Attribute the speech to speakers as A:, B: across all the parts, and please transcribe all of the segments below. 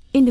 A: verscheen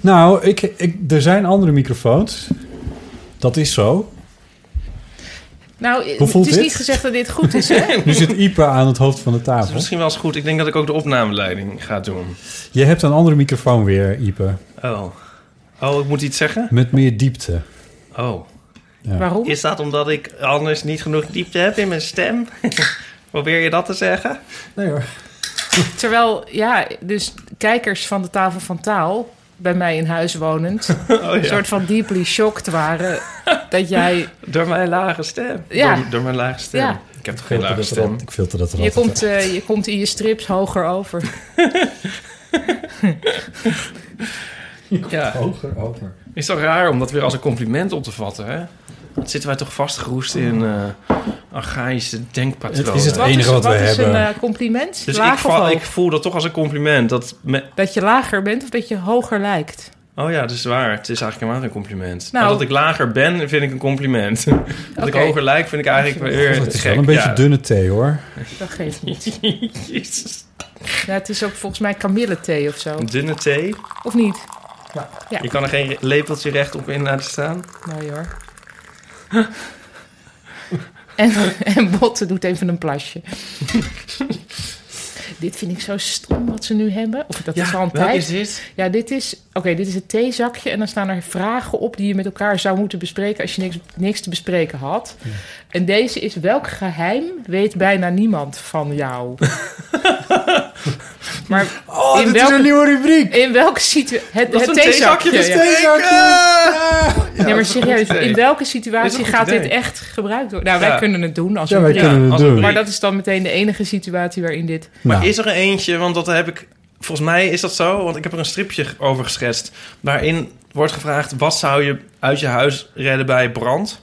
B: Nou, ik, ik, er zijn andere microfoons. Dat is zo.
C: Nou,
B: voelt
C: het is
B: dit?
C: niet gezegd dat dit goed is, hè?
B: Nu zit Ipa aan het hoofd van de
D: Dat is
B: tafel.
D: misschien wel eens goed. Ik denk dat ik ook de opnameleiding ga doen.
B: Je hebt een andere microfoon weer, Ipa.
D: Oh. Oh, ik moet iets zeggen?
B: Met meer diepte.
D: Oh.
C: Waarom?
D: Is dat omdat ik anders niet genoeg diepte heb in mijn stem? Probeer je dat te zeggen?
B: Nee hoor.
C: Terwijl, ja, dus kijkers van de tafel van taal, bij mij in huis wonend,
D: Oh,
C: een soort van deeply shocked waren dat jij...
D: Door mijn lage stem.
C: Ja.
D: Door, door mijn lage stem.
C: Ja.
D: Ik heb toch geen lage stem?
B: Ik filter dat er
C: Je
B: altijd
C: komt,
B: uit.
C: eh, je komt in je strips hoger over.
D: Ja.
B: Hoger, hoger.
D: Is toch raar om dat weer als een compliment op te vatten, hè? Dat zitten wij toch vastgeroest in eh archaïsche denkpatronen.
B: Het is het enige wat wij
C: is een
B: hebben.
C: eh, compliment?
D: dus
C: Laag
D: ik,
C: of
D: val-
C: hoog?
D: ik voel dat toch als een compliment. Dat me-
C: Dat je lager bent of dat je hoger lijkt?
D: Oh ja, dat is waar. Het is eigenlijk helemaal geen compliment.
C: Nou.
D: maar dat ik lager ben, vind ik een compliment. dat ik
C: Oké.
D: hoger lijk, vind ik eigenlijk weer
B: Het is
D: gek.
B: wel een beetje
D: ja.
B: dunne thee hoor.
C: Dat geeft niet.
D: Jezus.
C: Ja, het is ook volgens mij kamillethee of zo.
D: Een dunne thee.
C: Of niet?
D: Je kan er geen lepeltje recht op in laten staan.
C: Mooi hoor. en, en Botte doet even een plasje. dit vind ik zo stom wat ze nu hebben. Of dat is al een
D: wat
C: tijd.
D: is dit?
C: Ja, dit is... Oké, dit is het theezakje. En dan staan er vragen op die je met elkaar zou moeten bespreken... als je niks, niks te bespreken had. En deze is... Welk geheim weet bijna niemand van jou? maar
B: Oh,
C: In
B: dit is
C: welke-
B: een nieuwe rubriek.
C: in welke situatie... Het,
D: Dat
C: het
D: is een
C: theezakje.
D: theezakje,
C: ja.
D: dus thee-
C: nee, maar serieus,
D: idee.
C: in welke
D: Dit is een
C: situatie
D: goed
C: gaat dit
D: idee.
C: echt gebruikt worden? Nou, wij
D: Ja.
C: kunnen het doen als
B: Ja,
C: we
B: wij
D: Ja,
B: kunnen het
D: als
B: doen.
D: een
C: Maar dat is dan meteen de enige situatie waarin dit...
B: Nou,
D: Is er eentje, want dat heb ik... Volgens mij is dat zo, want ik heb er een stripje over geschetst... waarin wordt gevraagd, wat zou je uit je huis redden bij brand?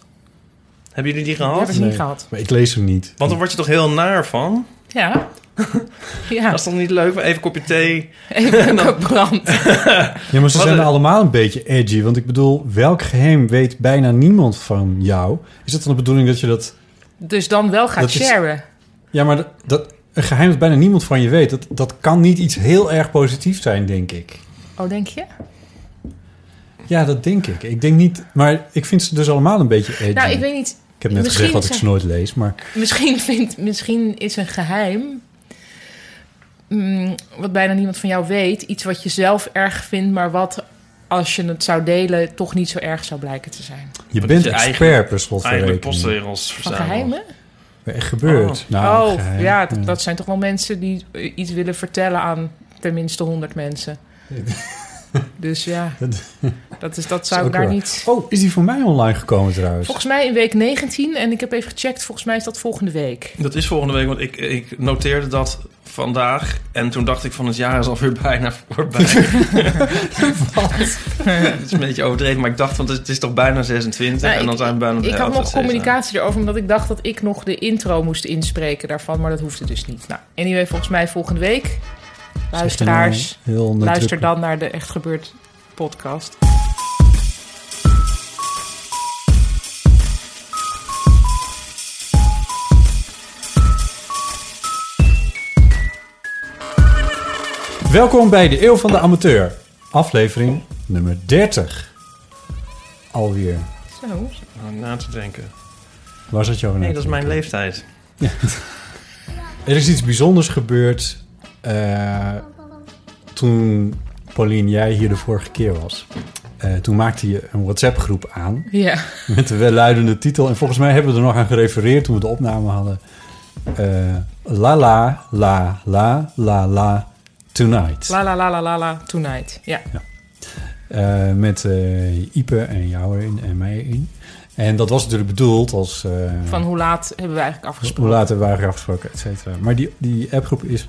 D: Hebben jullie die
C: We hebben
D: gehad?
C: het
B: Nee.
C: niet gehad.
B: maar ik lees hem niet.
D: Want dan word je toch heel naar van?
C: Ja. ja,
D: Dat is toch niet leuk? Even een kopje thee.
C: even een brand.
B: Ja, maar ze
D: Wat
B: zijn
D: een-
B: allemaal een beetje edgy. Want ik bedoel, welk geheim weet bijna niemand van jou? Is het dan de bedoeling dat je dat...
C: Dus dan wel gaat
B: Dat is-
C: sharen.
B: Ja, maar dat, dat, een geheim dat bijna niemand van je weet... Dat, dat kan niet iets heel erg positiefs zijn, denk ik.
C: Oh, denk je?
B: Ja, dat denk ik. Ik denk niet... Maar ik vind ze dus allemaal een beetje edgy.
C: Nou, ik weet niet.
B: Ik heb net
C: Misschien
B: gezegd dat ik
C: zijn-
B: ze nooit lees, maar...
C: Misschien, vindt, misschien is een geheim... mm, wat bijna niemand van jou weet... iets wat je zelf erg vindt... maar wat als je het zou delen... toch niet zo erg zou blijken te zijn.
B: Je
D: Dat
B: bent
D: is je eigen-
B: expert per slot van
D: Eigenlijk
B: rekening.
D: postzegels
C: Van
D: verzamelen.
C: geheimen?
B: Wat echt gebeurt.
D: Oh.
B: Nou,
C: oh,
B: geheim.
C: ja, dat, dat zijn toch wel mensen die eh, iets willen vertellen aan tenminste 100 mensen. dus ja, dat, is, dat
B: is
C: zou ik
B: ook
C: daar
B: wel.
C: niet.
B: Oh, is die voor mij online gekomen trouwens?
C: Volgens mij in week 19, en ik heb even gecheckt, volgens mij is dat volgende week.
D: Dat is volgende week, want ik, ik noteerde dat vandaag. En toen dacht ik van het jaar is alweer bijna voorbij. Het is een beetje overdreven, maar ik dacht, want het is toch bijna 26
C: Nou,
D: en dan
C: ik-
D: zijn we bijna
C: Ik had nog
D: 26.
C: communicatie erover, omdat ik dacht dat ik nog de intro moest inspreken daarvan, maar dat hoefde dus niet. Nou, anyway, volgens mij volgende week. Luisteraars,
B: eh, Heel nadrukkelijk.
C: luister dan naar de Echt Gebeurd podcast.
B: Welkom bij de Eeuw van de Amateur, aflevering nummer 30. Alweer.
C: Zo,
D: Om na te Nou, denken.
B: Waar zat je over
D: Nee,
B: na
D: dat
B: te
D: is mijn
B: denken?
D: leeftijd.
B: Er is iets bijzonders gebeurd eh, toen Pauline, jij hier de vorige keer was. Eh, toen maakte je een WhatsApp-groep aan
C: Ja.
B: met de welluidende titel. En volgens mij hebben we er nog aan gerefereerd toen we de opname hadden. Eh, la la la la la la tonight.
C: La la la la la la tonight. Ja.
B: Eh, met eh, Ipe en jou erin en mij in. En dat was natuurlijk bedoeld als... eh,
C: Van hoe laat hebben we eigenlijk
B: Dus Hoe
C: afgesproken?
B: laat hebben we eigenlijk afgesproken, et cetera. Maar die, die appgroep is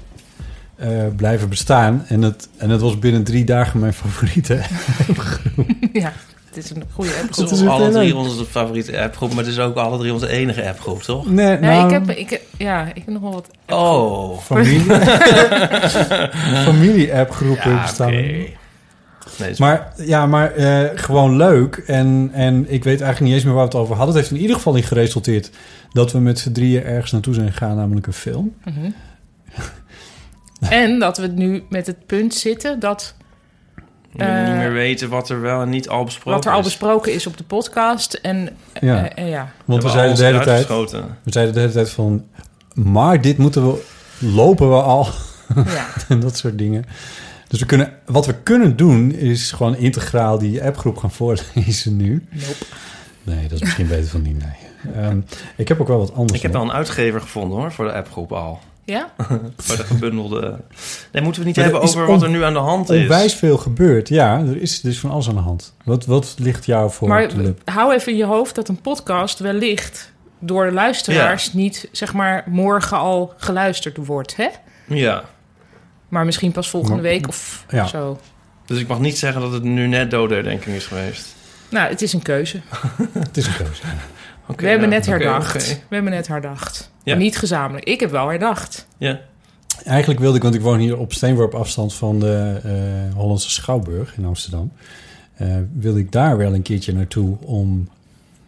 B: eh, blijven bestaan. En het, en het was binnen drie dagen mijn favoriete.
C: Ja. Het is een goede episode.
B: Dat
D: Het
B: is
D: is
B: ook
D: alle
B: heel
D: drie
B: leuk.
D: onze favoriete appgroep, maar het is ook alle drie onze enige appgroep, toch?
B: Nee,
C: Nee,
B: nou,
C: ik heb, ik, heb- ja, ik heb nog wel wat.
D: Oh.
B: familie, familie-appgroepen
D: Ja,
B: bestaan.
D: oké. Nee, dat is-
B: Maar ja, maar eh, gewoon leuk. En, en ik weet eigenlijk niet eens meer waar we het over hadden. Het heeft in ieder geval niet geresulteerd dat we met z'n drieën ergens naartoe zijn gegaan, namelijk een film.
C: Mhm. en dat we nu met het punt zitten dat
D: we willen niet
C: eh,
D: meer weten wat er wel en niet al besproken
C: wat er al
D: is.
C: besproken is op de podcast. En
B: Ja.
C: eh, eh, ja.
B: Want we
D: hebben
B: zeiden,
D: alles
B: de hele
D: eruit
B: tijd,
D: geschoten.
B: we zeiden de hele tijd van... Maar dit moeten we... Lopen we al
C: ja.
B: en dat soort dingen. Dus we kunnen, wat we kunnen doen is gewoon integraal die appgroep gaan voorlezen nu.
C: Nope.
B: Nee, dat is misschien beter van niet. Nee. Ehm, ik heb ook wel wat anders.
D: Ik heb
B: nog.
D: wel een uitgever gevonden hoor, voor de appgroep al.
C: Ja?
D: Voor de gebundelde. Nee, moeten we het niet
B: Maar er
D: hebben
B: is
D: over
B: on-
D: wat er nu aan de hand is.
B: onwijs veel gebeurd. Ja, er is dus van alles aan de hand. Wat, wat ligt jou voor
C: Maar
B: op de lip?
C: hou even in je hoofd dat een podcast wellicht door de luisteraars niet zeg maar morgen al geluisterd wordt, hè?
D: Ja.
C: Maar misschien pas volgende
B: Maar-
C: week of
B: Ja.
C: zo.
D: Dus ik mag niet zeggen dat het nu net doodherdenking is geweest.
C: Nou, het is een keuze.
B: Het is een keuze.
D: Oké,
C: we hebben
D: ja.
C: net
D: Oké,
C: herdacht.
D: oké.
C: We hebben net herdacht.
D: Ja.
C: Niet gezamenlijk. Ik heb wel herdacht.
D: Ja.
B: Eigenlijk wilde ik, want ik woon hier op steenworp afstand van de eh, Hollandse Schouwburg in Amsterdam. Eh, wilde ik daar wel een keertje naartoe om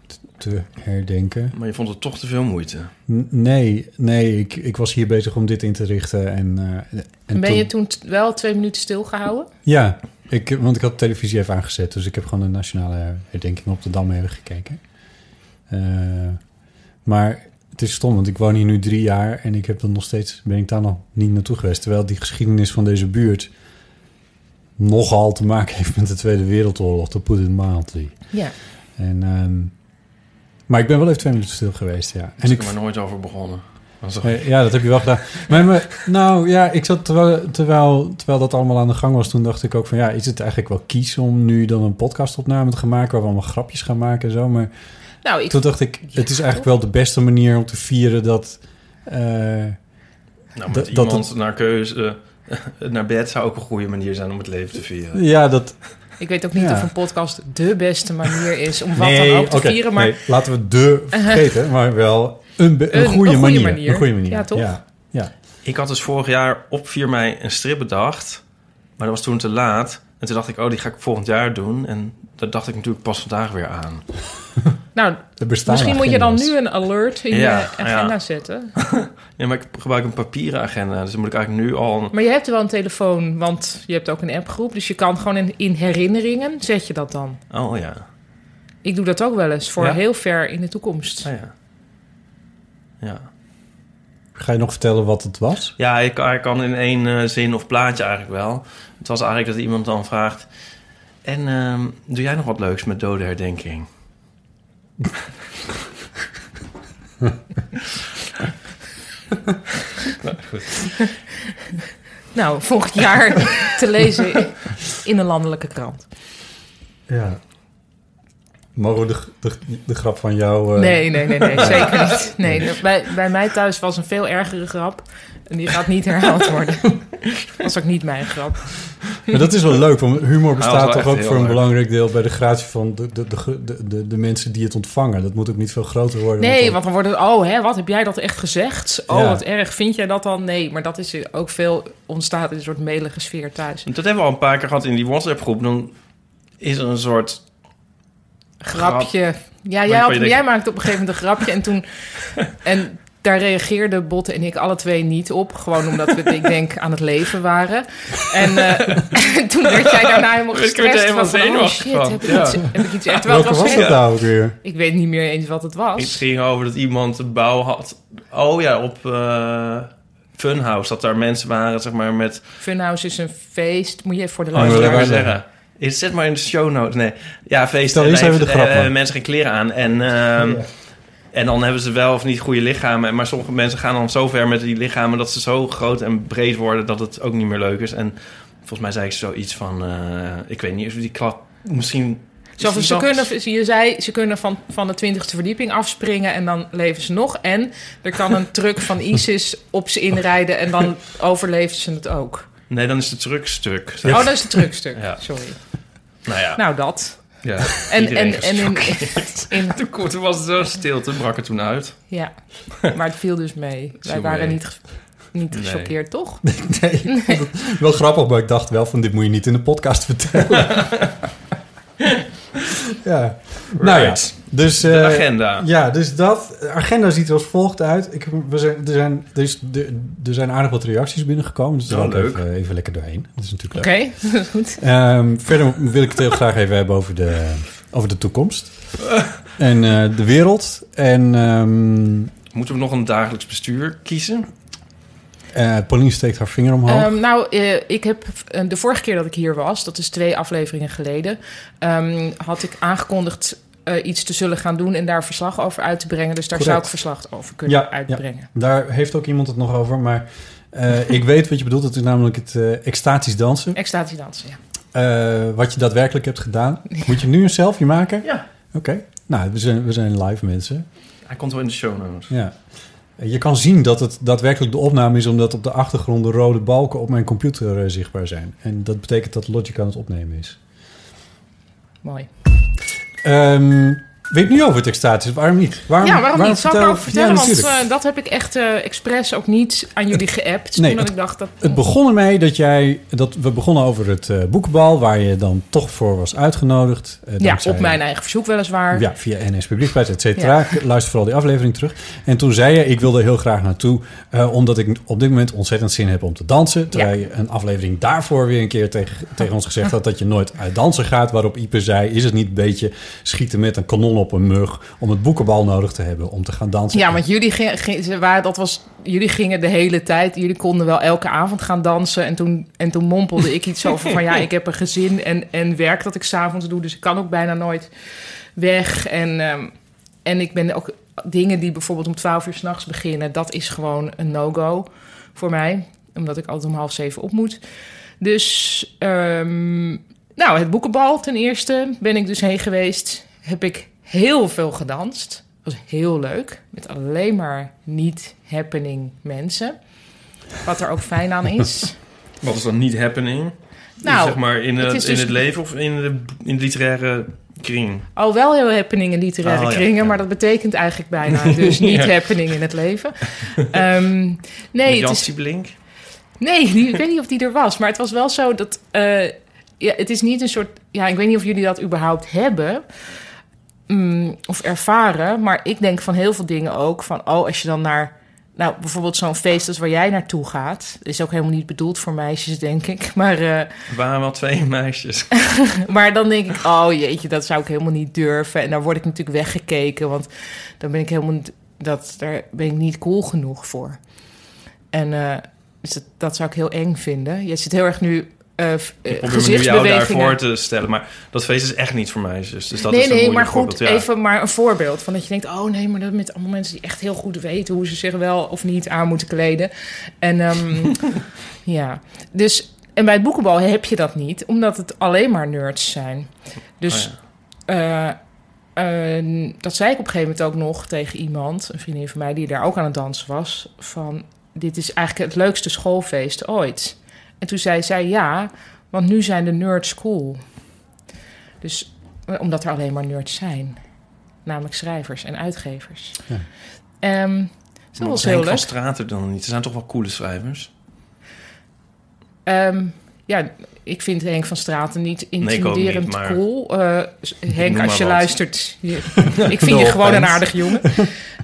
B: t- te herdenken.
D: Maar je vond het toch te veel moeite.
B: N- Nee, nee ik, ik was hier bezig om dit in te richten. En, eh, en
C: ben je toen t- wel twee minuten stilgehouden?
B: Ja, ik, want ik had de televisie even aangezet. Dus ik heb gewoon de nationale herdenking op de Dam even gekeken. Eh, maar het is stom, want ik woon hier nu drie jaar... en ik heb dan nog steeds, ben ik daar nog niet naartoe geweest. Terwijl die geschiedenis van deze buurt... nogal te maken heeft met de Tweede Wereldoorlog. To put it mildly.
C: Ja.
B: En, ehm, maar ik ben wel even twee minuten stil geweest, ja.
D: En
B: En
D: ik
B: ik
D: ben er nooit over begonnen. Dat is toch-
B: Eh, Ja, dat heb je wel gedaan. Maar, maar, nou ja, ik zat terwijl, terwijl, terwijl dat allemaal aan de gang was, toen dacht ik ook van ja, is het eigenlijk wel kies om nu dan een podcastopname te gaan maken waar we allemaal grapjes gaan maken en zo. Maar
C: Nou, ik,
B: toen dacht ik, het is eigenlijk wel de beste manier om te vieren dat. eh,
D: Nou,
B: dat-
D: met
B: dat-
D: iemand naar keuze... Naar bed zou ook een goede manier zijn om het leven te vieren.
B: ja, dat.
C: ik weet ook niet
B: Ja.
C: of een podcast de beste manier is om wat dan ook te
B: oké,
C: vieren. Maar
B: nee, laten we de vergeten, maar wel een, be- een,
C: Een-
B: goede,
C: een goede
B: manier,
C: manier.
B: Een goede manier.
C: Ja, toch?
B: Ja, ja.
D: Ik had dus vorig jaar op 4 mei een strip bedacht. Maar dat was toen te laat. En toen dacht ik, oh, die ga ik volgend jaar doen. En dat dacht ik natuurlijk pas vandaag weer aan.
C: nou,
B: Er bestaan
C: misschien moet je dan
B: agendas.
C: nu een alert in
D: Ja,
C: je agenda
D: ja.
C: zetten.
D: Ja, maar ik gebruik een papieren agenda. Dus dan moet ik eigenlijk nu al... een-
C: Maar je hebt wel een telefoon, want je hebt ook een appgroep. Dus je kan gewoon in, in herinneringen zet je dat dan.
D: Oh ja.
C: Ik doe dat ook wel eens voor
D: Ja?
C: heel ver in de toekomst.
D: Oh, ja. Ja.
B: Ga je nog vertellen wat het was?
D: Ja, ik, hij kan in één eh, zin of plaatje eigenlijk wel. Het was eigenlijk dat iemand dan vraagt... En ehm, doe jij nog wat leuks met dodenherdenking?
C: Nou, volgend jaar te lezen in een landelijke krant.
B: Ja. Mogen we de, de, de grap van jou... eh,
C: Nee, nee, nee, nee zeker niet. Nee, bij, bij mij thuis was een veel ergere grap. En die gaat niet herhaald worden. Dat was ook niet mijn grap.
B: Maar dat is wel leuk, want humor
D: Hij
B: bestaat
D: was wel
B: toch ook
D: echt
B: voor een
D: heel erg.
B: belangrijk deel... bij de gratie van de, de, de, de, de, de mensen die het ontvangen. Dat moet ook niet veel groter worden.
C: Nee,
B: want
C: want dan wordt het... Oh, hè, wat heb jij dat echt gezegd? Oh,
B: Ja.
C: wat erg. Vind jij dat dan? Nee, maar dat is ook veel ontstaat in een soort melige sfeer thuis.
D: Dat hebben we al een paar keer gehad in die WhatsApp-groep. Dan is er een soort...
C: Grapje. Ja, jij,
D: Waarvan
C: had,
D: je denkt-
C: jij maakte op een gegeven moment een grapje. En toen... En Daar reageerden Botte en ik alle twee niet op. Gewoon omdat we, ik denk, aan het leven waren. En eh, toen werd jij daarna helemaal
D: Ik werd er
C: gestrest.
D: helemaal
C: van, oh
D: zenuwachtig
C: shit,
D: van.
C: heb ik
D: Ja.
C: iets, heb ik iets echt... Terwijl het
B: Welke was
C: was
B: dat nou ook weer?
C: Ik weet niet meer eens wat het was.
D: Iets ging over dat iemand een bouw had. Oh ja, op eh, Funhouse. Dat daar mensen waren, zeg maar, met...
C: Funhouse is een feest. Moet je even voor de
D: Oh, ik
B: wil
D: wil
B: je
C: luisteraar...
D: maar
B: zeggen.
D: zeggen. Is zet maar in de show notes. Nee. Ja, feest.
B: Stel eerst
D: en
B: even de
D: eh,
B: grap, man.
D: eh, mensen geen kleren aan. En, ehm,
B: Ja.
D: en dan hebben ze wel of niet goede lichamen. Maar sommige mensen gaan dan zo ver met die lichamen... dat ze zo groot en breed worden dat het ook niet meer leuk is. En volgens mij zei ik zoiets van... eh, ik weet niet of die klap... Misschien...
C: Zo van,
D: is
C: ze,
D: die nog-
C: kunnen, je zei, ze kunnen van, van de twintigste verdieping afspringen en dan leven ze nog. En er kan een truck van ISIS op ze inrijden en dan overleven ze het ook.
D: Nee, dan is het truckstuk.
C: Oh, dat is de truckstuk.
D: Ja.
C: Sorry.
D: Nou ja.
C: Nou, dat.
D: ja.
C: En,
D: Iedereen
C: en, en in, in,
D: Toen kon- Toen was het zo'n stilte, brak het toen uit.
C: ja, maar het viel dus mee. Wij
D: Viel
C: waren
D: mee.
C: niet, ge- niet
D: Nee.
C: gechoqueerd, toch?
B: Nee, ik vond het wel grappig, maar ik dacht wel van dit moet je niet in de podcast vertellen. ja. Nou ja,
D: Right.
B: dus...
D: De
B: eh,
D: agenda.
B: Ja, dus dat. De agenda ziet er als volgt uit. Ik, we zijn, er, zijn, er, is, er, er zijn aardig wat reacties binnengekomen. Dus daar
D: Oh,
B: wil ik
D: leuk.
B: Even, even lekker doorheen. Dat is natuurlijk leuk.
C: Oké, goed.
B: Ehm, verder wil ik het heel graag even hebben over de, over de toekomst. En eh, de wereld. En ehm
D: Moeten we nog een dagelijks bestuur kiezen?
B: eh, Pauline steekt haar vinger omhoog.
C: Ehm, nou, eh, ik heb eh, de vorige keer dat ik hier was, dat is twee afleveringen geleden, ehm, had ik aangekondigd eh, iets te zullen gaan doen en daar verslag over uit te brengen. Dus daar zou
B: Correct.
C: ik verslag over kunnen
B: Ja,
C: uitbrengen.
B: Daar heeft ook iemand het nog over. Maar eh, ik weet wat je bedoelt. Dat is namelijk het eh, extatisch dansen.
C: Extatie dansen, ja.
B: Eh, wat je daadwerkelijk hebt gedaan. Moet je nu een selfie maken?
D: Ja.
B: Oké. Nou, we zijn, we zijn live mensen.
D: Hij komt wel in de show notes.
B: Ja. Je kan zien dat het daadwerkelijk de opname is, omdat op de achtergrond de rode balken op mijn computer eh, zichtbaar zijn. En dat betekent dat Logic aan het opnemen is.
C: Mooi.
B: Ehm weet nu over het extatisch, dus waarom niet? Waarom,
C: ja, waarom, niet? Zal ik
B: vertellen-
C: erover vertellen?
B: Ja,
C: want
B: natuurlijk.
C: eh, dat heb ik echt eh, expres ook niet aan jullie geappt.
B: Nee,
C: omdat
B: het-
C: ik dacht dat...
B: Het begon ermee dat jij, dat we begonnen over het eh, boekenbal, waar je dan toch voor was uitgenodigd. eh,
C: ja,
B: dankzij-
C: op mijn eigen verzoek weliswaar.
B: Ja, via NS Publieksprijs, et cetera. Luister vooral die aflevering terug. En toen zei je, ik wil er heel graag naartoe... eh, omdat ik op dit moment ontzettend zin heb om te dansen. Terwijl je een aflevering daarvoor weer een keer tegen, tegen ons gezegd had... dat je nooit uit dansen gaat. Waarop Ipe zei, is het niet een beetje schieten met een kanon op een mug... om het boekenbal nodig te hebben om te gaan dansen?
C: Ja, want jullie, ging, ging- ze waren, dat was, jullie gingen de hele tijd. Jullie konden wel elke avond gaan dansen. En toen, en toen mompelde ik iets over van... ja, ik heb een gezin en, en werk dat ik s'avonds doe. Dus ik kan ook bijna nooit weg. En, ehm, en ik ben ook... dingen die bijvoorbeeld om 12 uur s'nachts beginnen... dat is gewoon een no-go voor mij. Omdat ik altijd om half zeven op moet. Dus... ehm, nou, het boekenbal ten eerste ben ik dus heen geweest. Heb ik heel veel gedanst. was heel leuk. Met alleen maar niet-happening mensen. Wat er ook fijn aan is.
D: Wat is dan niet happening?
C: Nou,
D: Nou, zeg maar in,
C: het
D: het,
C: is
D: in
C: dus-
D: het leven of in de, in de literaire kring?
C: Al wel heel happening in literaire
D: Oh, ja,
C: kringen,
D: ja.
C: maar dat betekent eigenlijk bijna dus
D: Ja.
C: niet happening in het leven. Ehm,
D: Met
C: nee,
D: Jan
C: het is,
D: Siebelink?
C: nee die, ik weet niet of die er was, maar het was wel zo dat eh, ja, het is niet een soort. Ja, ik weet niet of jullie dat überhaupt hebben. mm, of ervaren. Maar ik denk van heel veel dingen ook. Van, oh, als je dan naar... Nou, bijvoorbeeld zo'n feest als waar jij naartoe gaat. Is ook helemaal niet bedoeld voor meisjes, denk ik. Maar, eh,
D: Er waren wel twee meisjes.
C: maar dan denk ik, oh jeetje, dat zou ik helemaal niet durven. En daar word ik natuurlijk weggekeken. Want dan ben ik helemaal... niet- Dat, daar ben ik niet cool genoeg voor. En eh, dus dat, dat zou ik heel eng vinden. Je zit heel erg nu... eh f- eh,
D: Ik probeer me nu jou
C: gezichtsbewegingen
D: daarvoor te stellen. Maar dat feest is echt niet voor meisjes. Dus dat
C: nee,
D: is een
C: nee,
D: moeilijk
C: maar goed,
D: voorbeeld, ja.
C: even maar een voorbeeld. Van dat je denkt, oh nee, maar dat met allemaal mensen die echt heel goed weten hoe ze zich wel of niet aan moeten kleden. En ehm, ja, dus en bij het boekenbal heb je dat niet, omdat het alleen maar nerds zijn. Dus
D: Oh
C: eh, eh, dat zei ik op een gegeven moment ook nog tegen iemand, een vriendin van mij die daar ook aan het dansen was, van dit is eigenlijk het leukste schoolfeest ooit. En toen zei zij ja, want nu zijn de nerds cool. Dus eh, omdat er alleen maar nerds zijn. Namelijk schrijvers en uitgevers.
B: Ja.
C: Ehm, dus dat
D: Maar
C: was
D: zijn
C: heel
D: van
C: leuk.
D: Straten dan niet? Er zijn toch wel coole schrijvers?
C: Ehm, ja, ik vind Henk van Straten niet
D: ik ook niet,
C: intimiderend
D: maar-
C: cool. Eh, s- Henk,
D: maar
C: als je
D: wat.
C: luistert, je- ik vind je gewoon een aardig jongen.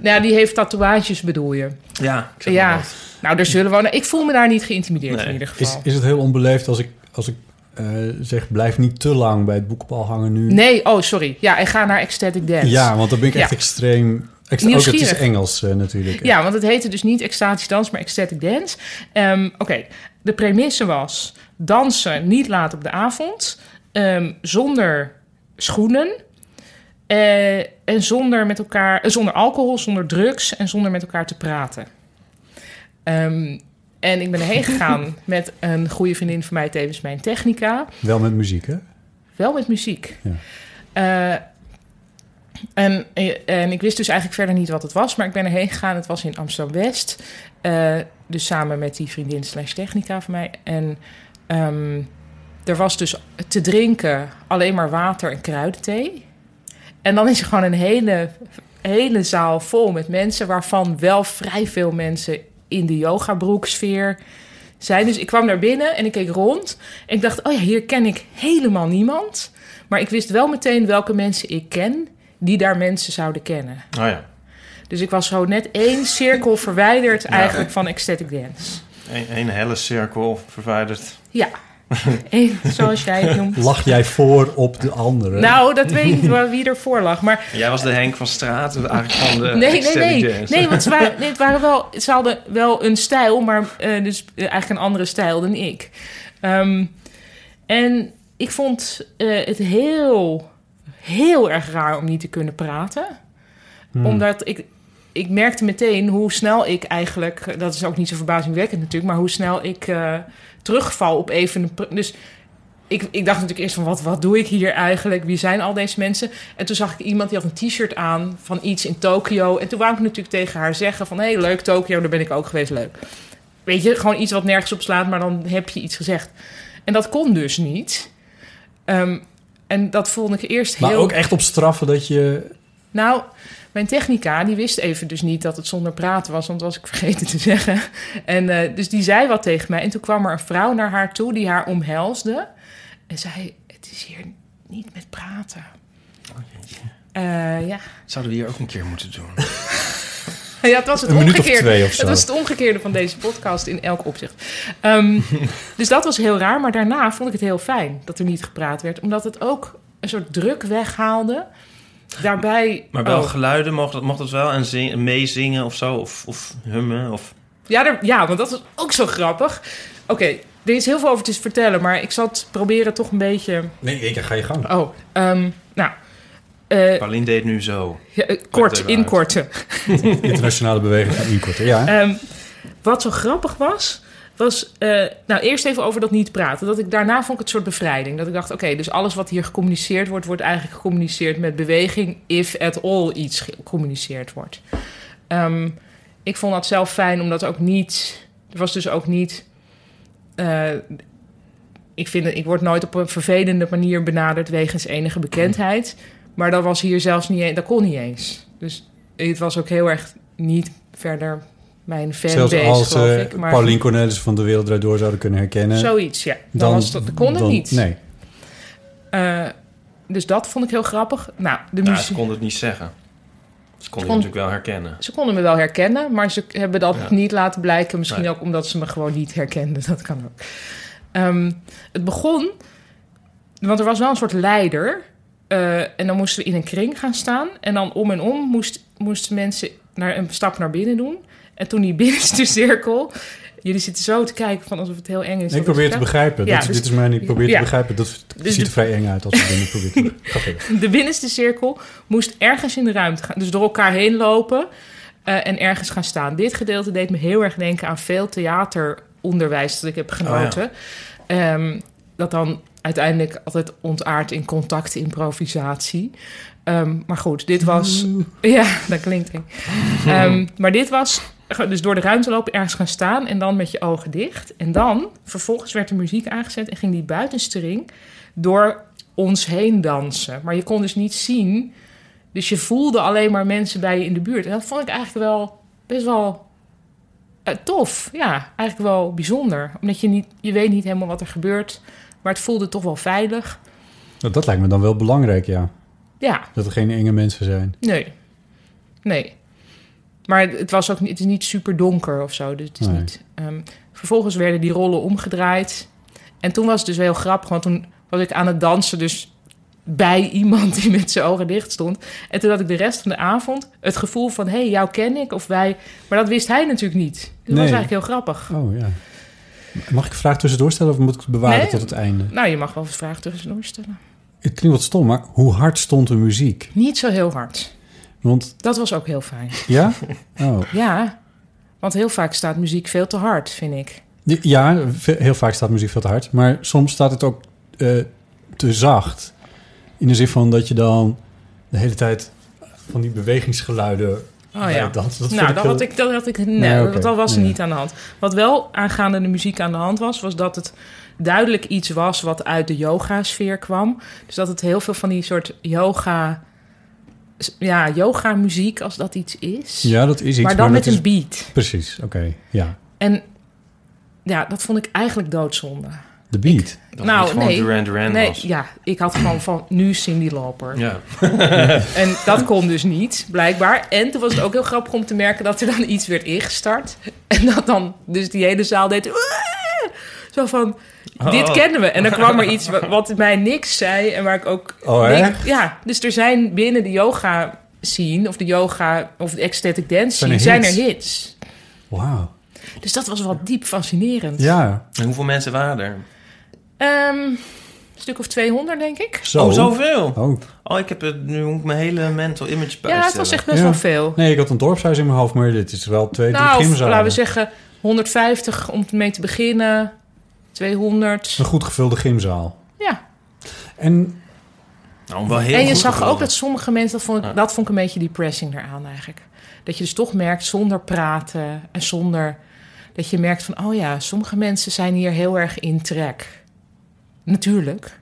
C: Nou, die heeft tatoeages, bedoel je.
D: Ja, ik zeg maar
C: Ja,
D: wat.
C: nou, er zullen wonen. Ik voel me daar niet geïntimideerd
D: Nee.
C: in ieder
B: Is,
C: geval.
B: is het heel onbeleefd als ik, als ik eh, zeg, blijf niet te lang bij het boekbal hangen nu?
C: Nee, oh, sorry. Ja, en ga naar Ecstatic Dance.
B: Ja, want dan ben ik echt
C: Ja.
B: extreem... Extra, ook het
C: Nieuwsgierig.
B: is Engels eh, natuurlijk.
C: Ja, want het heette dus niet extatische dans, maar ecstatic dance. Ehm, Oké, de premisse was dansen niet laat op de avond, ehm, zonder schoenen eh, en zonder, met elkaar, eh, zonder alcohol, zonder drugs en zonder met elkaar te praten. Ehm, en ik ben erheen gegaan met een goede vriendin van mij, tevens mijn technica.
B: Wel met muziek, hè?
C: Wel met muziek. Eh, en, en ik wist dus eigenlijk verder niet wat het was, maar ik ben erheen gegaan. Het was in Amsterdam-West. Eh, dus samen met die vriendin slash technica van mij. En ehm, er was dus te drinken alleen maar water en kruidenthee. En dan is er gewoon een hele, hele zaal vol met mensen... waarvan wel vrij veel mensen in de yogabroeksfeer zijn. Dus ik kwam naar binnen en ik keek rond. En ik dacht, oh ja, hier ken ik helemaal niemand. Maar ik wist wel meteen welke mensen ik ken... die daar mensen zouden kennen.
D: Oh ja.
C: Dus ik was zo net één cirkel verwijderd eigenlijk van Ecstatic Dance.
D: Eén één helle cirkel verwijderd.
C: Ja, Eén, zoals jij het noemt.
B: Lach jij voor op de anderen?
C: Nou, dat weet ik niet wel wie ervoor lag. Maar
D: Jij was de Henk van Straat, eigenlijk van de
C: nee, nee,
D: Ecstatic
C: nee.
D: Dance.
C: Nee, want ze, waren, nee, het waren wel, ze hadden wel een stijl, maar eh, dus eh, eigenlijk een andere stijl dan ik. Ehm, en ik vond eh, het heel, heel erg raar om niet te kunnen praten. Omdat ik, ik merkte meteen hoe snel ik eigenlijk, dat is ook niet zo verbazingwekkend natuurlijk, maar hoe snel ik eh, terugval op even een. pr- Dus ik, ik dacht natuurlijk eerst van wat, wat doe ik hier eigenlijk? Wie zijn al deze mensen? En toen zag ik iemand die had een t-shirt aan van iets in Tokio. En toen wou ik natuurlijk tegen haar zeggen van... hé, hey, leuk Tokio, daar ben ik ook geweest, leuk. Weet je, gewoon iets wat nergens op slaat, maar dan heb je iets gezegd. En dat kon dus niet. Ehm, en dat vond ik eerst
B: maar
C: heel...
B: ook echt op straffen dat je...
C: Nou, mijn technica die wist even dus niet dat het zonder praten was, want dat was ik vergeten te zeggen. En eh, dus die zei wat tegen mij. En toen kwam er een vrouw naar haar toe die haar omhelsde. En zei: Het is hier niet met praten.
B: Oh,
C: Eh, ja.
D: Zouden we hier ook een keer moeten doen.
C: ja, het was het
B: Een minuut of
C: omgekeerde.
B: twee of zo.
C: Het was het omgekeerde van deze podcast in elk opzicht. Ehm, dus dat was heel raar, maar daarna vond ik het heel fijn dat er niet gepraat werd, omdat het ook een soort druk weghaalde. Daarbij.
D: Maar wel
C: oh.
D: geluiden, mocht dat, mocht dat wel? En zing, meezingen of zo? Of, of hummen? Of...
C: Ja, daar- ja, want dat is ook zo grappig. Oké, er is heel veel over te vertellen, maar ik zal het proberen toch een beetje.
B: Nee, ik ga je gang.
C: Oh, ehm, nou, eh,
D: Paulien deed nu zo.
C: ja, eh, kort,
D: even uit.
C: inkorten. Oh.
B: Internationale beweging van inkorten, ja.
C: Ehm, wat zo grappig was, was. eh, nou, eerst even over dat niet praten. Dat ik daarna vond ik het soort bevrijding. Dat ik dacht, oké, dus alles wat hier gecommuniceerd wordt, wordt eigenlijk gecommuniceerd met beweging, if at all iets gecommuniceerd wordt. Ehm, ik vond dat zelf fijn, omdat ook niet. Er was dus ook niet. eh, ik, vind, het- ik word nooit op een vervelende manier benaderd wegens enige bekendheid. Maar dat was hier zelfs niet. e- Dat kon niet eens. Dus het was ook heel erg niet verder mijn
B: Zelfs
C: fanbase,
B: als
C: geloof
B: eh
C: ik. Maar
B: Paulien Cornelis van de Wereld Draait Door zouden kunnen herkennen...
C: zoiets, ja. Dan, was dat, dat kon het
B: dan-
C: niet.
B: Nee.
C: Eh, dus dat vond ik heel grappig. Nou, de
D: Nou,
C: muziek.
D: ze kon het niet zeggen. Ze kon
C: Ze
D: het
C: kon-
D: natuurlijk wel herkennen.
C: Ze konden me wel herkennen, maar ze hebben dat
D: Ja.
C: niet laten blijken. Misschien
D: Nee.
C: ook omdat ze me gewoon niet herkenden. Dat kan ook. Ehm, het begon, want er was wel een soort leider. eh, en dan moesten we in een kring gaan staan. En dan om en om moest, moesten mensen naar, een stap naar binnen doen. En toen die binnenste cirkel... Jullie zitten zo te kijken van alsof het heel eng is.
B: ik probeer te begrijpen.
C: Ja,
B: Dat,
C: dus-
B: dit is mijn... Ik probeer
C: ja.
B: te begrijpen. Dat
C: Dus
B: ziet
C: de-
B: er vrij eng uit als ik dingen probeer te Ga verder.
C: De binnenste cirkel moest ergens in de ruimte gaan. Dus door elkaar heen lopen eh, en ergens gaan staan. Dit gedeelte deed me heel erg denken aan veel theateronderwijs dat ik heb genoten. Ehm, dat dan uiteindelijk altijd ontaart in contact, improvisatie. Ehm, maar goed, dit was... Ja, dat klinkt eng. Ehm, maar dit was dus door de ruimte lopen, ergens gaan staan... en dan met je ogen dicht. En dan, vervolgens werd de muziek aangezet... en ging die buitenstring door ons heen dansen. Maar je kon dus niet zien. Dus je voelde alleen maar mensen bij je in de buurt. En dat vond ik eigenlijk wel best wel eh, tof. Ja, eigenlijk wel bijzonder. Omdat je, niet, je weet niet helemaal wat er gebeurt. Maar het voelde toch wel veilig.
B: Nou, dat lijkt me dan wel belangrijk, ja.
C: Ja,
B: Dat er geen enge mensen zijn.
C: nee. Nee. Maar het, was ook, niet- het is niet super donker of zo. Dus het is
B: Nee.
C: niet, ehm, vervolgens werden die rollen omgedraaid. En toen was het dus wel heel grappig. Want toen was ik aan het dansen dus bij iemand die met zijn ogen dicht stond. En toen had ik de rest van de avond het gevoel van... hé, hey, jou ken ik of wij... Maar dat wist hij natuurlijk niet. Dus dat
B: Nee.
C: was eigenlijk heel grappig.
B: Oh ja. Mag ik een vraag tussendoor stellen of moet ik het bewaren
C: Nee.
B: tot het einde?
C: Nou, je mag wel eens vragen tussendoor stellen.
B: Het klinkt wat stom, maar hoe hard stond de muziek?
C: Niet zo heel hard.
B: Want
C: Dat was ook heel fijn.
B: ja? Oh.
C: Ja, want heel vaak staat muziek veel te hard, vind ik.
B: Ja, ve- heel vaak staat muziek veel te hard. Maar soms staat het ook eh, te zacht. In de zin van dat je dan de hele tijd van die bewegingsgeluiden...
C: Oh
B: bij
C: ja.
B: het dansen- dat vind
C: nou, dat
B: heel-
C: had ik, dat had ik, nee,
B: Nee, oké.
C: dat dat was er
B: Nee.
C: niet aan de hand. Wat wel aangaande de muziek aan de hand was, was dat het duidelijk iets was wat uit de yoga-sfeer kwam. Dus dat het heel veel van die soort yoga, ja, yoga-muziek, als dat iets is.
B: Ja, dat is iets.
C: maar dan met
B: dat
C: een
B: is-
C: beat.
B: Precies, oké. Ja,
C: En ja, dat vond ik eigenlijk doodzonde.
B: de beat.
D: Dat
C: Nou,
D: het gewoon
C: nee.
D: Duran Duran
C: Nee,
D: was.
C: ja, ik had gewoon van nu Cindy Lauper.
D: Ja.
C: En dat kon dus niet, blijkbaar. En toen was het ook heel grappig om te merken dat er dan iets werd ingestart. En dat dan dus die hele zaal deed... "Waaah!" Zo van, dit
D: Oh.
C: kennen we. En dan kwam er iets wa- wat mij niks zei en waar ik ook...
B: Oh,
C: denk-
B: echt?
C: Ja, dus er zijn binnen de yoga scene of de yoga of de ecstatic dance
B: Zijn
C: scene,
B: er
C: zijn er
B: hits?
C: hits.
B: Wauw.
C: Dus dat was wel diep fascinerend.
B: Ja,
D: En hoeveel mensen waren er?
C: Ehm, een stuk of 200, denk ik.
B: zo.
D: Oh, zoveel.
B: Oh.
D: Oh, ik heb het, nu moet ik mijn hele mental image bijstellen.
C: Ja, het was echt best
B: Ja.
C: wel veel.
B: Nee, ik had een dorpshuis in mijn hoofd, maar dit is wel twee, drie
C: Nou, of,
B: gymzalen.
C: laten we zeggen 150 om mee te beginnen. 200.
B: Een goed gevulde gymzaal.
C: Ja.
B: En
D: Nou, wel heel
C: en je
D: goed
C: zag
D: gevonden.
C: ook dat sommige mensen, dat vond, ik,
D: Ah.
C: dat vond ik een beetje depressing eraan eigenlijk. Dat je dus toch merkt zonder praten en zonder... Dat je merkt van, oh ja, sommige mensen zijn hier heel erg in trek. Natuurlijk.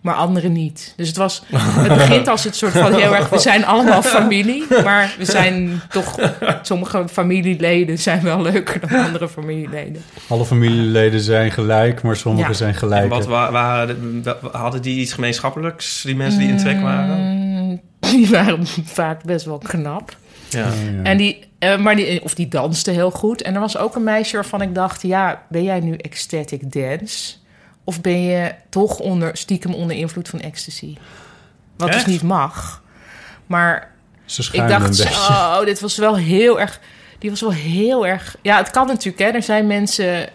C: Maar anderen niet. Dus het was... Het begint als het soort van heel erg... We zijn allemaal familie, maar we zijn toch... Sommige familieleden zijn wel leuker dan andere familieleden.
B: alle familieleden zijn gelijk, maar sommigen
C: Ja.
B: zijn
D: En
B: gelijk.
D: wat wa- waren, de- wa- hadden die iets gemeenschappelijks, die mensen die in trek waren?
C: Mm, Die waren vaak best wel knap.
D: Ja.
C: En die, eh, maar die, of die danste heel goed. En er was ook een meisje waarvan ik dacht... ja, ben jij nu ecstatic dance? Of ben je toch onder, stiekem onder invloed van ecstasy? Wat
D: Echt?
C: dus niet mag. Maar
B: Ze
C: ik
B: schuimen een
C: dacht,
B: beetje.
C: zo, Oh. dit was wel heel erg... Die was wel heel erg... Ja, het kan natuurlijk, hè. Er zijn mensen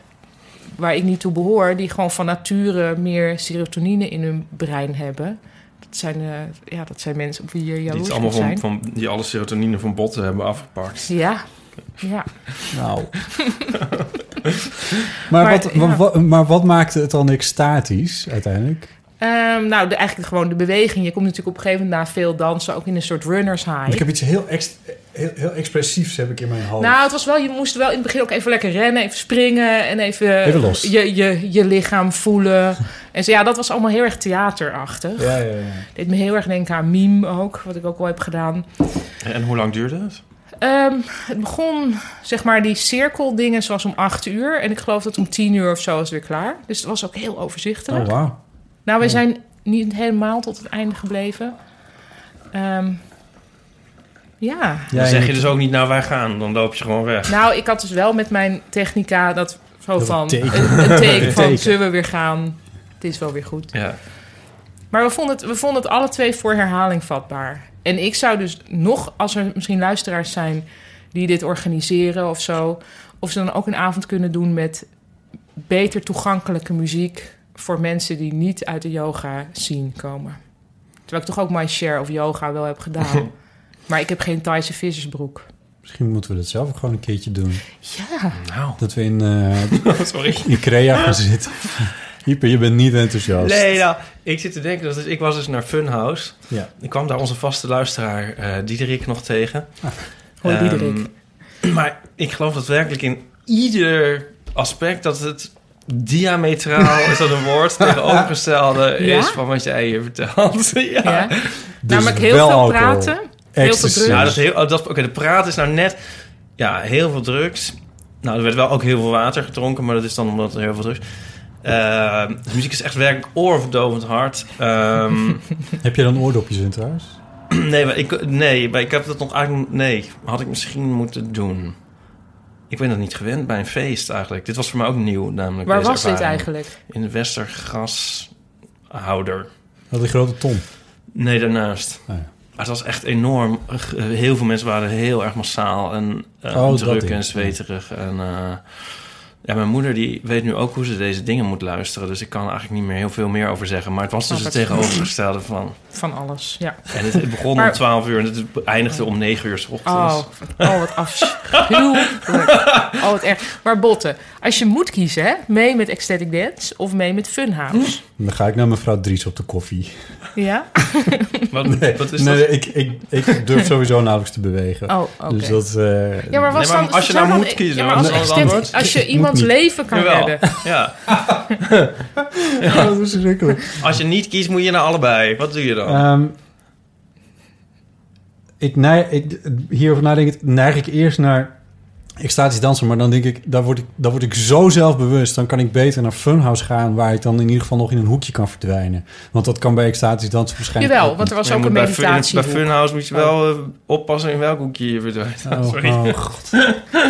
C: waar ik niet toe behoor... die gewoon van nature meer serotonine in hun brein hebben... Dat zijn, eh, ja, dat zijn mensen op wie je
D: Die,
C: jaloers
D: het
C: moet
D: allemaal
C: zijn.
D: van, van, die alle serotonine van botten hebben afgepakt.
C: Ja, ja.
B: Nou. maar,
C: Maar,
B: wat,
C: ja.
B: wa- wa- maar wat maakte het dan extatisch uiteindelijk?
C: Ehm, nou, de, eigenlijk gewoon de beweging. Je komt natuurlijk op een gegeven moment na veel dansen ook in een soort runners
B: Want
C: high.
B: ik heb iets heel, ex- heel, heel expressiefs heb ik in mijn hoofd.
C: Nou, het was wel, je moest wel in het begin ook even lekker rennen, even springen en even,
B: Even los.
C: Je, je, je lichaam voelen. en zo, ja, dat was allemaal heel erg theaterachtig.
B: ja, ja, ja.
C: Deed me heel erg denken aan meme ook, wat ik ook al heb gedaan.
D: En hoe lang duurde het?
C: Ehm, het begon, zeg maar, die cirkeldingen zoals om acht uur. En ik geloof dat om tien uur of zo was het weer klaar. Dus het was ook heel overzichtelijk.
B: Oh, wauw.
C: Nou, wij zijn niet helemaal tot het einde gebleven. Ehm, ja.
D: dan zeg je
B: moet-
D: dus ook niet, nou wij gaan, dan loop je gewoon weg.
C: Nou, ik had dus wel met mijn technica dat zo
B: Dat
C: van...
B: teken.
C: Een, een teken van,
B: Teken.
C: zullen we weer gaan? Het is wel weer goed.
D: Ja.
C: Maar we vonden, het, we vonden het alle twee voor herhaling vatbaar. En ik zou dus nog, als er misschien luisteraars zijn die dit organiseren of zo, of ze dan ook een avond kunnen doen met beter toegankelijke muziek voor mensen die niet uit de yoga zien komen. Terwijl ik toch ook mijn share of yoga wel heb gedaan. maar ik heb geen Thaise vissersbroek.
B: Misschien moeten we dat zelf ook gewoon een keertje doen.
C: Ja.
D: Nou,
B: Dat we in, eh
D: sorry.
B: in Crea gaan zitten. Hyper, je bent niet enthousiast.
D: Nee, nou, ik zit te denken, dat is, ik was dus naar Funhouse.
B: Ja.
D: Ik kwam daar onze vaste luisteraar eh Diederik nog tegen.
C: Hoi
D: Ehm,
C: Diederik.
D: Maar ik geloof dat werkelijk in ieder aspect dat het diametraal, is dat een woord, tegenovergestelde
C: Ja?
D: is van wat jij hier vertelt. ja.
C: Ja.
B: Dus
C: Namelijk Nou, heel
B: wel
C: veel
B: alcohol.
C: praten. veel
B: Ecstasy.
C: drugs.
D: nou Ja, dat is heel, oh, dat- oké, de praat is nou net, ja, heel veel drugs. Nou, er werd wel ook heel veel water gedronken, maar dat is dan omdat er heel veel drugs... Eh, de muziek is echt werkelijk oorverdovend hard. Ehm,
B: Heb je dan oordopjes in trouwens?
D: nee, maar ik, nee, maar ik heb dat nog eigenlijk... Nee, had ik misschien moeten doen. Ik ben dat niet gewend bij een feest eigenlijk. Dit was voor mij ook nieuw, namelijk
C: Waar
D: deze
C: was dit
D: ervaring.
C: eigenlijk?
D: In de Westergashouder.
B: Dat die grote ton.
D: Nee, daarnaast.
B: Ah, ja.
D: Maar het was echt enorm. G- Heel veel mensen waren heel erg massaal en eh,
B: Oh, dat
D: druk
B: ding.
D: en zweterig. En, eh, ja, mijn moeder die weet nu ook hoe ze deze dingen moet luisteren. Dus ik kan er eigenlijk niet meer heel veel meer over zeggen. Maar het was dus
C: Snap
D: het
C: het.
D: tegenovergestelde van.
C: Van alles, ja.
D: En het, het begon om
C: Maar-
D: 12 uur en het eindigde om 9 uur s ochtends.
C: Oh, oh wat afschuwelijk. Oh, wat erg. Maar Botten, als je moet kiezen, hè, mee met Ecstatic Dance of mee met Funhouse?
B: Dan ga ik naar mevrouw Dries op de koffie.
C: Ja?
D: Wat, wat is
B: nee,
D: dat?
B: ik, ik, ik durf sowieso nauwelijks te bewegen.
C: Oh, oké.
B: Dus dat... eh,
C: Ja, maar, was
D: Nee, maar
C: dan,
D: als je
C: zou
D: nou
C: dan-
D: moet kiezen,
C: ja, maar
D: wat
C: als,
D: is dan het
C: Ecstatic-
D: antwoord?
C: als je
B: Moet
C: iemands
B: niet.
C: leven kan
D: Jawel.
C: redden.
D: Ja.
B: dat is verschrikkelijk.
D: Als je niet kiest, moet je naar allebei. Wat doe je dan?
B: Ehm, ik neig, ik, hierover nadenkend neig ik eerst naar extatisch dansen. Maar dan denk ik daar, word ik, daar word ik zo zelfbewust. Dan kan ik beter naar Funhouse gaan... waar ik dan in ieder geval nog in een hoekje kan verdwijnen. Want dat kan bij extatisch dansen waarschijnlijk
C: Jawel,
B: ook
C: want er was
D: Je
C: ook
D: moet
C: een
D: bij Fun-
C: meditatie.
D: Bij Funhouse moet je wel eh, oppassen in welk hoekje je verdwijnt.
B: Oh,
D: Sorry.
B: oh, god.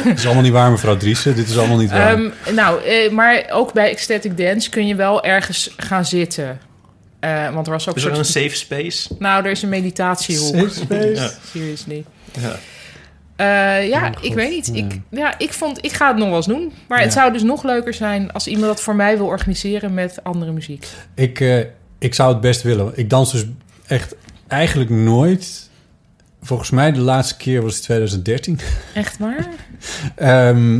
B: Dit is allemaal niet waar, mevrouw Driessen. Dit is allemaal niet waar.
C: Ehm, nou, eh, maar ook bij Ecstatic Dance kun je wel ergens gaan zitten. Eh, want er was ook
D: Is
C: een
D: er een
C: soort...
D: safe space?
C: Nou, er is een meditatiehoek.
B: Safe space.
D: Ja.
C: Seriously.
D: Ja.
C: Eh, ja,
B: Oh,
C: ik
B: God.
C: weet niet.
B: Ja.
C: Ik, ja, ik, vond, ik ga het nog wel eens doen. Maar
B: Ja.
C: het zou dus nog leuker zijn als iemand dat voor mij wil organiseren met andere muziek.
B: Ik, eh, ik zou het best willen. Ik dans dus echt eigenlijk nooit. Volgens mij de laatste keer was het 2013.
C: Echt waar?
B: Ehm,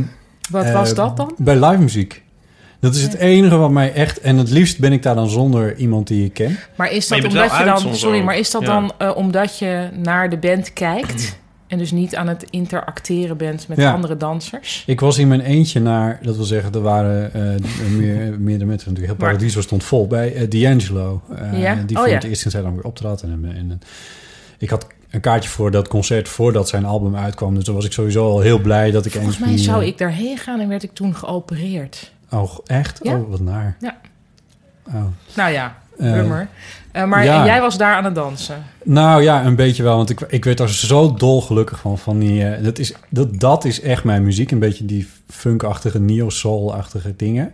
C: Wat
B: eh,
C: was dat dan?
B: Bij live muziek. Dat is het enige wat mij echt... En het liefst ben ik daar dan zonder iemand die ik ken.
C: Maar is
D: Maar
C: dat
D: je bent
C: omdat
D: wel
C: je
D: uit
C: dan.
D: soms
C: Sorry,
D: ook.
C: maar is dat
D: Ja.
C: dan eh, omdat je naar de band kijkt en dus niet aan het interacteren bent met
B: Ja.
C: andere dansers?
B: Ik was in mijn eentje naar... Dat wil zeggen, er waren eh meer, meerdere mensen natuurlijk. Heel
C: Maar-
B: Paradiso stond vol bij eh, D'Angelo. eh,
C: Ja?
B: Die
C: Oh,
B: voor
C: ja.
B: het eerst in zijn lang weer optrad. En, eh, en, en ik had een kaartje voor dat concert voordat zijn album uitkwam. Dus toen was ik sowieso al heel blij dat ik... eh,
C: Volgens mij zou ik daarheen gaan en werd ik toen geopereerd.
B: Oh, echt?
C: Ja.
B: Oh, wat naar.
C: Ja.
B: Oh.
C: Nou ja,
B: Eh,
C: bummer. Eh, maar
B: ja.
C: en jij was daar aan het dansen.
B: Nou ja, een beetje wel. Want ik, ik werd daar zo dolgelukkig van. van die, eh, dat, is, dat, dat is echt mijn muziek. Een beetje die funkachtige, neo-soul-achtige dingen.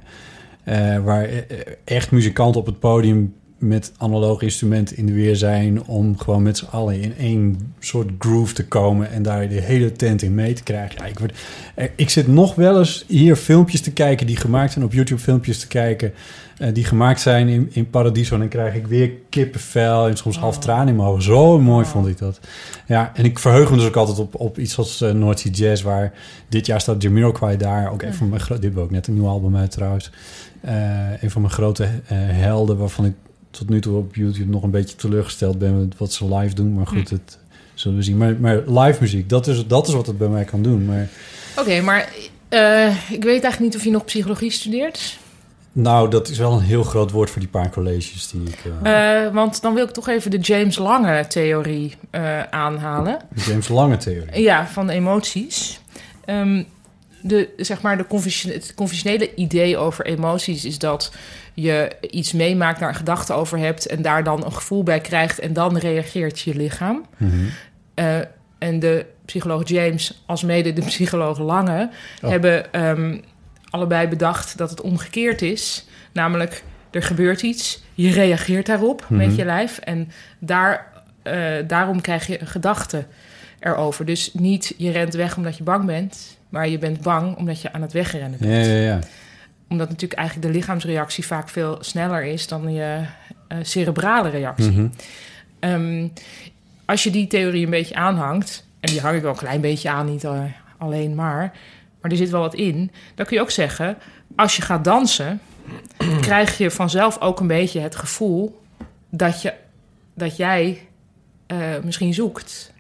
B: Eh, waar eh, echt muzikanten op het podium met analoog instrument in de weer zijn... om gewoon met z'n allen in één soort groove te komen... en daar de hele tent in mee te krijgen. Ja, ik, word, eh, ik zit nog wel eens hier filmpjes te kijken die gemaakt zijn... op YouTube filmpjes te kijken eh, die gemaakt zijn in, in Paradiso... en dan krijg ik weer kippenvel en soms half tranen in mijn ogen. Zo mooi vond ik dat. Ja, en ik verheug me dus ook altijd op, op iets als eh North Sea Jazz... waar dit jaar staat Jamiroquai daar. Ook een van mijn gro- Dit hebben we ook net een nieuw album uit trouwens. Eh, een van mijn grote eh, helden waarvan ik tot nu toe op YouTube nog een beetje teleurgesteld ben... met wat ze live doen, maar goed, het zullen we zien. Maar, maar live muziek, dat is, dat is wat het bij mij kan doen. Maar
C: Oké, maar eh, ik weet eigenlijk niet of je nog psychologie studeert.
B: nou, dat is wel een heel groot woord voor die paar colleges die ik... eh,
C: Eh, want dan wil ik toch even de James Lange theorie eh, aanhalen.
B: de James Lange theorie.
C: Ja, van emoties. Ehm, de, zeg maar, de convention- het conventionele idee over emoties is dat je iets meemaakt, daar een gedachte over hebt en daar dan een gevoel bij krijgt en dan reageert je lichaam.
B: Mhm.
C: Eh, en de psycholoog James, als mede de psycholoog Lange,
B: Oh.
C: hebben ehm, allebei bedacht dat het omgekeerd is. Namelijk, er gebeurt iets, je reageert daarop
B: Mhm.
C: met je lijf en daar, eh, daarom krijg je een gedachte erover. Dus niet je rent weg omdat je bang bent, maar je bent bang omdat je aan het wegrennen bent.
B: Ja, ja, ja.
C: Omdat natuurlijk eigenlijk de lichaamsreactie vaak veel sneller is dan je eh, cerebrale reactie.
B: Mhm.
C: Ehm, als je die theorie een beetje aanhangt, en die hang ik wel een klein beetje aan, niet eh, alleen maar, maar er zit wel wat in, dan kun je ook zeggen: als je gaat dansen, krijg je vanzelf ook een beetje het gevoel dat, je, dat jij eh, misschien zoekt.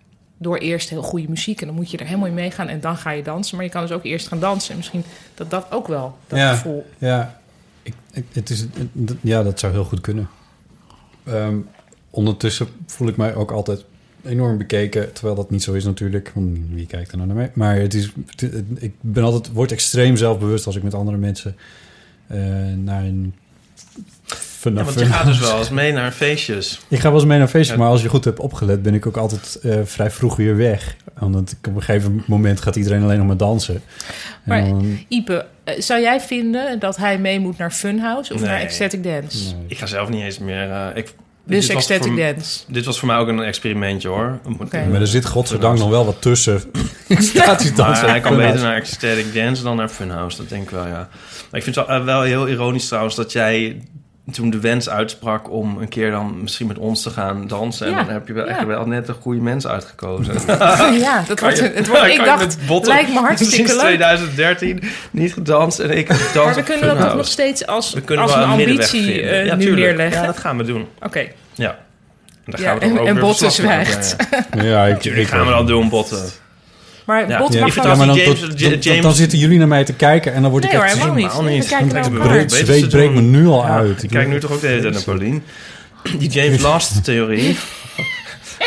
C: Door eerst heel goede muziek en dan moet je er helemaal in meegaan en dan ga je dansen. Maar je kan dus ook eerst gaan dansen en misschien dat dat ook wel dat
B: Ja.
C: gevoel.
B: Ja, ik, ik- het is, het- dat- ja, dat zou heel goed kunnen. Ehm, ondertussen voel ik mij ook altijd enorm bekeken. Terwijl dat niet zo is natuurlijk. Want wie kijkt er nou naar mij? Maar het is, het- het- ik ben altijd, word extreem zelfbewust als ik met andere mensen eh, naar een...
D: Ja, want je gaat dus wel eens mee naar feestjes.
B: Ik ga wel eens mee naar feestjes,
D: Ja.
B: maar als je goed hebt opgelet... ben ik ook altijd eh, vrij vroeg weer weg. Want op een gegeven moment gaat iedereen alleen nog maar dansen.
C: Maar-
B: En dan,
C: Ipe, eh, zou jij vinden dat hij mee moet naar Funhouse of
D: Nee.
C: naar Ecstatic Dance?
D: Ik ga zelf niet eens meer... eh, ik,
C: Dus
D: dit was
C: Ecstatic
D: voor-
C: Dance.
D: Dit was voor mij ook een experimentje, hoor.
C: Oké.
B: maar er zit godzijdank nog wel wat tussen. Statisch dansen.
D: Maar hij kan
B: Funhouse.
D: beter naar Ecstatic Dance dan naar Funhouse. Dat denk ik wel, ja. Maar ik vind het wel, eh, wel heel ironisch trouwens dat jij toen de wens uitsprak om een keer dan misschien met ons te gaan dansen. En
C: Ja,
D: dan heb je wel
C: ja.
D: echt wel net een goede mens uitgekozen.
C: ja, dat wordt,
D: Kan je-
C: het wordt, ik
D: kan je
C: dacht,
D: met botten
C: lijkt me hartstikke
D: Sinds
C: leuk.
D: 2013 niet gedanst en ik dans
C: Maar we
D: op
C: kunnen dat toch
D: Funhouse.
C: nog steeds als,
D: nou. We kunnen
C: als
D: wel
C: een
D: middenweg
C: ambitie
D: vinden.
C: eh,
D: ja,
C: nu
D: tuurlijk.
C: neerleggen.
D: Ja, dat gaan we doen.
C: Oké,
D: Ja. En, daar
C: Ja,
D: gaan we dan
C: en-
D: ook
C: en
D: weer
C: Botten
D: verslag van
C: zwijgt.
D: afleggen.
B: Ja, ik,
D: Tuurlijk gaan we dat doen, Botten.
C: maar
D: Ja.
C: Bot
D: Ja,
C: mag
D: ik
C: wel...
D: vind dat-
B: maar dan,
D: James-
B: tot-
D: Ja,
B: tot-
D: James-
B: dan zitten jullie naar mij te kijken en dan word ik
C: Nee hoor,
B: echt...
C: helemaal niet.
D: Helemaal
C: We
D: niet.
C: kijken naar
D: Ik bedoel,
C: elkaar.
B: Breed
D: Beter
B: zweet
D: te
B: breekt me
D: doen.
B: nu al uit.
D: Ik kijk nu toch ook de hele tijd naar Paulien. Die James Last-theorie.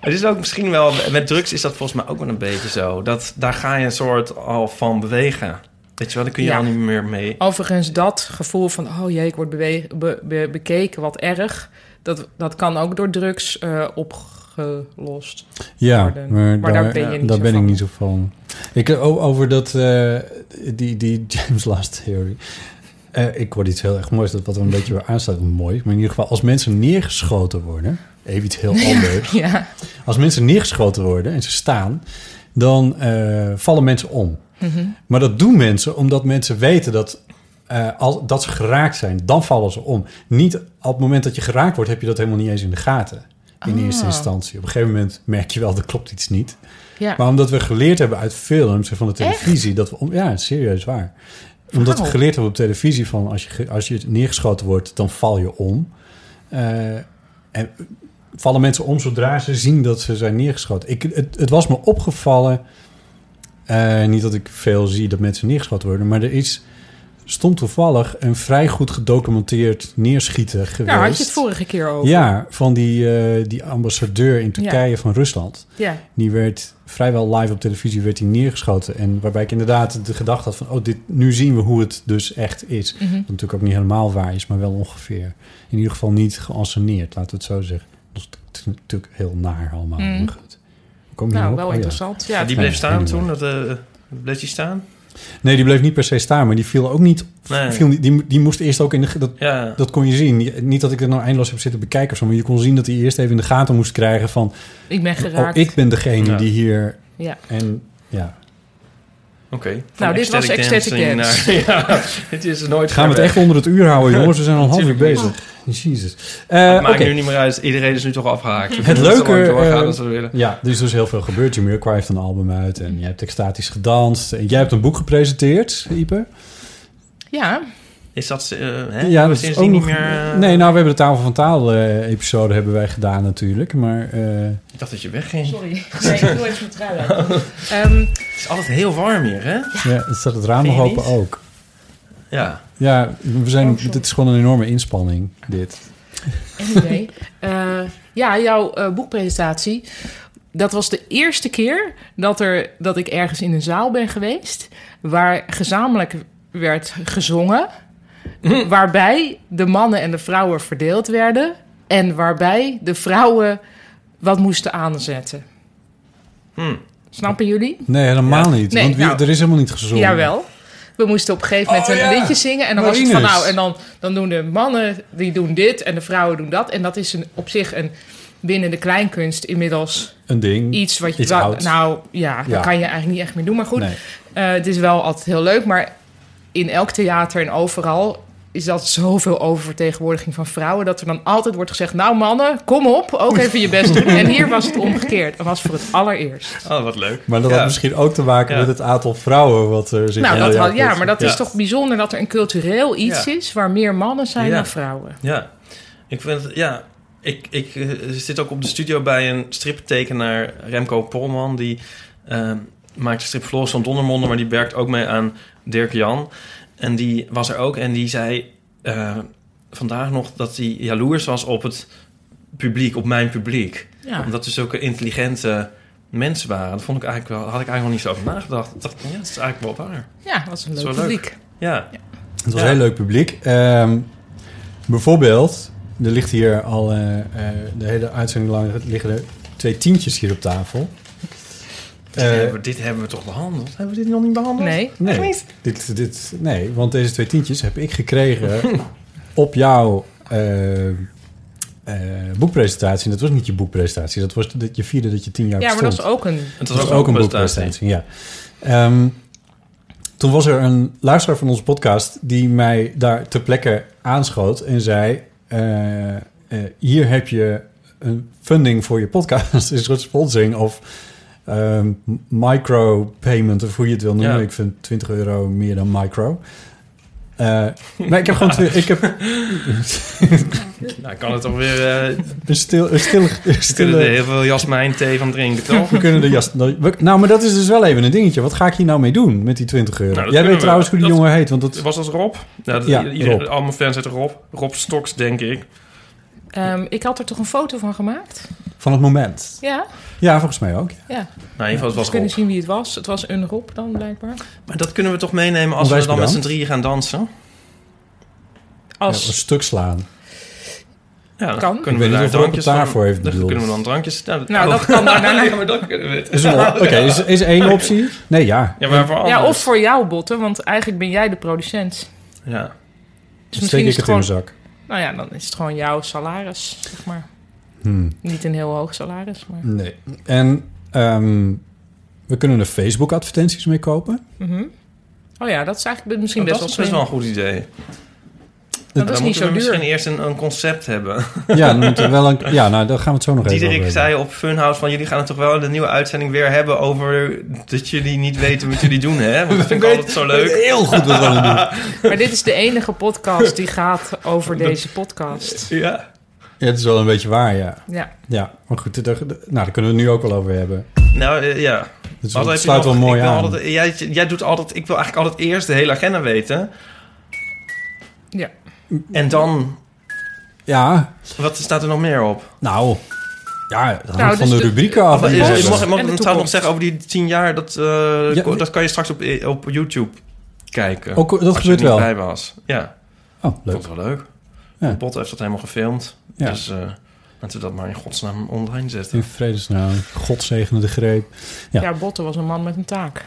D: Het is ook misschien wel... Met drugs is dat volgens mij ook wel een beetje zo. Dat, daar ga je een soort al van bewegen. Weet je wel, daar kun je
C: Ja.
D: al niet meer mee...
C: Overigens, dat gevoel van, oh jee, ik word bewe- be- be- bekeken, wat erg. Dat, dat kan ook door drugs eh, opgelost
B: Ja,
C: worden.
B: maar,
C: Maar
B: daar,
C: daar ben je
B: ja,
C: niet
B: daar
C: zo
B: ben
C: van.
B: ik niet zo van. Ik, o- over dat, eh, die, die James Last Theory. Eh, ik word iets heel erg moois, dat wat er een beetje weer aanstaat. Mooi, maar in ieder geval als mensen neergeschoten worden... Even iets heel anders.
C: Ja,
B: Als mensen neergeschoten worden en ze staan... dan eh, vallen mensen om. Maar dat doen mensen omdat mensen weten dat, eh, als, dat ze geraakt zijn. Dan vallen ze om. Niet op het moment dat je geraakt wordt, heb je dat helemaal niet eens in de gaten. In eerste instantie. Op een gegeven moment merk je wel, er klopt iets niet.
C: ja.
B: Maar omdat we geleerd hebben uit films en van de televisie... dat we om, Ja, serieus waar. Omdat we
C: Wauw.
B: geleerd hebben op televisie van... als je, ge- als je neergeschoten wordt, dan val je om. Eh, en vallen mensen om zodra ze zien dat ze zijn neergeschoten. Ik, het, het was me opgevallen... eh, niet dat ik veel zie dat mensen neergeschoten worden... maar er is stond toevallig een vrij goed gedocumenteerd neerschieten geweest.
C: Daar had je het vorige keer over.
B: Ja, van die, eh, die ambassadeur in Turkije van Rusland.
C: ja.
B: Die werd vrijwel live op televisie werd hij neergeschoten. En waarbij ik inderdaad de gedachte had van... oh, dit, nu zien we hoe het dus echt is.
C: Mhm.
B: Wat natuurlijk ook niet helemaal waar is, maar wel ongeveer. In ieder geval niet geanceneerd, laten we het zo zeggen. Dat is t- t- natuurlijk heel naar allemaal.
C: Mhm.
B: maar goed. Hoe kom je
C: Nou,
B: hierop?
C: wel
B: Oh, ja.
C: interessant. Ja,
D: Ja, die bleef
B: nee,
D: staan
B: anyway.
D: toen. Dat, eh, bleef die staan?
B: Nee, die bleef niet per se staan, maar die viel ook niet...
D: Nee.
B: Viel, niet- die, die moest eerst ook in de... ge- Dat,
D: Ja.
B: dat kon je zien. Je- Niet dat ik er nou eindeloos heb zitten bekijken of zo, maar je kon zien dat hij eerst even in de gaten moest krijgen van,
C: ik ben
B: oh,
C: geraakt.
B: ik ben degene
D: Ja.
B: die hier
C: ja.
B: en ja.
D: Oké.
C: Nou, dit was Ecstatic Dance.
D: ja, dit is nooit
B: Gaan we het
D: ver
B: echt onder het uur houden, jongens? We zijn al een half uur
D: Natuurlijk
B: bezig. Jezus. Eh,
D: Het maakt
B: oké.
D: nu niet meer uit. Iedereen is nu toch afgehaakt. We
B: Het
D: kunnen zo lang
B: leuke,
D: doorgaan
B: eh,
D: als we willen.
B: Ja, er is dus heel veel gebeurd. Jamiroquai heeft een album uit en jij hebt extatisch gedanst. En jij hebt een boek gepresenteerd, Ipe.
C: ja,
D: Is dat eh, hè?
B: Ja, dat
D: sindsdien niet meer... eh,
B: Nee, nou, we hebben de Tafel van Taal eh, episode hebben wij gedaan natuurlijk, maar... eh,
D: Ik dacht dat je wegging.
C: sorry. Nee, ik doe even mijn trui uit. Ehm,
D: Het is altijd heel warm hier, hè?
B: Ja, het staat het raam
D: Vind
B: nog
D: je
B: open
D: niet? Oh,
B: ook.
D: Ja.
B: Ja, we zijn, dit is gewoon een enorme inspanning, dit.
C: anyway. Eh, ja, jouw eh, boekpresentatie. Dat was de eerste keer dat, er, dat ik ergens in een zaal ben geweest... waar gezamenlijk werd gezongen... waarbij de mannen en de vrouwen verdeeld werden... en waarbij de vrouwen wat moesten aanzetten. Snappen jullie?
B: Nee, helemaal niet.
C: Nee,
B: want wie-
C: nou-
B: er is helemaal niet gezongen.
C: Jawel. We moesten op een gegeven moment
B: Oh,
C: een
B: ja.
C: liedje zingen. En dan was het
B: Marinus.
C: van nou, en dan, dan doen de mannen die doen dit en de vrouwen doen dat. En dat is een, op zich een binnen de kleinkunst inmiddels
B: Een ding.
C: iets wat je...
B: Iets
C: wel-
B: oud.
C: Nou ja, dat
B: Ja.
C: kan je eigenlijk niet echt meer doen. Maar goed,
B: Nee.
C: eh, het is wel altijd heel leuk. Maar in elk theater en overal is dat zoveel oververtegenwoordiging van vrouwen... dat er dan altijd wordt gezegd, nou mannen, kom op, ook even je best doen. En hier was het omgekeerd. Dat was voor het allereerst.
D: Oh, wat leuk.
B: Maar dat
D: ja.
B: had misschien ook te maken
D: Ja.
B: met het aantal vrouwen wat er zit.
C: Nou,
B: in de
C: dat had,
B: jaarpot.
C: ja, maar dat
D: Dus Ja.
C: is toch bijzonder dat er een cultureel iets
D: Ja.
C: is waar meer mannen zijn
D: Ja.
C: dan vrouwen.
D: Ja. Ik vind het... Ja. Ik, ik eh, zit ook op de studio bij een striptekenaar, Remco Polman. Die eh, maakt de strip Floris van Dondermonden, maar die werkt ook mee aan Dirk Jan. En die was er ook en die zei eh, vandaag nog dat hij jaloers was op het publiek, op mijn publiek.
C: Ja.
D: Omdat ze zulke intelligente mensen waren. Dat vond ik eigenlijk wel, had ik eigenlijk nog niet zo over nagedacht. Ik dacht, ja, dat is eigenlijk wel waar.
C: Ja, dat was een
D: Dat
C: leuk
D: is wel leuk.
C: publiek.
D: Ja,
B: Het was
D: Ja.
B: een heel leuk publiek. Ehm, bijvoorbeeld, er ligt hier al eh, eh, de hele uitzending lang liggen er twee tientjes hier op tafel.
D: Dit
B: Eh,
D: hebben we- dit hebben we toch behandeld? Hebben we dit nog niet behandeld?
C: Nee.
B: nee, Dit, dit, nee, want deze twee tientjes heb ik gekregen op jouw eh, eh, boekpresentatie. En dat was niet je boekpresentatie, dat was dat je vierde dat je tien jaar
C: Ja, maar dat
B: bestond.
C: is ook een...
D: Het
B: Dat was ook een boekpresentatie, ja. Ehm, toen was er een luisteraar van onze podcast die mij daar ter plekke aanschoot en zei: eh, eh, Hier heb je een funding voor je podcast, een soort sponsoring of ehm micro-payment, of hoe je het wil noemen.
D: Ja.
B: Ik vind 20 euro meer dan micro. Eh, maar ik heb gewoon twi- ik heb
D: Nou, ik kan het toch weer... eh
B: een, stil, een stille, een
D: we kunnen er
B: stille
D: heel veel jasmijn thee van drinken, toch?
B: We kunnen de jas. Nou, maar dat is dus wel even een dingetje. Wat ga ik hier nou mee doen met die 20 euro?
D: Nou, dat
B: Jij
D: kunnen
B: weet
D: we.
B: trouwens hoe die
D: Dat-
B: jongen heet, want dat.
D: Was dat Rob? Nou, dat,
B: Ja,
D: iedereen-
B: Rob.
D: Al mijn fans heet Rob. Rob Stoks, denk ik.
C: Ehm, ik had er toch een foto van gemaakt?
B: Van het moment.
C: Ja,
B: Ja, volgens mij ook.
C: ja.
D: Nou, in ieder geval het
C: Dus
D: was
C: we kunnen
D: Rob.
C: zien wie het was. Het was een Rob dan, blijkbaar.
D: Maar dat kunnen we toch meenemen als we
B: Onwijs
D: dan met z'n
B: bedankt.
D: drieën gaan dansen?
B: Als...
C: Als...
B: een stuk slaan.
D: Ja, dan
C: Kan.
B: Ik
D: kunnen
B: weet
D: we
B: niet of Rob het
D: daar drankjes
B: daarvoor heeft
D: dan
B: bedoeld.
D: kunnen we dan drankjes...
C: Nou, dat kan
D: maar
C: daar daarna.
D: Ja, maar dat kunnen we.
B: Is er- Oké, is, is er één optie? Nee,
C: Dus
B: ja.
D: Ja, maar voor alles.
C: ja, of voor jou, Botten, want eigenlijk ben jij de producent.
D: Ja.
C: Dus
B: Dan steek
C: misschien
B: ik het
C: is het gewoon...
B: in mijn zak.
C: Nou ja, dan is het gewoon jouw salaris, zeg maar.
B: Hmm.
C: Niet een heel hoog salaris, maar...
B: Nee. En ehm, we kunnen er Facebook-advertenties mee kopen.
C: Mhm. Oh ja, dat is eigenlijk misschien
D: Oh,
C: best
D: dat
C: wel
D: is best
C: slim.
D: wel een goed idee.
C: Dat
D: dan
C: is
D: moeten
C: niet zo
D: we
C: duur.
D: misschien eerst een, een concept hebben.
B: Ja, dan moeten we wel een. Ja, nou, daar gaan we het zo nog even over
D: Diederik
B: hebben.
D: zei op Funhouse van... jullie gaan het toch wel in de nieuwe uitzending weer hebben... over dat jullie niet weten wat jullie doen, hè? Want dat vind ik altijd zo leuk.
B: Heel goed wat we aan het doen.
C: Maar dit is de enige podcast die gaat over deze podcast.
D: Ja.
B: Ja, het is wel een beetje waar, ja.
C: Ja.
B: Ja, maar goed, daar, daar- nou, daar kunnen we het nu ook wel over hebben.
D: Nou, eh, ja.
B: Dus
D: Wat
B: het
D: heb je
B: sluit
D: nog?
B: wel mooi
D: ik wil
B: aan.
D: altijd- eh, jij, jij doet altijd... Ik wil eigenlijk altijd eerst de hele agenda weten.
C: Ja.
D: En dan...
B: Ja,
D: Wat staat er nog meer op?
B: nou... Ja, dat hangt
C: Nou,
B: van
C: dus
B: de
C: de-
B: rubrieken af. Oh,
D: Wat
B: die
D: is,
B: we
D: mag-
B: hebben.
D: mag ik
C: En de
D: dan trouwens nog
C: toekomst.
D: zeggen over die tien jaar? Dat, eh,
B: Ja.
D: ko- dat kan je straks op, eh, op YouTube kijken.
B: Ook- dat
D: als je
B: gebeurt
D: er niet
B: wel.
D: bij was. Ja,
B: Oh, leuk.
D: dat is wel leuk.
B: Ja.
D: Bot heeft dat helemaal gefilmd.
B: Ja.
D: Dus eh, laten we dat maar in godsnaam online zetten.
B: In vredesnaam. God zegene de greep. Ja.
C: Ja. Botten was een man met een taak.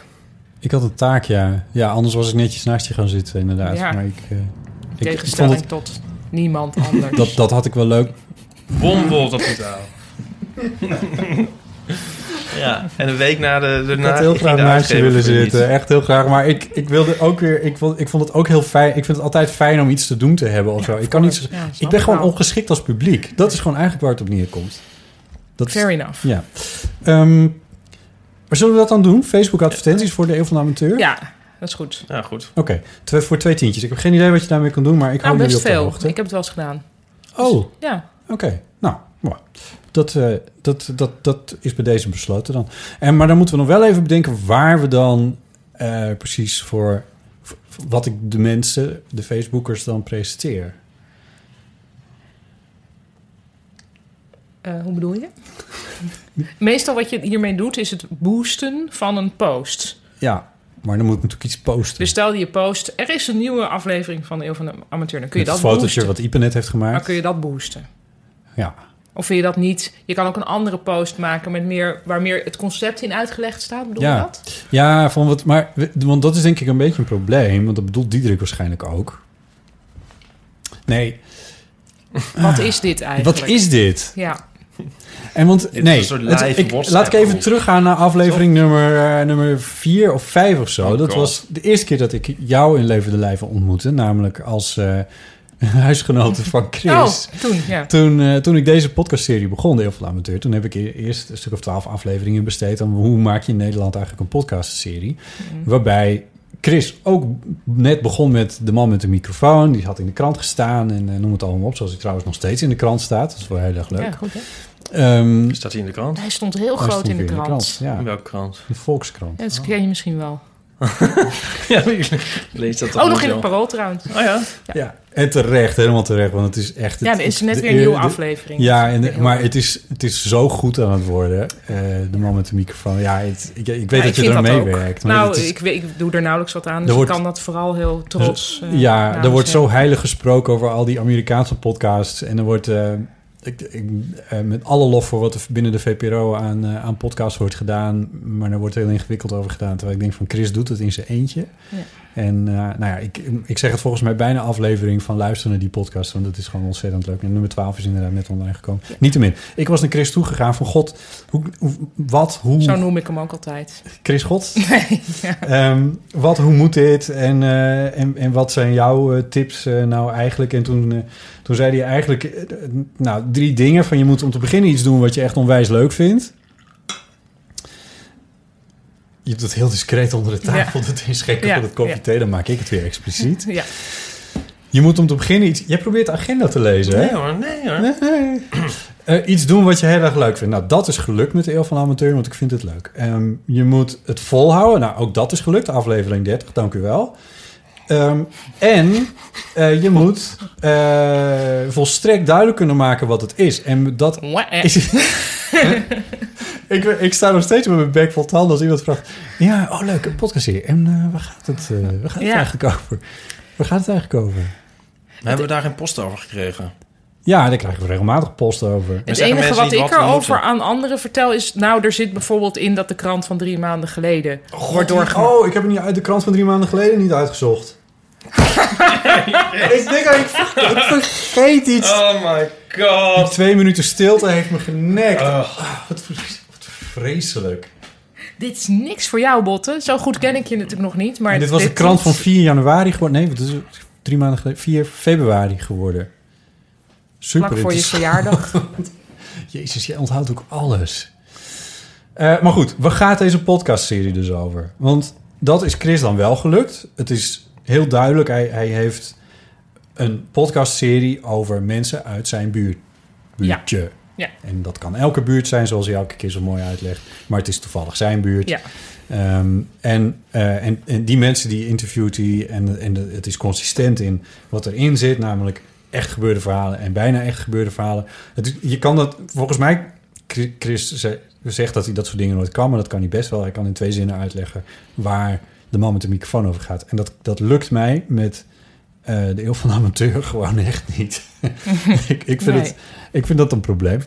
B: Ik had een taak, ja. Ja, anders was ik netjes naast je gaan zitten, inderdaad.
C: Ja.
B: Maar ik, eh, ik- ik vond
C: Tegenstelling
B: het,
C: tot niemand anders.
B: dat, dat had ik wel leuk.
D: Bombol dat moet houden. ja, en een week na de
B: Ik
D: daarna
B: had heel
D: ging
B: graag
D: de
B: naast je
D: uitgever
B: willen
D: failliet.
B: zitten. Echt heel graag. Maar ik, ik wilde ook weer... Ik vond, ik vond het ook heel fijn. Ik vind het altijd fijn om iets te doen te hebben of zo. Ik, kan niet,
C: het. Ja,
B: ik
C: snap
B: ben
C: ik
B: gewoon
C: wel.
B: ongeschikt als publiek. Dat is gewoon eigenlijk waar het op neerkomt. Dat is-
C: Fair enough.
B: Ja. Ehm, maar zullen we dat dan doen? Facebook-advertenties voor de Eeuw van de Amateur?
C: Ja, dat is goed.
D: Ja, goed.
B: Oké, twee- voor twee tientjes. Ik heb geen idee wat je daarmee kan doen, maar ik
C: nou,
B: hou jullie
C: best
B: op de
C: veel.
B: hoogte.
C: Ik heb het wel eens gedaan.
B: Oh, oké.
C: Ja.
B: Nou, mooi. Dat, eh, dat, dat, dat is bij deze besloten dan. En, maar dan moeten we nog wel even bedenken waar we dan eh, precies voor, voor- voor wat ik de mensen, de Facebookers, dan presenteer.
C: Eh, hoe bedoel je? Meestal wat je hiermee doet is het boosten van een post.
B: Ja, maar dan moet ik natuurlijk iets posten.
C: Dus stel je post, er is een nieuwe aflevering van de Eeuw van de Amateur. Dan kun je
B: Met
C: dat
B: het fotootje
C: boosten.
B: wat Ipe net heeft
C: Dan
B: gemaakt.
C: kun je dat boosten.
B: Ja.
C: Of vind je dat niet? Je kan ook een andere post maken met meer, waar meer het concept in uitgelegd staat. Bedoel
B: Ja.
C: je dat?
B: Ja, van wat, maar, we- want dat is denk ik een beetje een probleem. Want dat bedoelt Diederik waarschijnlijk ook. Nee,
C: Wat is dit eigenlijk?
B: wat is dit?
C: Ja,
B: En want,
D: is
B: nee,
D: een soort
B: het-
D: live
B: ik,
D: WhatsApp
B: laat ik even
D: groep.
B: teruggaan naar aflevering nummer, eh, nummer vier of vijf of zo.
D: Oh
B: dat
D: God.
B: was de eerste keer dat ik jou in levende lijven ontmoette. Namelijk als eh huisgenote van Chris.
C: Oh, toen, ja.
B: Toen, eh, toen ik deze podcastserie begon, de Heel veel Amateur, toen heb ik e- eerst een stuk of twaalf afleveringen besteed aan hoe maak je in Nederland eigenlijk een podcastserie.
C: Mhm.
B: Waarbij Chris ook net begon met de man met de microfoon. Die had in de krant gestaan en eh, noem het allemaal op. Zoals hij trouwens nog steeds in de krant staat. Dat is wel heel erg
C: Ja,
B: leuk.
C: goed, hè?
B: Ehm,
D: Staat hij in de krant?
C: Hij stond heel
B: hij
C: groot
B: stond
C: in de
B: weer
C: krant.
B: Ja,
D: In welke krant?
B: de Volkskrant.
C: Ja, dat ken je misschien wel.
D: ja, ik lees dat toch
C: Oh, nog
D: niet
C: in het
D: zo.
C: parool trouwens.
D: Oh ja?
B: Ja, en terecht, helemaal terecht, want het is echt...
C: Ja, er is net
B: de-
C: weer een nieuwe
B: de-
C: aflevering.
B: Ja, en,
C: Heel-
B: maar het is, het is zo goed aan het worden, eh, de man met de microfoon. Ja, het- ik, ik weet
C: Ja,
B: dat je
C: vind
B: er mee
C: ook.
B: werkt. maar
C: Nou,
B: het is-
C: ik, weet- ik doe er nauwelijks wat aan. Dus
B: Er wordt-
C: ik kan dat vooral heel trots. eh,
B: Dus, ja,
C: namens
B: er wordt
C: hem.
B: zo heilig gesproken over al die Amerikaanse podcasts. En er wordt, eh, ik, ik, eh, met alle lof voor wat er binnen de VPRO aan, eh, aan podcasts wordt gedaan. Maar er wordt heel ingewikkeld over gedaan. Terwijl ik denk van Chris doet het in zijn eentje.
C: Ja.
B: En eh, nou ja, ik, ik zeg het volgens mij bijna aflevering van luisteren naar die podcast. Want dat is gewoon ontzettend leuk. En nummer 12 is inderdaad net online gekomen. Niettemin, ik was naar Chris toegegaan van God, hoe, hoe- wat, hoe...
C: Zo noem ik hem ook altijd.
B: Chris God?
C: Nee, ja.
B: Ehm, wat, hoe moet dit? En, eh, en, en wat zijn jouw eh, tips eh, nou eigenlijk? En toen, eh, toen zei hij eigenlijk eh, eh, nou, drie dingen. Van je moet om te beginnen iets doen wat je echt onwijs leuk vindt. Je doet dat heel discreet onder de tafel. Dat is gek
C: Ja,
B: voor dat kopje
C: ja.
B: thee. Dan maak ik het weer expliciet.
C: Ja.
B: Je moet om te beginnen iets... Jij probeert de agenda te lezen, hè?
D: Nee hoor, nee hoor.
B: Nee. Eh, iets doen wat je heel erg leuk vindt. Nou, dat is gelukt met de Eeuw van de Amateur, want ik vind het leuk. Ehm, je moet het volhouden. Nou, ook dat is gelukt, aflevering 30, dank u wel. Ehm, en eh, je moet eh, volstrekt duidelijk kunnen maken wat het is. En dat
C: Mwah.
B: is ik, ik sta nog steeds met mijn bek vol tanden als iemand vraagt... Ja, oh leuk, een podcast hier. En eh, waar gaat het, eh, waar gaat het
C: Ja.
B: eigenlijk over? Waar gaat het eigenlijk over?
D: We hebben daar geen post over gekregen.
B: Ja, daar krijgen we regelmatig post over.
C: Het
D: zeggen
C: enige
D: mensen
C: wat
D: niet
C: ik
D: wat we
C: erover
D: moeten.
C: aan anderen vertel is... nou, er zit bijvoorbeeld in dat de krant van drie maanden geleden wordt doorgemaakt.
B: Oh, ik heb het niet uit de krant van drie maanden geleden niet uitgezocht. ik denk dat ik, ik vergeet iets.
D: Oh my
B: Die
D: god.
B: twee minuten stilte heeft me genekt.
D: Oh.
B: Ah, wat, vres- wat vreselijk.
C: Dit is niks voor jou, Botten. Zo goed ken ik je natuurlijk nog niet. Maar
B: En dit was de krant van 4 januari geworden. Nee, het is drie maanden geleden. 4 februari geworden. Super
C: Vlak voor je
B: interessant.
C: verjaardag.
B: Jezus, jij onthoudt ook alles. Eh, maar goed, waar gaat deze podcastserie dus over? Want dat is Chris dan wel gelukt. Het is heel duidelijk, hij, hij heeft een podcastserie over mensen uit zijn buurt, buurtje.
C: Ja.
B: En dat kan elke buurt zijn, zoals hij elke keer zo mooi uitlegt. Maar het is toevallig zijn buurt.
C: ja.
B: Ehm, en, eh, en, en die mensen die interviewt hij, en, en het is consistent in wat erin zit, namelijk echt gebeurde verhalen en bijna echt gebeurde verhalen. Het, is- je kan dat, volgens mij, Chri- Chris ze- zegt dat hij dat soort dingen nooit kan, maar dat kan hij best wel. Hij kan in twee zinnen uitleggen waar de man met de microfoon over gaat. En dat, dat lukt mij met eh, de eeuw van de amateur gewoon echt niet. ik, ik, vind
C: Nee.
B: het, ik vind dat een probleem.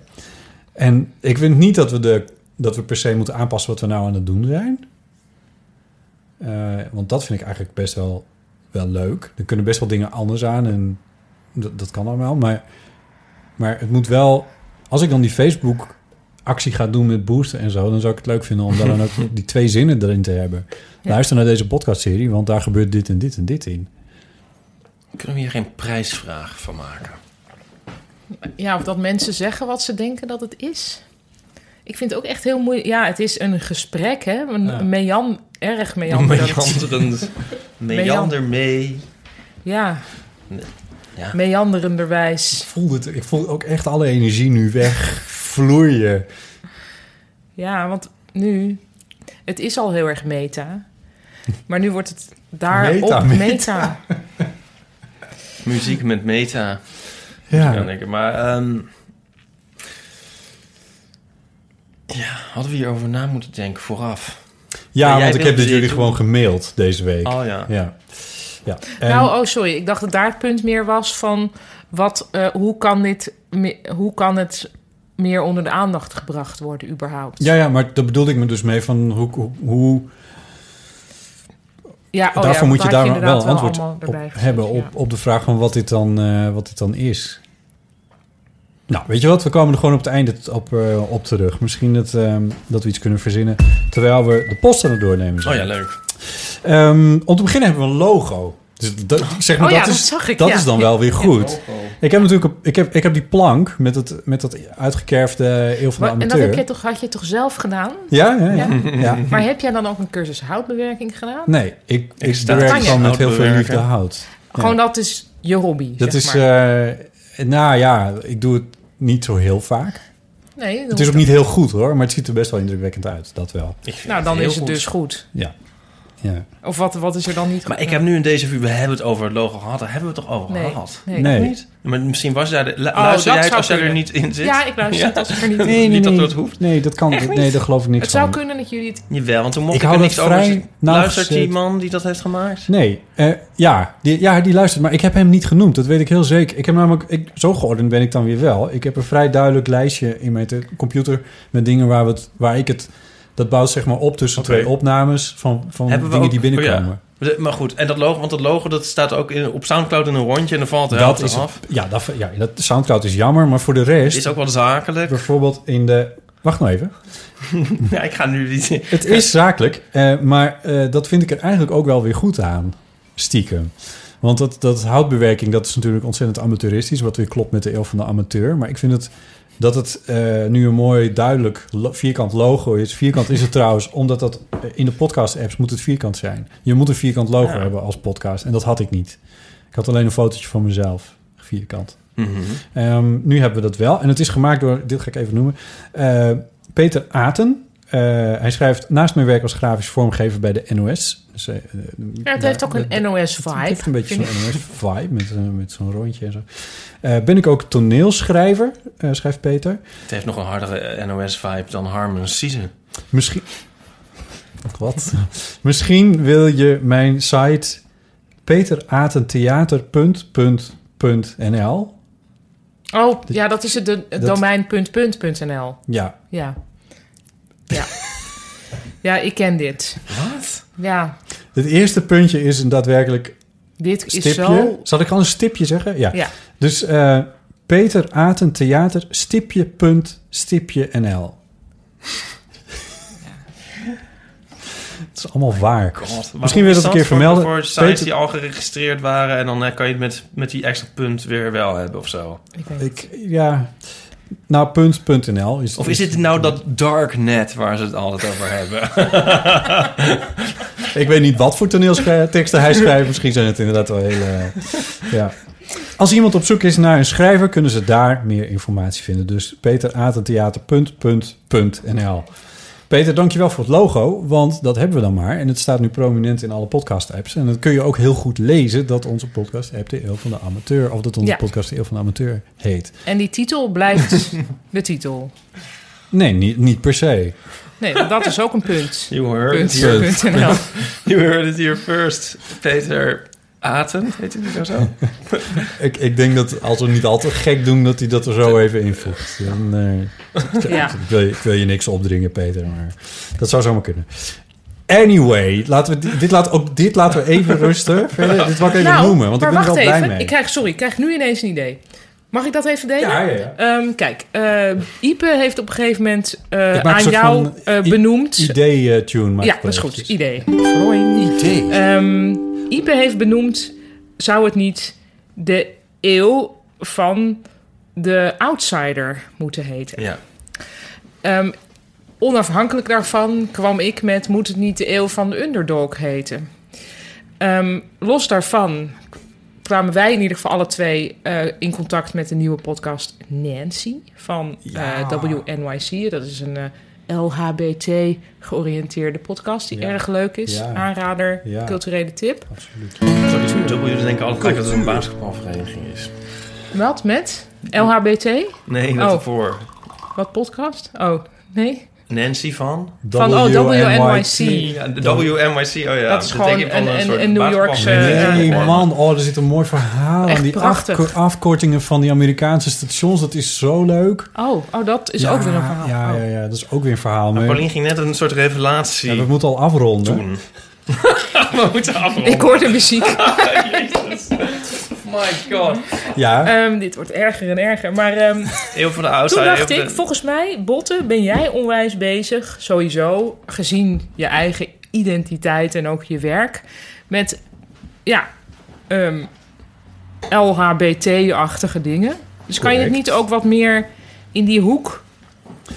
B: En ik vind niet dat we, de, dat we per se moeten aanpassen wat we nou aan het doen zijn. Eh, want dat vind ik eigenlijk best wel, wel leuk. Er kunnen best wel dingen anders aan en dat, dat kan allemaal. Maar, maar het moet wel... Als ik dan die Facebook-actie ga doen met boosten en zo... dan zou ik het leuk vinden om daar dan ook die twee zinnen erin te hebben.
C: Ja.
B: Luister naar deze podcastserie, want daar gebeurt dit en dit en dit in.
D: Kunnen we hier geen prijsvraag van maken?
C: ja, of dat mensen zeggen wat ze denken dat het is. Ik vind het ook echt heel moeilijk. Ja, het is een gesprek, hè? Een
B: Ja.
C: een mean, erg meanderend.
D: Meanderend. Meander mee.
C: Ja.
D: Ja.
B: Ik
C: meanderenderwijs.
B: voel, het, ik voel ook echt alle energie nu weg vloeien.
C: Ja, want nu, het is al heel erg meta. Maar nu wordt het daarop
B: Meta,
C: meta.
B: meta.
D: Muziek met meta. Ja.
B: Ah, Ja,
D: denken. Maar ehm, ja, hadden we hierover na moeten denken vooraf?
B: ja
D: Maar jij
B: want ik
D: wilde
B: heb dit
D: dit
B: jullie
D: doen.
B: gewoon gemaild deze week.
D: Oh ja.
B: Ja. ja. En-
C: Nou, oh sorry, ik dacht dat daar het punt meer was van... Wat, eh, hoe, kan dit, me- hoe kan het meer onder de aandacht gebracht worden überhaupt?
B: ja, ja, maar daar bedoelde ik me dus mee van hoe... hoe, hoe
C: Ja, oh ja,
B: daarvoor
C: want
B: moet je
C: had
B: daar wel
C: inderdaad
B: antwoord
C: allemaal
B: op
C: erbij gezet,
B: hebben op,
C: ja.
B: op de vraag van wat dit, dan, eh, wat dit dan is. Nou, weet je wat? We komen er gewoon op het einde t- op, eh, op terug. Misschien dat, ehm, dat we iets kunnen verzinnen terwijl we de post aan het doornemen zijn.
D: Oh ja, leuk.
B: Ehm, om te beginnen hebben we een logo. Dus dat, zeg maar,
C: Oh ja,
B: dat,
C: dat
B: is,
C: zag ik,
B: dat
C: ja.
B: is dan wel weer goed. Ik heb natuurlijk een- ik heb, ik heb die plank met, het, met dat uitgekerfde eeuw van
C: Maar-
B: de
C: en dat
B: amateur.
C: heb je toch, had je toch zelf gedaan?
B: Ja, ja, ja.
C: Ja.
B: ja.
C: Maar heb jij dan ook een cursus houtbewerking gedaan?
B: Nee, ik, ik,
D: sta-
B: bewerk
C: Kan je
B: gewoon met
D: hout
B: heel veel
D: bewerken?
B: liefde hout.
C: Gewoon dat is je hobby,
B: Dat
C: zeg
B: is,
C: maar.
B: eh, nou ja, ik doe het niet zo heel vaak.
C: nee, dat
B: Het is
C: hoeft
B: ook niet heel goed hoor, maar het ziet er best wel indrukwekkend uit, dat wel.
C: Nou, dan is het dus goed.
B: Ja. Ja.
C: Of wat, wat is er dan niet
D: Maar ik heb nu in deze vuur, we hebben het over het logo gehad. Daar hebben we het toch over
C: Nee.
D: gehad?
C: Nee.
B: Nee.
C: toch niet?
D: Maar misschien was daar... De, lu-
C: Oh,
D: luister
C: dat
D: jij het
C: zou
D: als jij er
C: kunnen.
D: niet in zit?
C: Ja, ik luister het als ik er niet in
D: Nee, niet dat dat hoeft.
B: Nee, dat kan.
C: Echt niet?
B: Nee, daar geloof ik niks
C: Het zou
B: van.
C: kunnen dat jullie het...
D: Jawel, want toen mocht
B: Ik
D: ik,
B: hou
D: er
B: dat
D: niks over
B: vrij
D: zeggen.
B: nauwgezet.
D: Luistert die man die dat heeft gemaakt?
B: Nee, eh, ja, die, ja, die luistert, maar ik heb hem niet genoemd. Dat weet ik heel zeker. Ik heb namelijk, ik, zo geordend ben ik dan weer wel. Ik heb een vrij duidelijk lijstje in mijn te- computer met dingen waar, we het, waar ik het, dat bouwt zeg maar op tussen
D: Oké.
B: twee opnames van, van
D: Hebben
B: dingen
D: we ook-
B: die binnenkomen.
D: oh De- Maar goed, en dat logo, want dat logo dat staat ook in, op Soundcloud in een rondje en dan valt de
B: Dat
D: helft
B: is,
D: af.
B: ja, dat, ja, dat Soundcloud is jammer, maar voor de
D: Het
B: rest,
D: is ook wel zakelijk.
B: bijvoorbeeld in de, wacht nou even.
D: Ja, ik ga nu niet...
B: Het is zakelijk, eh, maar eh, dat vind ik er eigenlijk ook wel weer goed aan, stiekem. Want dat, dat houtbewerking, dat is natuurlijk ontzettend amateuristisch... wat weer klopt met de eeuw van de amateur. Maar ik vind het, dat het eh, nu een mooi, duidelijk lo- vierkant logo is. Vierkant is het trouwens, omdat dat eh, in de podcast-apps moet het vierkant zijn. Je moet een vierkant logo
D: Ja.
B: hebben als podcast. En dat had ik niet. Ik had alleen een fotootje van mezelf, vierkant.
D: Mhm.
B: Ehm, nu hebben we dat wel. En het is gemaakt door, dit ga ik even noemen, eh, Peter Aten. Eh, hij schrijft naast mijn werk als grafisch vormgever bij de NOS. Dus, eh, eh,
C: Ja, het
B: daar-
C: heeft ook een
B: het
C: NOS-vibe.
B: heeft een beetje zo'n NOS-vibe met, eh, met zo'n rondje en zo. Eh, ben ik ook toneelschrijver, eh, schrijft Peter.
D: Het heeft nog een hardere eh, NOS-vibe dan Harmon Season.
B: Misschien. Wat? Misschien wil je mijn site peteratentheater.nl.
C: Oh, ja, dat is het, de, het
B: Dat-
C: domein punt, punt, punt NL.
B: Ja,
C: Ja. Ja. ja, ik ken dit.
D: Wat?
C: Ja,
B: het eerste puntje is een daadwerkelijk
C: dit
B: stipje.
C: is zo...
B: Zal ik al een stipje zeggen? Ja.
C: Ja.
B: Dus eh, Peter Aten Theater stipje punt stipje NL. Het is allemaal waar.
D: Oh God,
B: Misschien wil je dat een keer vermelden.
D: Voor, voor sites
B: Peter-
D: die al geregistreerd waren en dan eh, kan je het met, met die extra punt weer wel hebben of zo.
C: Ik weet
B: Ik, ja. Nou, punt, punt NL. Is,
D: Of is dit nou dat darknet waar ze het altijd over hebben?
B: Ik weet niet wat voor toneelteksten hij schrijft. Misschien zijn het inderdaad wel hele... eh, ja. Als iemand op zoek is naar een schrijver... kunnen ze daar meer informatie vinden. Dus peteratentheater.nl Peter, dankjewel voor het logo, want dat hebben we dan maar. En het staat nu prominent in alle podcast-apps. En dat kun je ook heel goed lezen dat onze podcast-app de Eeuw van de Amateur... of dat onze
C: Ja.
B: podcast de Eeuw van de Amateur heet.
C: En die titel blijft de titel.
B: Nee, niet, niet per se.
C: Nee, dat is ook een punt.
D: You heard it
C: Punt,
D: here,
C: punt NL.
D: you heard it here first. Peter Aten, heet hij niet zo?
B: Ik, ik denk dat als we niet al te gek doen, dat hij dat er zo even invoegt. Dan, eh,
C: Ja.
B: Ik wil, je- ik wil je niks opdringen, Peter, maar dat zou zomaar kunnen. Anyway, laten we, di- dit, laat, ook dit laten we even rusten. Verder, dit wil ik even noemen, want ik
C: Nou, maar
B: ben er wel
C: wacht
B: blij
C: even.
B: mee.
C: Ik krijg, sorry, ik krijg nu ineens een idee. Mag ik dat even delen?
B: Ja, ja, ja.
C: Ehm, kijk, eh, Ipe heeft op een gegeven moment eh,
B: Ik maak een
C: aan
B: soort
C: jou
B: van
C: eh,
B: i-
C: benoemd.
B: Idee-tune maak
C: ja,
B: eh, ik wel
C: dat is goed.
B: eventjes.
C: Idee.
B: Idee.
C: Ehm, Ipe heeft benoemd, zou het niet de eeuw van de outsider moeten heten?
D: Ja.
C: Ehm, onafhankelijk daarvan kwam ik met... moet het niet de eeuw van de underdog heten? Ehm, los daarvan kwamen wij in ieder geval alle twee... eh, in contact met de nieuwe podcast Nancy van eh, WNYC. Dat is een eh, LHBT-georiënteerde podcast die
B: Ja.
C: erg leuk is.
B: Ja.
C: Aanrader,
B: Ja.
C: culturele tip.
B: Absoluut.
D: W denken altijd dat het een basketbalvereniging is.
C: Wat met LHBT?
D: Nee, dat
C: Oh.
D: ervoor.
C: Wat podcast? Oh, nee.
D: Nancy van?
C: Van oh, WNYC.
D: Ja, de WNYC, oh ja.
C: Dat is
D: denk
C: gewoon
D: ik van
C: een- een-
D: soort
C: een New Yorkse,
B: Nee,
D: basketbalvereniging.
C: Ja.
B: man. Oh, er zit een mooi verhaal aan
C: Echt
B: die
C: prachtig.
B: afko- afkortingen van die Amerikaanse stations. Dat is zo leuk.
C: Oh, oh, dat is
B: Ja,
C: ook weer een verhaal.
B: Ja,
C: Oh.
B: ja, ja, dat is ook weer een verhaal.
D: Maar
B: Maar,
D: Paulien ging net een soort revelatie
B: Oh ja, we moeten al afronden.
D: doen. we moeten afronden.
C: Ik hoor de muziek.
D: Jezus. My god.
B: Ja,
C: Ehm, dit wordt erger en erger. Maar ehm,
D: Eeuw van de
C: toen
D: outsider.
C: dacht
D: eeuw van
C: ik,
D: de-
C: volgens mij, Botte, ben jij onwijs bezig, sowieso, gezien je eigen identiteit en ook je werk, met, ja, ehm, LHBT-achtige dingen. Dus kan je het
B: Correct.
C: niet ook wat meer in die hoek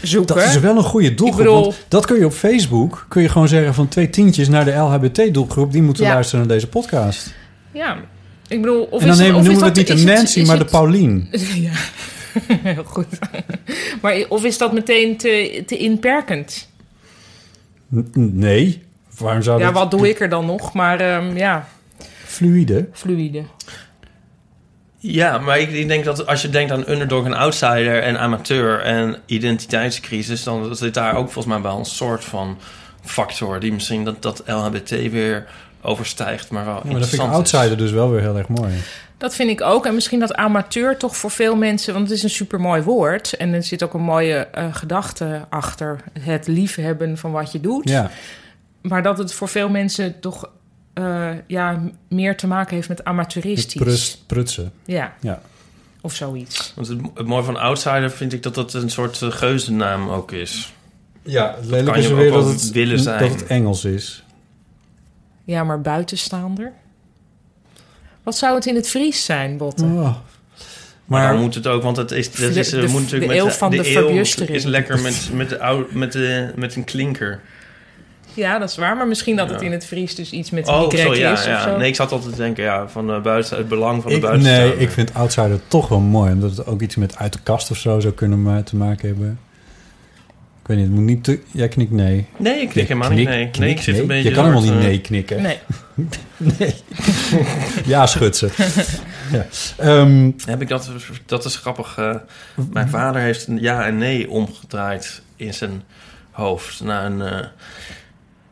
C: zoeken?
B: Dat is wel een goede doelgroep.
C: bedoel-
B: want dat kun je op Facebook. Kun je gewoon zeggen van twee tientjes naar de LHBT-doelgroep. Die moeten
C: Ja.
B: luisteren naar deze podcast.
C: Ja, ik bedoel, of
B: en
C: is
B: dan
C: het,
B: nemen,
C: of is
B: noemen we
C: dat,
B: het niet
C: is
B: de Nancy,
C: is
B: maar
C: het-
B: de Paulien.
C: Ja, heel goed. maar i- of is dat meteen te, te inperkend?
B: N- Nee. waarom zou
C: Ja,
B: dat...
C: wat doe ik er dan nog? Maar ehm, ja,
B: Fluïde?
C: fluïde.
D: Ja, maar ik, ik denk dat als je denkt aan underdog en outsider en amateur en identiteitscrisis, dan zit daar ook volgens mij wel een soort van factor die misschien dat, dat LHBT weer overstijgt, maar wel
B: Ja, maar dat vind ik
D: interessant
B: outsider
D: is.
B: dus wel weer heel erg mooi.
C: Dat vind ik ook. En misschien dat amateur toch voor veel mensen... want het is een supermooi woord. En er zit ook een mooie eh, gedachte achter. Het liefhebben van wat je doet.
B: Ja,
C: Maar dat het voor veel mensen toch eh, ja, meer te maken heeft met
B: het
C: amateuristisch.
B: prust, prutsen.
C: Ja,
B: Ja.
C: of zoiets.
D: Want het, het mooie van outsider vind ik dat dat een soort eh, geuzennaam ook is.
B: Ja, het lelijke
D: kan je
B: is
D: ook
B: weer dat
D: wel
B: het,
D: willen zijn.
B: dat het Engels is.
C: Ja, maar buitenstaander? Wat zou het in het Fries zijn, Botte?
B: Oh.
D: Maar,
B: Maar
D: daar moet het ook, want het is, dat
C: De-
D: is, eh,
C: de-
D: moet natuurlijk
C: de eeuw
D: met
C: van de
D: eeuw
C: verbustering.
D: is lekker met, met, de oude, met, de, met een klinker.
C: Ja, dat is waar. Maar misschien dat het
D: Ja.
C: in het Fries dus iets met een
D: Oh,
C: Y
D: zo, ja,
C: is of
D: ja.
C: zo.
D: Nee, ik zat altijd te denken, ja, van eh, buiten, het belang van de
B: ik,
D: buitenstaander.
B: nee, ik vind outsider toch wel mooi. Omdat het ook iets met uit de kast of zo zou kunnen ma- te maken hebben. Ik weet niet, het moet niet te... Jij knikt nee.
D: Nee, ik knik
B: Je
D: helemaal
B: knik-
D: niet. Nee, nee
B: knikt
D: ik zit
B: nee.
D: een beetje...
B: Je kan helemaal
D: hard,
B: niet
D: eh,
B: nee knikken.
C: Nee.
B: Nee. ja, schutsen. ja. Ehm,
D: Heb ik dat, dat is grappig. eh, mijn vader heeft een ja en nee omgedraaid in zijn hoofd na een eh,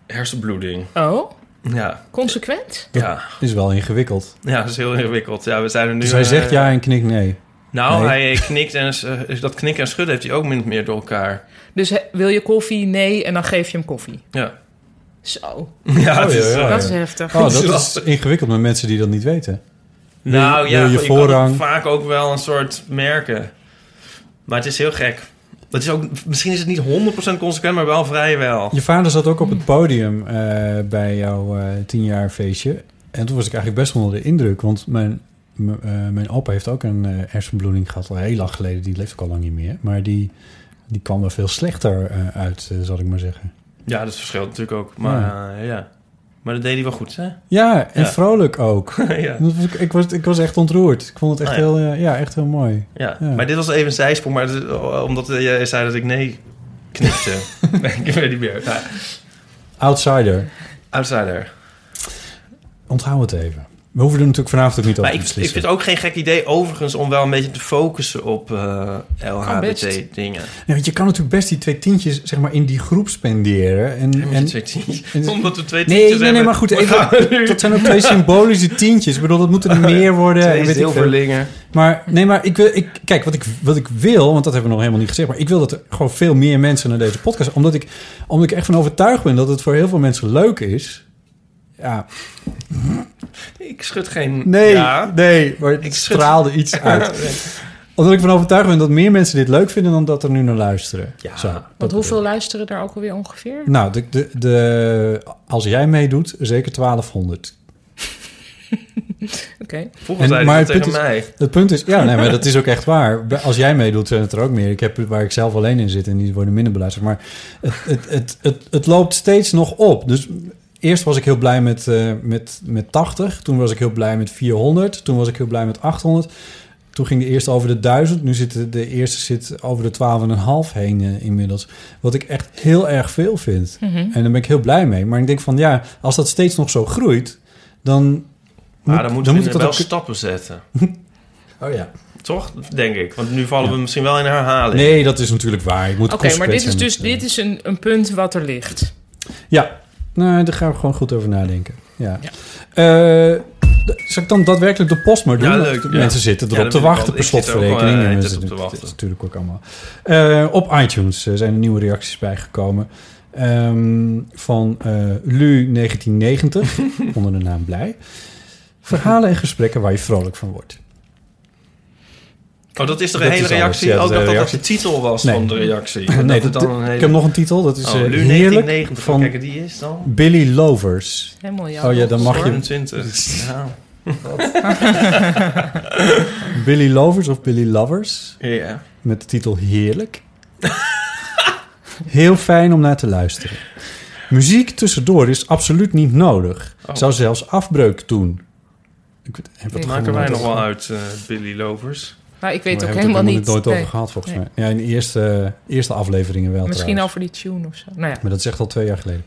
D: hersenbloeding.
C: Oh,
D: Ja,
C: consequent?
D: ja,
B: is wel ingewikkeld.
D: ja, dat is heel ingewikkeld. Ja, we zijn er nu.
B: Dus hij
D: eh,
B: zegt ja en knikt nee.
D: Nou,
B: nee.
D: hij knikt en eh, dat knikken en schudden heeft hij ook min of meer door elkaar.
C: Dus he- wil je koffie? Nee. En dan geef je hem koffie.
D: Ja,
C: Zo,
D: ja, het is,
B: Oh, ja,
D: eh,
B: ja.
C: dat is heftig.
B: Oh, dat is
D: lastig.
B: ingewikkeld met mensen die dat niet weten.
D: Nou
B: Wil-
D: ja,
B: wil je
D: je, kan het
B: voorrang?
D: vaak ook wel een soort merken. Maar het is heel gek. Het is ook, misschien is het niet 100% consequent, maar wel vrijwel.
B: Je vader zat ook op het podium eh, bij jouw eh tienjaar feestje. En toen was ik eigenlijk best onder de indruk. Want mijn, m- eh, mijn opa heeft ook een eh hersenbloeding gehad al heel lang geleden. Die leeft ook al lang niet meer. Maar die, die kwam er veel slechter eh, uit, eh, zal ik maar zeggen.
D: Ja, dat verschilt natuurlijk ook. Maar ja, ja. maar dat deed hij wel goed, hè?
B: Ja, en
D: Ja.
B: vrolijk ook.
D: ja.
B: Dat was ik, ik, was, ik was echt ontroerd. Ik vond het echt,
D: Ah, ja.
B: Heel, eh, ja, echt heel mooi.
D: Ja.
B: Ja.
D: maar dit was even een zijsprong, maar het- eh, omdat jij zei dat ik nee knikte. ik weet niet meer. Ja.
B: Outsider.
D: Outsider.
B: Onthoud het even. We hoeven er natuurlijk vanavond ook niet over te
D: Maar ik, ik vind
B: beslissen.
D: het ook geen gek idee overigens om wel een beetje te focussen op eh,
C: best.
D: LHBT dingen.
B: Nee, want je kan natuurlijk best die twee tientjes zeg maar, in die groep spenderen. En,
D: En,
B: en,
D: twee tientjes.
B: en-
D: Omdat we twee
B: Nee,
D: tientjes
B: nee, nee,
D: hebben.
B: maar goed.
D: We
B: Even,
D: gaan nu-
B: dat zijn ook twee symbolische tientjes. Ik bedoel, dat moeten er meer worden. en
D: Twee
B: weet ik veel.
D: zilverlingen.
B: Maar nee, maar ik wil, ik, kijk, wat ik, wat ik wil, want dat hebben we nog helemaal niet gezegd, maar ik wil dat er gewoon veel meer mensen naar deze podcast, omdat ik, omdat ik echt van overtuigd ben dat het voor heel veel mensen leuk is. Ja,
D: Ik schud geen...
B: nee,
D: Ja.
B: nee, maar het
D: Ik schud-
B: straalde iets uit. Omdat ik van overtuigd ben dat meer mensen dit leuk vinden dan dat er nu naar luisteren.
D: Ja.
B: Zo, dat
C: Want hoeveel
B: bedoel ik.
C: luisteren daar ook alweer ongeveer?
B: Nou, de, de, de, als jij meedoet, zeker 1200.
C: Oké.
D: Vroeger
B: En-
D: zei
B: maar
D: hij dat
B: het
D: tegen
B: punt
D: mij.
B: Het punt is, ja, nee, maar dat is ook echt waar. Bij- Als jij meedoet, zijn het er ook meer. Ik heb waar ik zelf alleen in zit en die worden minder beluisterd. Maar het, het, het, het, het loopt steeds nog op. Dus eerst was ik heel blij met, eh, met, met 80. Toen was ik heel blij met 400. Toen was ik heel blij met 800. Toen ging de eerste over de 1000. Nu zit de, de eerste zit over de 12,5 heen eh, inmiddels. Wat ik echt heel erg veel vind. En daar ben ik heel blij mee. Maar ik denk van ja, als dat steeds nog zo groeit, dan.
D: Maar dan moeten we
B: ik dat
D: wel
B: ook-
D: stappen zetten.
B: Oh ja.
D: Toch? Denk ik. Want nu vallen
B: Ja.
D: we misschien wel in herhaling.
B: Nee, dat is natuurlijk waar. Ik moet
C: Oké, maar dit is
B: consequent
C: dus
B: zijn met,
C: dit is een, een punt wat er ligt.
B: eh, Ja, nou, daar gaan we gewoon goed over nadenken. Ja.
C: Ja.
B: Eh, d- zal ik dan daadwerkelijk de post maar doen?
D: Ja,
B: Want
D: leuk,
B: de
D: ja.
B: Mensen zitten
D: Ja,
B: erop
D: dat
B: te
D: wil ik
B: wachten
D: wel.
B: per
D: Ik zit er ook wel,
B: slotverrekening.
D: eh,
B: En
D: de hele
B: mensen
D: tijd op te
B: dat is
D: wachten.
B: natuurlijk ook allemaal. Eh, op iTunes eh, zijn er nieuwe reacties bijgekomen. Ehm, van eh, Lu 1990, onder de naam Blij. Verhalen en gesprekken waar je vrolijk van wordt.
D: Oh, dat is toch
B: Dat
D: een hele
B: is alles.
D: reactie?
B: Ja, dat
D: ook
B: is een
D: dat dat
B: reactie.
D: de titel was
B: Nee.
D: van de reactie.
B: nee,
D: dat het
B: dat-
D: dan een hele...
B: Ik heb nog een titel, dat is
D: Oh,
B: eh,
D: Lu
B: Heerlijk
D: 1990. Van...
B: van
D: Kijk, die is dan...
B: Billy Lovers.
C: Helemaal ja.
B: Oh ja, dan mag je
D: 24. Ja.
B: Billy Lovers of Billy Lovers
D: Ja.
B: met de titel Heerlijk. Heel fijn om naar te luisteren. Muziek tussendoor is absoluut niet nodig.
D: Oh.
B: Zou zelfs afbreuk doen. Ik weet- heb
C: Dat
B: het
D: Maken
B: gewoon
D: wij
B: nooit-
D: nog wel uit, eh, Billy Lovers.
C: Nou, ik weet
B: We
C: ook
B: hebben het
C: helemaal niet.
B: nooit
C: Nee.
B: over gehad, volgens
C: Nee.
B: mij. Ja, in de eerste, eerste afleveringen wel
C: Misschien
B: trouwens.
C: over die tune of zo. Nou ja.
B: Maar dat is echt al twee jaar geleden.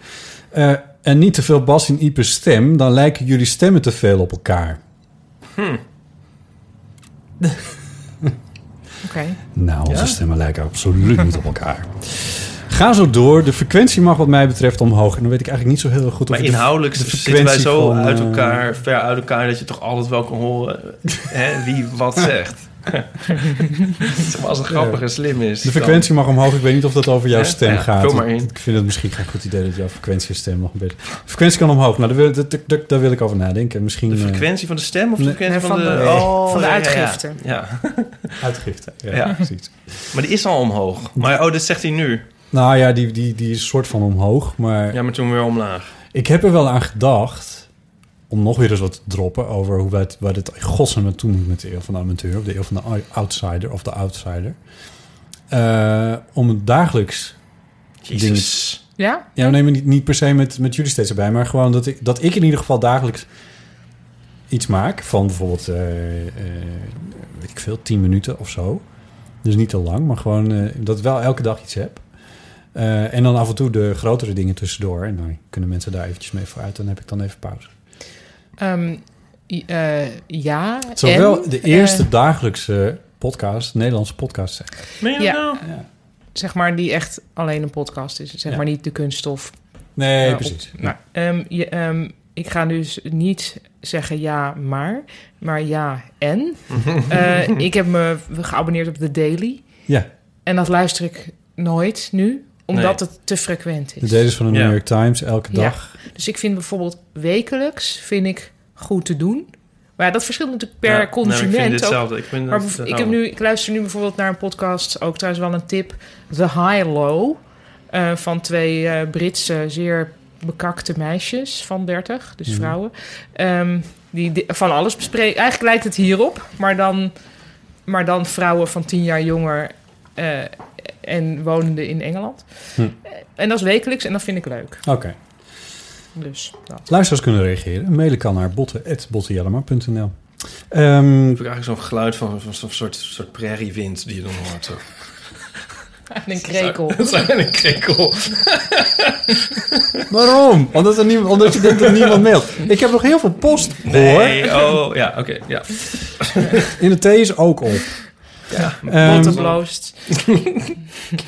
B: Eh, en niet te veel bas in Ieper's stem, dan lijken jullie stemmen te veel op elkaar.
C: Oké.
B: Nou, onze stemmen lijken absoluut niet op elkaar. Ga zo door. De frequentie mag wat mij betreft omhoog. En dan weet ik eigenlijk niet zo heel goed of
D: Maar
B: ik de-
D: inhoudelijk
B: de
D: zitten wij
B: frequentie
D: zo
B: van,
D: uit
B: eh,
D: elkaar, ver uit elkaar, dat je toch altijd wel kan horen hè, wie wat zegt. Zeg maar, Als het grappig en slim is.
B: De frequentie mag omhoog. Ik weet niet of dat over jouw
D: Ja,
B: stem
D: ja,
B: gaat.
D: vul maar in.
B: Ik vind het misschien geen goed idee dat jouw frequentie en stem nog een beetje... De frequentie kan omhoog. Nou, daar wil, daar, daar- daar wil ik over nadenken. Misschien
D: dan- de
B: eh,
D: frequentie van de stem of de
B: Nee,
D: frequentie
C: nee,
D: van,
C: van
D: de,
C: de-
D: oh,
C: van de
D: ja, ja, ja.
C: uitgifte.
D: Ja,
B: uitgifte. Ja,
D: Ja.
B: precies.
D: maar die is al omhoog. Maar oh, dat zegt hij nu.
B: Nou ja, die, die, die is soort van omhoog. Maar
D: Ja, maar toen weer omlaag.
B: ik heb er wel aan gedacht... om nog weer eens wat te droppen over hoe wij, het- waar dit in godsnaam naartoe moet... met de eeuw van de amateur of de eeuw van de ou- outsider of de outsider. Eh, om het dagelijks
D: Jezus.
C: Ja?
B: Ja, we nemen niet, niet per se met, met jullie steeds erbij, maar gewoon dat ik, dat ik in ieder geval dagelijks iets maak van bijvoorbeeld, eh, eh, weet ik veel, 10 minuten of zo. Dus niet te lang, maar gewoon eh, dat ik wel elke dag iets heb. Eh, en dan af en toe de grotere dingen tussendoor. En dan kunnen mensen daar eventjes mee vooruit. Dan heb ik dan even pauze.
C: Ehm, i- eh, ja.
B: Zowel
C: en,
B: de eerste
C: eh,
B: dagelijkse podcast, Nederlandse podcast zijn.
D: Meen je dat
C: Ja.
D: nou?
C: zeg maar die echt alleen een podcast is. Zeg
B: Ja.
C: maar niet de kunststof.
B: Nee,
C: Ja,
B: precies.
C: Nou, ehm, je, ehm, ik ga dus niet zeggen ja, maar, maar ja en.
B: Mhm.
C: Eh, ik heb me geabonneerd op The Daily.
B: Ja,
C: En dat luister ik nooit nu, omdat het te frequent
B: de
C: is.
B: dailies van de New
D: Ja.
B: York Times elke
C: Ja.
B: dag.
C: Dus ik vind bijvoorbeeld wekelijks vind ik goed te doen. Maar ja, dat verschilt natuurlijk per
D: Ja, nou,
C: consument
D: ik vind dit
C: ook.
D: hetzelfde. Ik, vind
C: Maar
D: dat- oh.
C: bijv- ik, heb nu, ik luister nu bijvoorbeeld naar een podcast, ook trouwens wel een tip, The High Low, eh, van twee eh, Britse zeer bekakte meisjes van 30, dus
B: Mhm.
C: vrouwen, ehm, die di- van alles bespreken. Eigenlijk lijkt het hierop, maar dan, maar dan vrouwen van 10 jaar jonger eh, en wonende in Engeland.
B: Hm.
C: Eh, En dat is wekelijks en dat vind ik leuk.
B: Oké.
C: Dus dat.
B: Luisteraars kunnen reageren. Mailen kan naar botten.bottenjellema.nl Ehm
D: heb ik eigenlijk zo'n geluid van, van zo'n soort, soort prairiewind die je dan hoort. Zo.
C: En een krekel.
D: Dat zijn een krekel.
B: Waarom? Omdat, er niemand, omdat je denkt dat niemand mailt. Ik heb nog heel veel post, hoor.
D: Nee, oh, ja, oké. ja.
B: In de thee is ook op. Ehm,
C: Bottenbloost.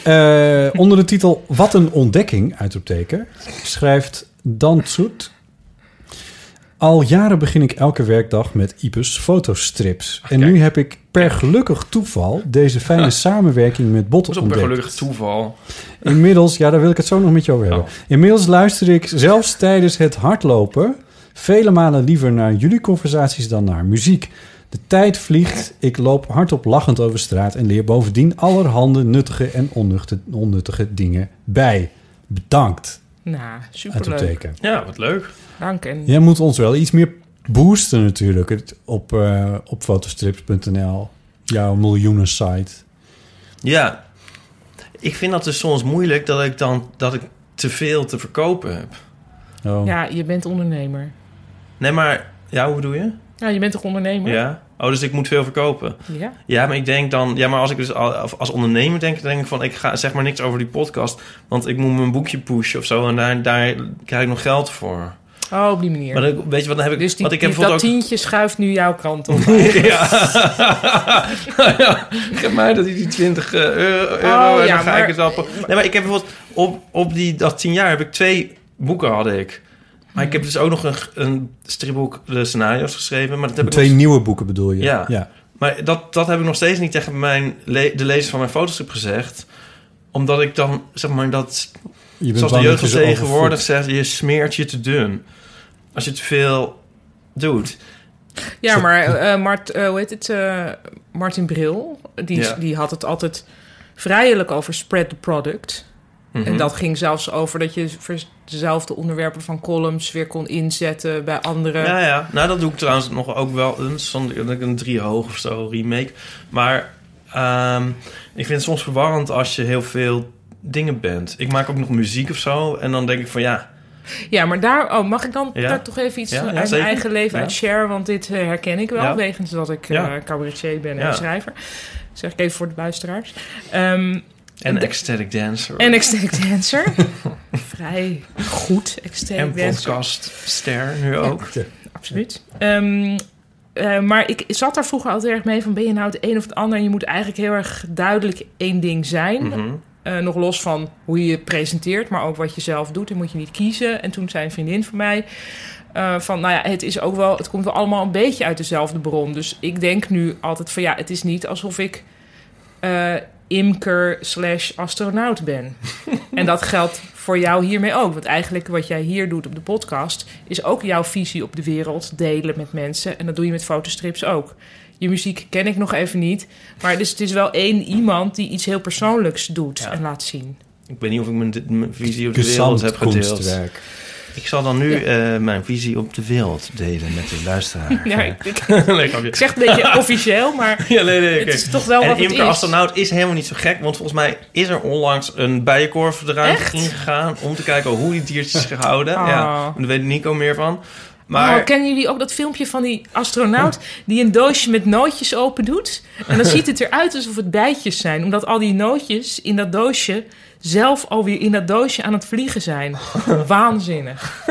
B: eh, onder de titel Wat een ontdekking, uitroepteken, schrijft Dan Tsoet... Al jaren begin ik elke werkdag met Ipes fotostrips. En nu heb ik per gelukkig toeval deze fijne samenwerking met
D: Dat
B: Botten
D: is op een
B: ontdekt.
D: gelukkig toeval.
B: Inmiddels, ja, daar wil ik het zo nog met je over hebben.
D: Oh.
B: Inmiddels luister ik zelfs tijdens het hardlopen vele malen liever naar jullie conversaties dan naar muziek. De tijd vliegt, ik loop hardop lachend over straat en leer bovendien allerhande nuttige en onnuchte- onnuttige dingen bij. Bedankt,
C: Nou, superleuk.
B: uitroepteken.
D: Ja, wat leuk.
C: Dank en
B: Jij moet ons wel iets meer boosten natuurlijk het- op, eh, op fotostrips.nl, jouw miljoenen site.
D: Ja. Ik vind dat dus soms moeilijk dat ik dan dat ik te veel te verkopen heb.
B: Oh.
C: Ja, je bent ondernemer.
D: Nee, maar ja, hoe doe je?
C: Ja, Nou, je bent toch ondernemer?
D: Ja. Oh, dus ik moet veel verkopen.
C: Ja.
D: Ja, maar ik denk dan, ja, maar als ik dus al- of als ondernemer denk, dan denk ik van, ik ga zeg maar niks over die podcast, want ik moet mijn boekje pushen of zo, en daar, daar krijg ik nog geld voor.
C: Oh, op die manier.
D: Maar dan, weet je wat, dan heb ik,
C: dus die,
D: want ik heb
C: die- dat
D: bijvoorbeeld ook-
C: tientje schuift nu jouw kant op.
D: Ja. Nou ja, geef mij dat die 20 eh, euro, euro en
C: Oh, ja,
D: dan ga ik
C: maar-
D: het wel... pro- Nee, maar ik heb bijvoorbeeld op, op die, dat 10 jaar heb ik twee boeken had ik. Maar ik heb dus ook nog een, een stripboek de scenario's geschreven. Maar, dat heb ik
B: Twee
D: nog-
B: nieuwe boeken bedoel je?
D: dus- Ja.
B: ja.
D: maar dat, dat heb ik nog steeds niet tegen mijn le- de lezer van mijn fotostrip gezegd. Omdat ik dan, zeg maar, dat...
B: Je bent
D: zoals de
B: bang dat
D: jeugd
B: je
D: van
B: ze
D: tegenwoordig
B: overvoedt.
D: zegt, je smeert je te dun. Als je te veel doet.
C: ja, maar eh, Mart, eh, hoe heet het? eh, Martin Bril, die,
D: Ja.
C: die had het altijd vrijelijk over spread the product.
D: Mhm.
C: En dat ging zelfs over dat je voor dezelfde onderwerpen van columns weer kon inzetten bij anderen.
D: Ja, ja. Nou, dat doe ik trouwens nog ook wel eens. Dan doe ik een drie hoog of zo remake. Maar ehm, ik vind het soms verwarrend als je heel veel dingen bent. Ik maak ook nog muziek of zo. En dan denk ik van ja,
C: Ja, maar daar oh, mag ik dan
D: Ja.
C: daar toch even iets
D: Ja, ja,
C: uit mijn
D: zeker.
C: eigen leven
D: Ja.
C: uit share? Want dit eh, herken ik wel,
D: Ja.
C: wegens dat ik eh
D: Ja.
C: cabaretier ben en
D: Ja.
C: schrijver. Dat zeg ik even voor de luisteraars. Ehm,
D: en ecstatic dancer.
C: en ecstatic dancer. vrij goed extreem
D: En
C: werk.
D: podcastster nu ook.
C: Absoluut. Ehm, eh, maar ik zat daar vroeger altijd erg mee van... ben je nou het een of het ander? En je moet eigenlijk heel erg duidelijk één ding zijn.
D: Mhm.
C: Eh, nog los van hoe je je presenteert, maar ook wat je zelf doet. En moet je niet kiezen. En toen zei een vriendin van mij... eh, van, nou ja, het, is ook wel, het komt wel allemaal een beetje uit dezelfde bron. Dus ik denk nu altijd van... ja, het is niet alsof ik eh, imker slash astronaut ben. en dat geldt voor jou hiermee ook. Want eigenlijk wat jij hier doet op de podcast... is ook jouw visie op de wereld delen met mensen. En dat doe je met fotostrips ook. Je muziek ken ik nog even niet. Maar dus het is wel één iemand die iets heel persoonlijks doet
D: Ja.
C: en laat zien.
D: Ik weet niet of ik mijn, mijn visie op de wereld
B: Gezand
D: heb gedeeld.
B: kunstwerk.
D: Ik zal dan nu eh, mijn visie op de wereld delen met de luisteraar.
C: Ja, ik, ik-
D: Leuk grapje.
C: ik zeg het een beetje officieel, maar
D: Ja, nee, nee,
C: het
D: oké.
C: is toch wel
D: en
C: wat het
D: Imke
C: is.
D: Astronaut is helemaal niet zo gek, want volgens mij is er onlangs een bijenkorfbedrijf
C: Echt?
D: ingegaan om te kijken hoe die diertjes zich houden.
C: Ah.
D: Ja, daar weet Nico meer van. Maar
C: Oh, kennen jullie ook dat filmpje van die astronaut die een doosje met nootjes open doet? En dan ziet het eruit alsof het bijtjes zijn, omdat al die nootjes in dat doosje zelf alweer in dat doosje aan het vliegen zijn. Waanzinnig.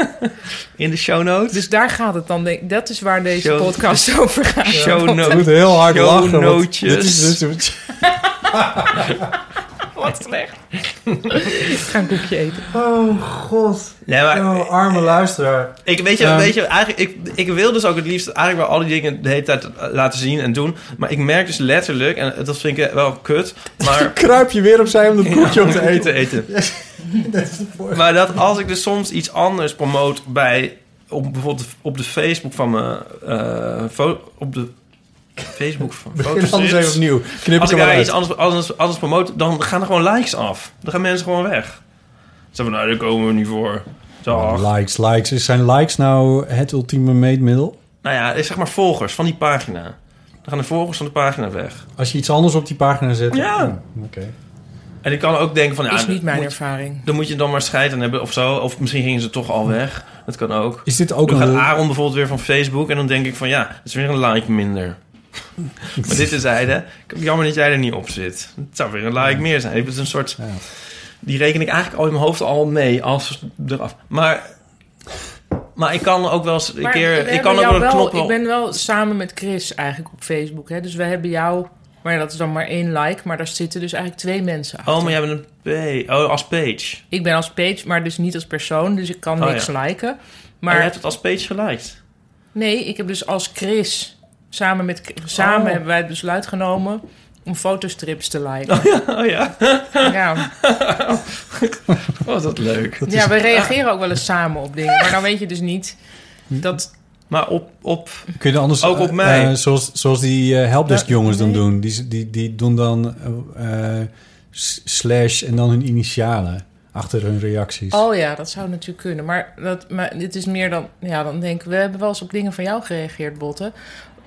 D: in de show notes.
C: Dus daar gaat het dan. denk ik. Dat is waar deze
D: Show-
C: podcast over gaat.
D: show
B: Ik
D: notes.
B: moet heel hard
D: Show
B: lachen. want
D: nootjes.
B: dit is dus-
C: Wat slecht. ik ga een koekje eten.
B: oh god.
D: Nee, maar
B: Oh, arme luisteraar.
D: Ik weet je,
B: Ehm.
D: weet je eigenlijk, ik, ik wil dus ook het liefst eigenlijk wel al die dingen de hele tijd eh, laten zien en doen. Maar ik merk dus letterlijk, en dat vind ik wel kut, maar
B: Kruip je weer opzij om dat koekje op te
D: Koekje
B: eten.
D: eten. maar dat als ik dus soms iets anders promoot bij, op, bijvoorbeeld op de Facebook van mijn, eh, fo- op de Facebook van
B: Begin anders even
D: fotostrips.
B: opnieuw. Knip
D: Als
B: ik
D: ik
B: er wel
D: daar iets
B: uit.
D: anders, anders, anders promoot, dan gaan er gewoon likes af. Dan gaan mensen gewoon weg. Ze van, nou, daar komen we niet voor. Dag.
B: Likes, likes. Is Zijn likes nou het ultieme meetmiddel?
D: Nou ja, zeg maar volgers van die pagina. Dan gaan de volgers van de pagina weg.
B: Als je iets anders op die pagina zet. Hmm,
D: Ja.
B: Oké.
D: En ik kan ook denken van... Ja,
C: is niet mijn
D: moet-
C: ervaring.
D: Dan moet je dan maar scheid aan hebben of zo. Of misschien gingen ze toch al weg. Dat kan ook.
B: Is dit ook
D: Dan gaat
B: een...
D: Aaron bijvoorbeeld weer van Facebook. En dan denk ik van ja, het is weer een like minder. maar dit is hij, hè. Jammer dat jij er niet op zit. Het zou weer een like meer zijn. Het is een soort...
B: Ja.
D: Die reken ik eigenlijk al in mijn hoofd al mee als eraf. Maar... Maar ik kan ook wel eens een
C: Maar
D: keer...
C: we
D: Ik
C: hebben
D: kan ook
C: jou
D: wel een knop...
C: Ik ben wel samen met Chris eigenlijk op Facebook. Hè? Dus we hebben jou... Maar ja, dat is dan maar één like. Maar daar zitten dus eigenlijk twee mensen achter.
D: Oh, maar jij bent een P. Oh, als page.
C: Ik ben als page, maar dus niet als persoon. Dus ik kan
D: Oh,
C: niks liken.
D: Maar
C: Maar
D: je hebt het als page geliked.
C: nee, ik heb dus als Chris... Samen, met, samen
D: Oh.
C: hebben wij het besluit genomen... om fotostrips te liken.
D: Oh ja,
C: Ja.
D: was dat leuk.
C: ja, we reageren ook wel eens samen op dingen. Maar dan weet je dus niet...
D: Hm.
C: Dat,
D: Maar op, op
B: Kun je dan anders...
D: Ook op
B: eh,
D: mij.
B: eh, zoals, zoals die eh, helpdesk jongens dan doen. Die, die, die doen dan eh, eh, s- slash en dan hun initialen achter hun reacties.
C: oh ja, dat zou natuurlijk kunnen. Maar, dat, maar dit is meer dan... Ja, dan denk ik... We hebben wel eens op dingen van jou gereageerd, Botte.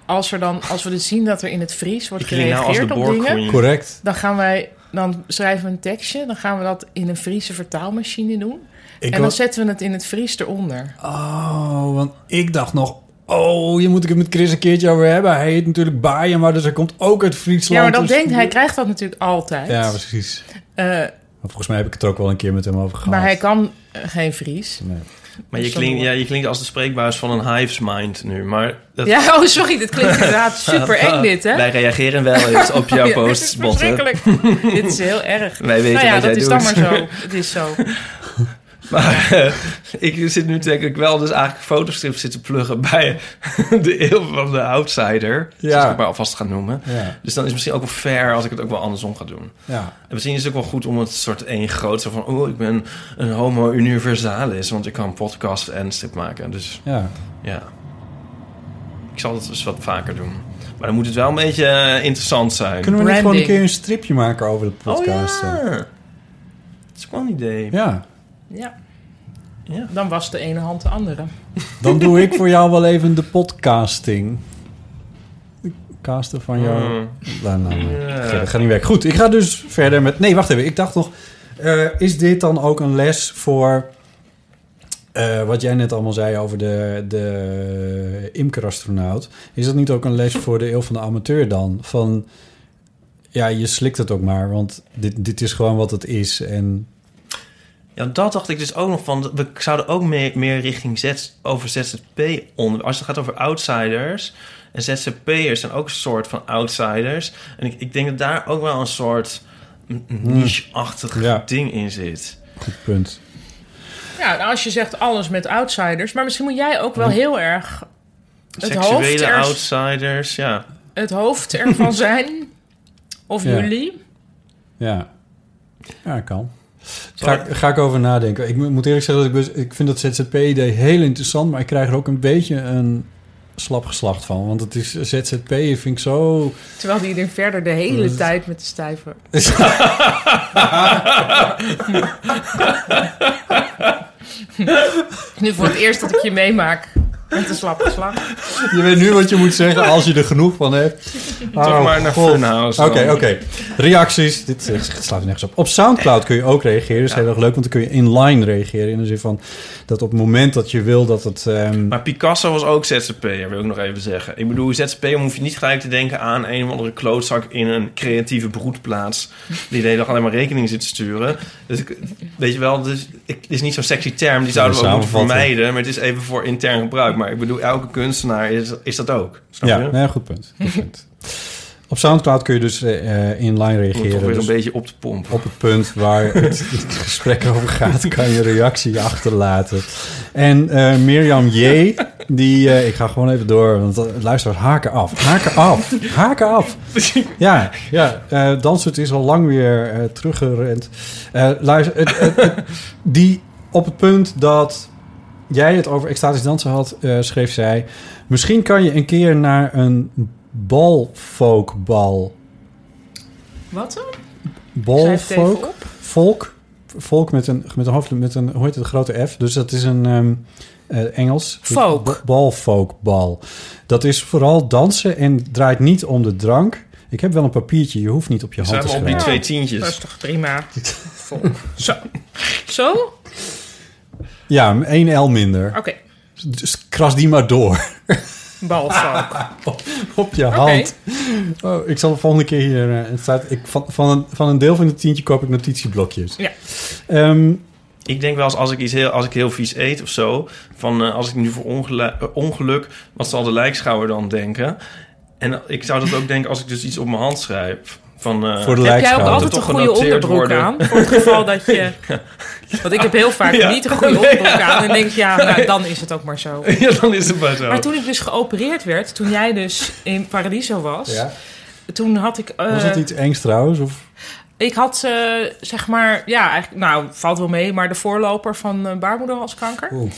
C: Als, er dan, als we dus zien dat er in het Fries wordt
D: ik ging nou als de
C: gereageerd op
D: boor
C: dingen...
D: queen.
B: Correct.
C: Dan gaan wij, dan schrijven we een tekstje, dan gaan we dat in een Friese vertaalmachine doen.
B: Ik
C: en dan
B: wa-
C: zetten we het in het Fries eronder.
B: Oh, want ik dacht nog... Oh, je moet ik het met Chris een keertje over hebben. Hij heet natuurlijk Baaien, maar dus hij komt ook uit Friesland.
C: ja, maar dat
B: dus-
C: denkt hij, krijgt dat natuurlijk altijd.
B: Ja, precies.
C: Eh,
B: Maar volgens mij heb ik het er ook wel een keer met hem over gehad.
C: maar hij kan eh, geen Fries.
B: Nee.
D: Maar je klinkt, ja, je klinkt als de spreekbuis van een hives mind nu. Maar dat,
C: Ja, oh sorry, dit klinkt inderdaad super eng dit, hè?
D: wij reageren wel eens op jouw
C: Ja,
D: posts,
C: dit is
D: Botte.
C: verschrikkelijk. dit is heel erg.
D: Wij weten
C: nou ja,
D: wat
C: dat
D: jij
C: is
D: doet.
C: dan maar zo. Het is zo.
D: Maar eh, ik zit nu denk ik wel dus eigenlijk fotostrips zitten pluggen bij de eeuw van de outsider.
B: Ja.
D: Zoals ik het maar alvast ga noemen.
B: Ja,
D: Dus dan is het misschien ook wel fair als ik het ook wel andersom ga doen.
B: ja.
D: En misschien is het ook wel goed om het soort één groot... Zo van, oh, ik ben een homo universalis. Want ik kan podcast en strip maken. Dus
B: ja.
D: Ja. Ik zal dat dus wat vaker doen. Maar dan moet het wel een beetje eh, interessant zijn.
B: Kunnen we niet
C: Branding.
B: gewoon een keer een stripje maken over de podcast?
D: Oh
B: eh?
D: ja. Dat is ook wel een idee.
B: Ja.
C: Ja.
D: Ja.
C: Dan was de ene hand de andere.
B: Dan doe ik voor jou wel even de podcasting. De casten van jou.
D: Mm.
B: Nou, nou, nou.
D: Ja.
B: Verder, gaat niet werken. Goed, ik ga dus verder met... Nee, wacht even. Ik dacht nog... eh, is dit dan ook een les voor... eh, wat jij net allemaal zei over de, de imkerastronaut. Is dat niet ook een les voor de eeuw van de amateur dan? Van, ja, je slikt het ook maar. Want dit, dit is gewoon wat het is. En
D: Ja, dat dacht ik dus ook nog van. We zouden ook meer, meer richting Z, over ZZP onder. Als het gaat over outsiders. En ZZP'ers zijn ook een soort van outsiders. En ik, ik denk dat daar ook wel een soort n- niche-achtig
B: Ja.
D: ding in zit.
B: Goed punt.
C: Ja, nou, als je zegt alles met outsiders. Maar misschien moet jij ook
B: Hm.
C: wel heel erg het hoofd,
D: Seksuele
C: er,
D: outsiders, ja.
C: het hoofd ervan zijn. Of
B: Ja.
C: jullie.
B: Ja. Ja, kan.
D: Zal
B: Ga,
D: ik-
B: ga ik over nadenken. Ik mo- moet eerlijk zeggen dat ik, best- ik vind dat ZZP-idee heel interessant, maar ik krijg er ook een beetje een slap geslacht van. Want het is ZZP, vind ik zo.
C: Terwijl die er verder de hele tijd met de stijver. nu voor het eerst dat ik je meemaak met een slap geslag.
B: Je weet nu wat je moet zeggen als je er genoeg van hebt. Oh,
D: Toch maar naar Funhouse.
B: Oké,
D: dan.
B: oké. Reacties. Dit eh, slaat nergens op. Op Soundcloud kun je ook reageren. Dat is heel erg leuk, want dan kun je inline reageren. In de zin van dat op het moment dat je wil dat het... ehm,
D: Maar Picasso was ook ZZP'er, wil ik nog even zeggen. Ik bedoel, ZZP'er hoef je niet gelijk te denken aan een of andere klootzak in een creatieve broedplaats. Die de hele dag alleen maar rekening zit te sturen. Dus ik, weet je wel, dus, ik, het is niet zo'n sexy term, die zouden we ook moeten
B: samenvatten.
D: vermijden. Maar het is even voor intern gebruik. Maar ik bedoel, elke kunstenaar is, is dat ook. Snap
B: ja,
D: je?
B: nee, goed punt. Goed punt. Op Soundcloud kun je dus eh, eh, inline
D: Om het
B: reageren.
D: toch weer
B: Dus-
D: een beetje op te pompen.
B: op het punt waar het, het gesprek over gaat, kan je reactie achterlaten. En eh, Mirjam J., die, eh, ik ga gewoon even door, want eh, luisteraars haken af. Haken af, haken af. Ja, ja eh Dansert is al lang weer eh, teruggerend. Eh, luister, het- het- het- die op het punt dat jij het over extatisch dansen had, eh, schreef zij... Misschien kan je een keer naar een balfolkbal.
C: Wat dan? Schrijf het even
B: Balfolk?
C: op.
B: Volk. Volk met een, met een hoofd, met een, hoe heet het, een grote F. Dus dat is een ehm, eh, Engels.
C: Folk.
B: Ba- Bal, folk, bal. Dat is vooral dansen en draait niet om de drank. Ik heb wel een papiertje, je hoeft niet op je hand
D: Zijn
B: te
D: we op die
B: schrijven.
D: twee
C: Dat is
D: tientjes?
C: toch prima. Vol. Zo. Zo? Oké.
B: Ja, één L minder. Dus kras die maar door
C: Balvalk.
B: op je
C: Oké.
B: hand. Oh, ik zal de volgende keer hier... eh, het staat, ik, van, van, een, van een deel van het tientje koop ik notitieblokjes.
C: Ja.
B: Ehm,
D: Ik denk wel eens als ik, iets heel, als ik heel vies eet of zo. Van eh, als ik nu voor ongelu- eh, ongeluk. Wat zal de lijkschouwer dan denken? En eh, ik zou dat ook denken als ik dus iets op mijn hand schrijf. Van,
B: voor de
D: eh,
C: Heb jij ook
B: lijkschouder.
C: altijd een
D: Toch
C: goede
D: genoteerd
C: onderbroek
D: worden.
C: aan? Voor het geval dat je... Want ik heb heel vaak
D: Ja.
C: niet een goede onderbroek aan. En denk ik, ja, nou, dan is het ook maar zo.
D: ja, dan is het maar zo.
C: Maar toen ik dus geopereerd werd, toen jij dus in Paradiso was...
B: Ja.
C: Toen had ik... eh,
B: Was dat iets engs trouwens? Of?
C: Ik had, eh, zeg maar, ja, eigenlijk, nou, valt wel mee, maar de voorloper van eh, baarmoederhalskanker.
B: Oeh.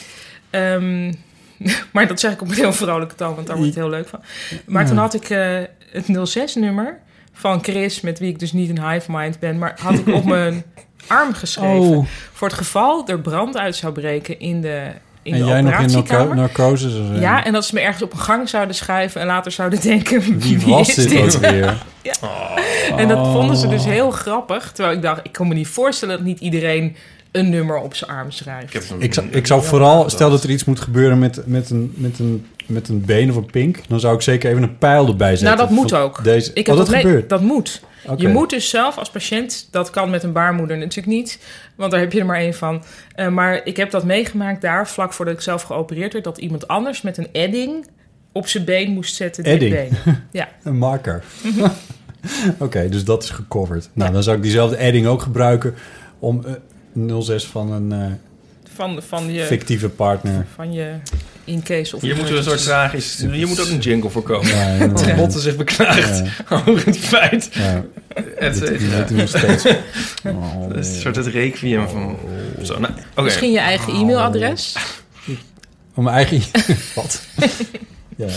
C: Ehm, maar dat zeg ik op een heel vrolijke toon, want daar wordt het heel leuk van. Maar toen had ik eh, het 06-nummer van Chris, met wie ik dus niet een hive mind ben, maar had ik op mijn arm geschreven.
B: Oh.
C: Voor het geval er brand uit zou breken in de, in
B: en
C: de
B: jij nog in
C: operatiekamer.
B: narco- narcose? zou zijn.
C: ja, en dat ze me ergens op een gang zouden schuiven en later zouden denken:
B: Wie was dit ook weer?
C: En dat vonden ze
D: Oh.
C: dus heel grappig. Terwijl ik dacht, ik kan me niet voorstellen dat niet iedereen een nummer op zijn arm schrijft.
D: Ik heb een-
B: Ik zou, ik zou vooral, stel dat er iets moet gebeuren met, met, een, met, een, met een been of een pink... dan zou ik zeker even een pijl erbij zetten.
C: nou, dat moet
B: Van
C: ook.
B: Deze. oh,
C: Ik heb
B: dat
C: nee,
B: gebeurt?
C: Dat moet.
B: Oké.
C: Je moet dus zelf als patiënt, dat kan met een baarmoeder natuurlijk niet, want daar heb je er maar één van. Eh, maar ik heb dat meegemaakt daar, vlak voordat ik zelf geopereerd werd, dat iemand anders met een edding op zijn been moest zetten. dit
B: Edding?
C: been. Ja.
B: Een marker. Oké, dus dat is gecoverd. Nou, dan zou ik diezelfde adding ook gebruiken... om eh, 06 van een eh,
C: Van, van je,
B: fictieve partner...
C: van je in case of
D: Hier moeten we een soort tragisch... Hier moet ook een jingle voor komen.
B: Ja, ja,
D: Dat de
B: ja.
D: botten zich beklaagt over het feit.
B: Ja,
D: Het,
B: dit- die
D: ja,
B: weten we nog steeds. Oh,
D: het is een soort het requiem van... Zo, nou, oké.
C: Misschien je eigen e-mailadres.
B: Om mijn eigen... Wat? ja.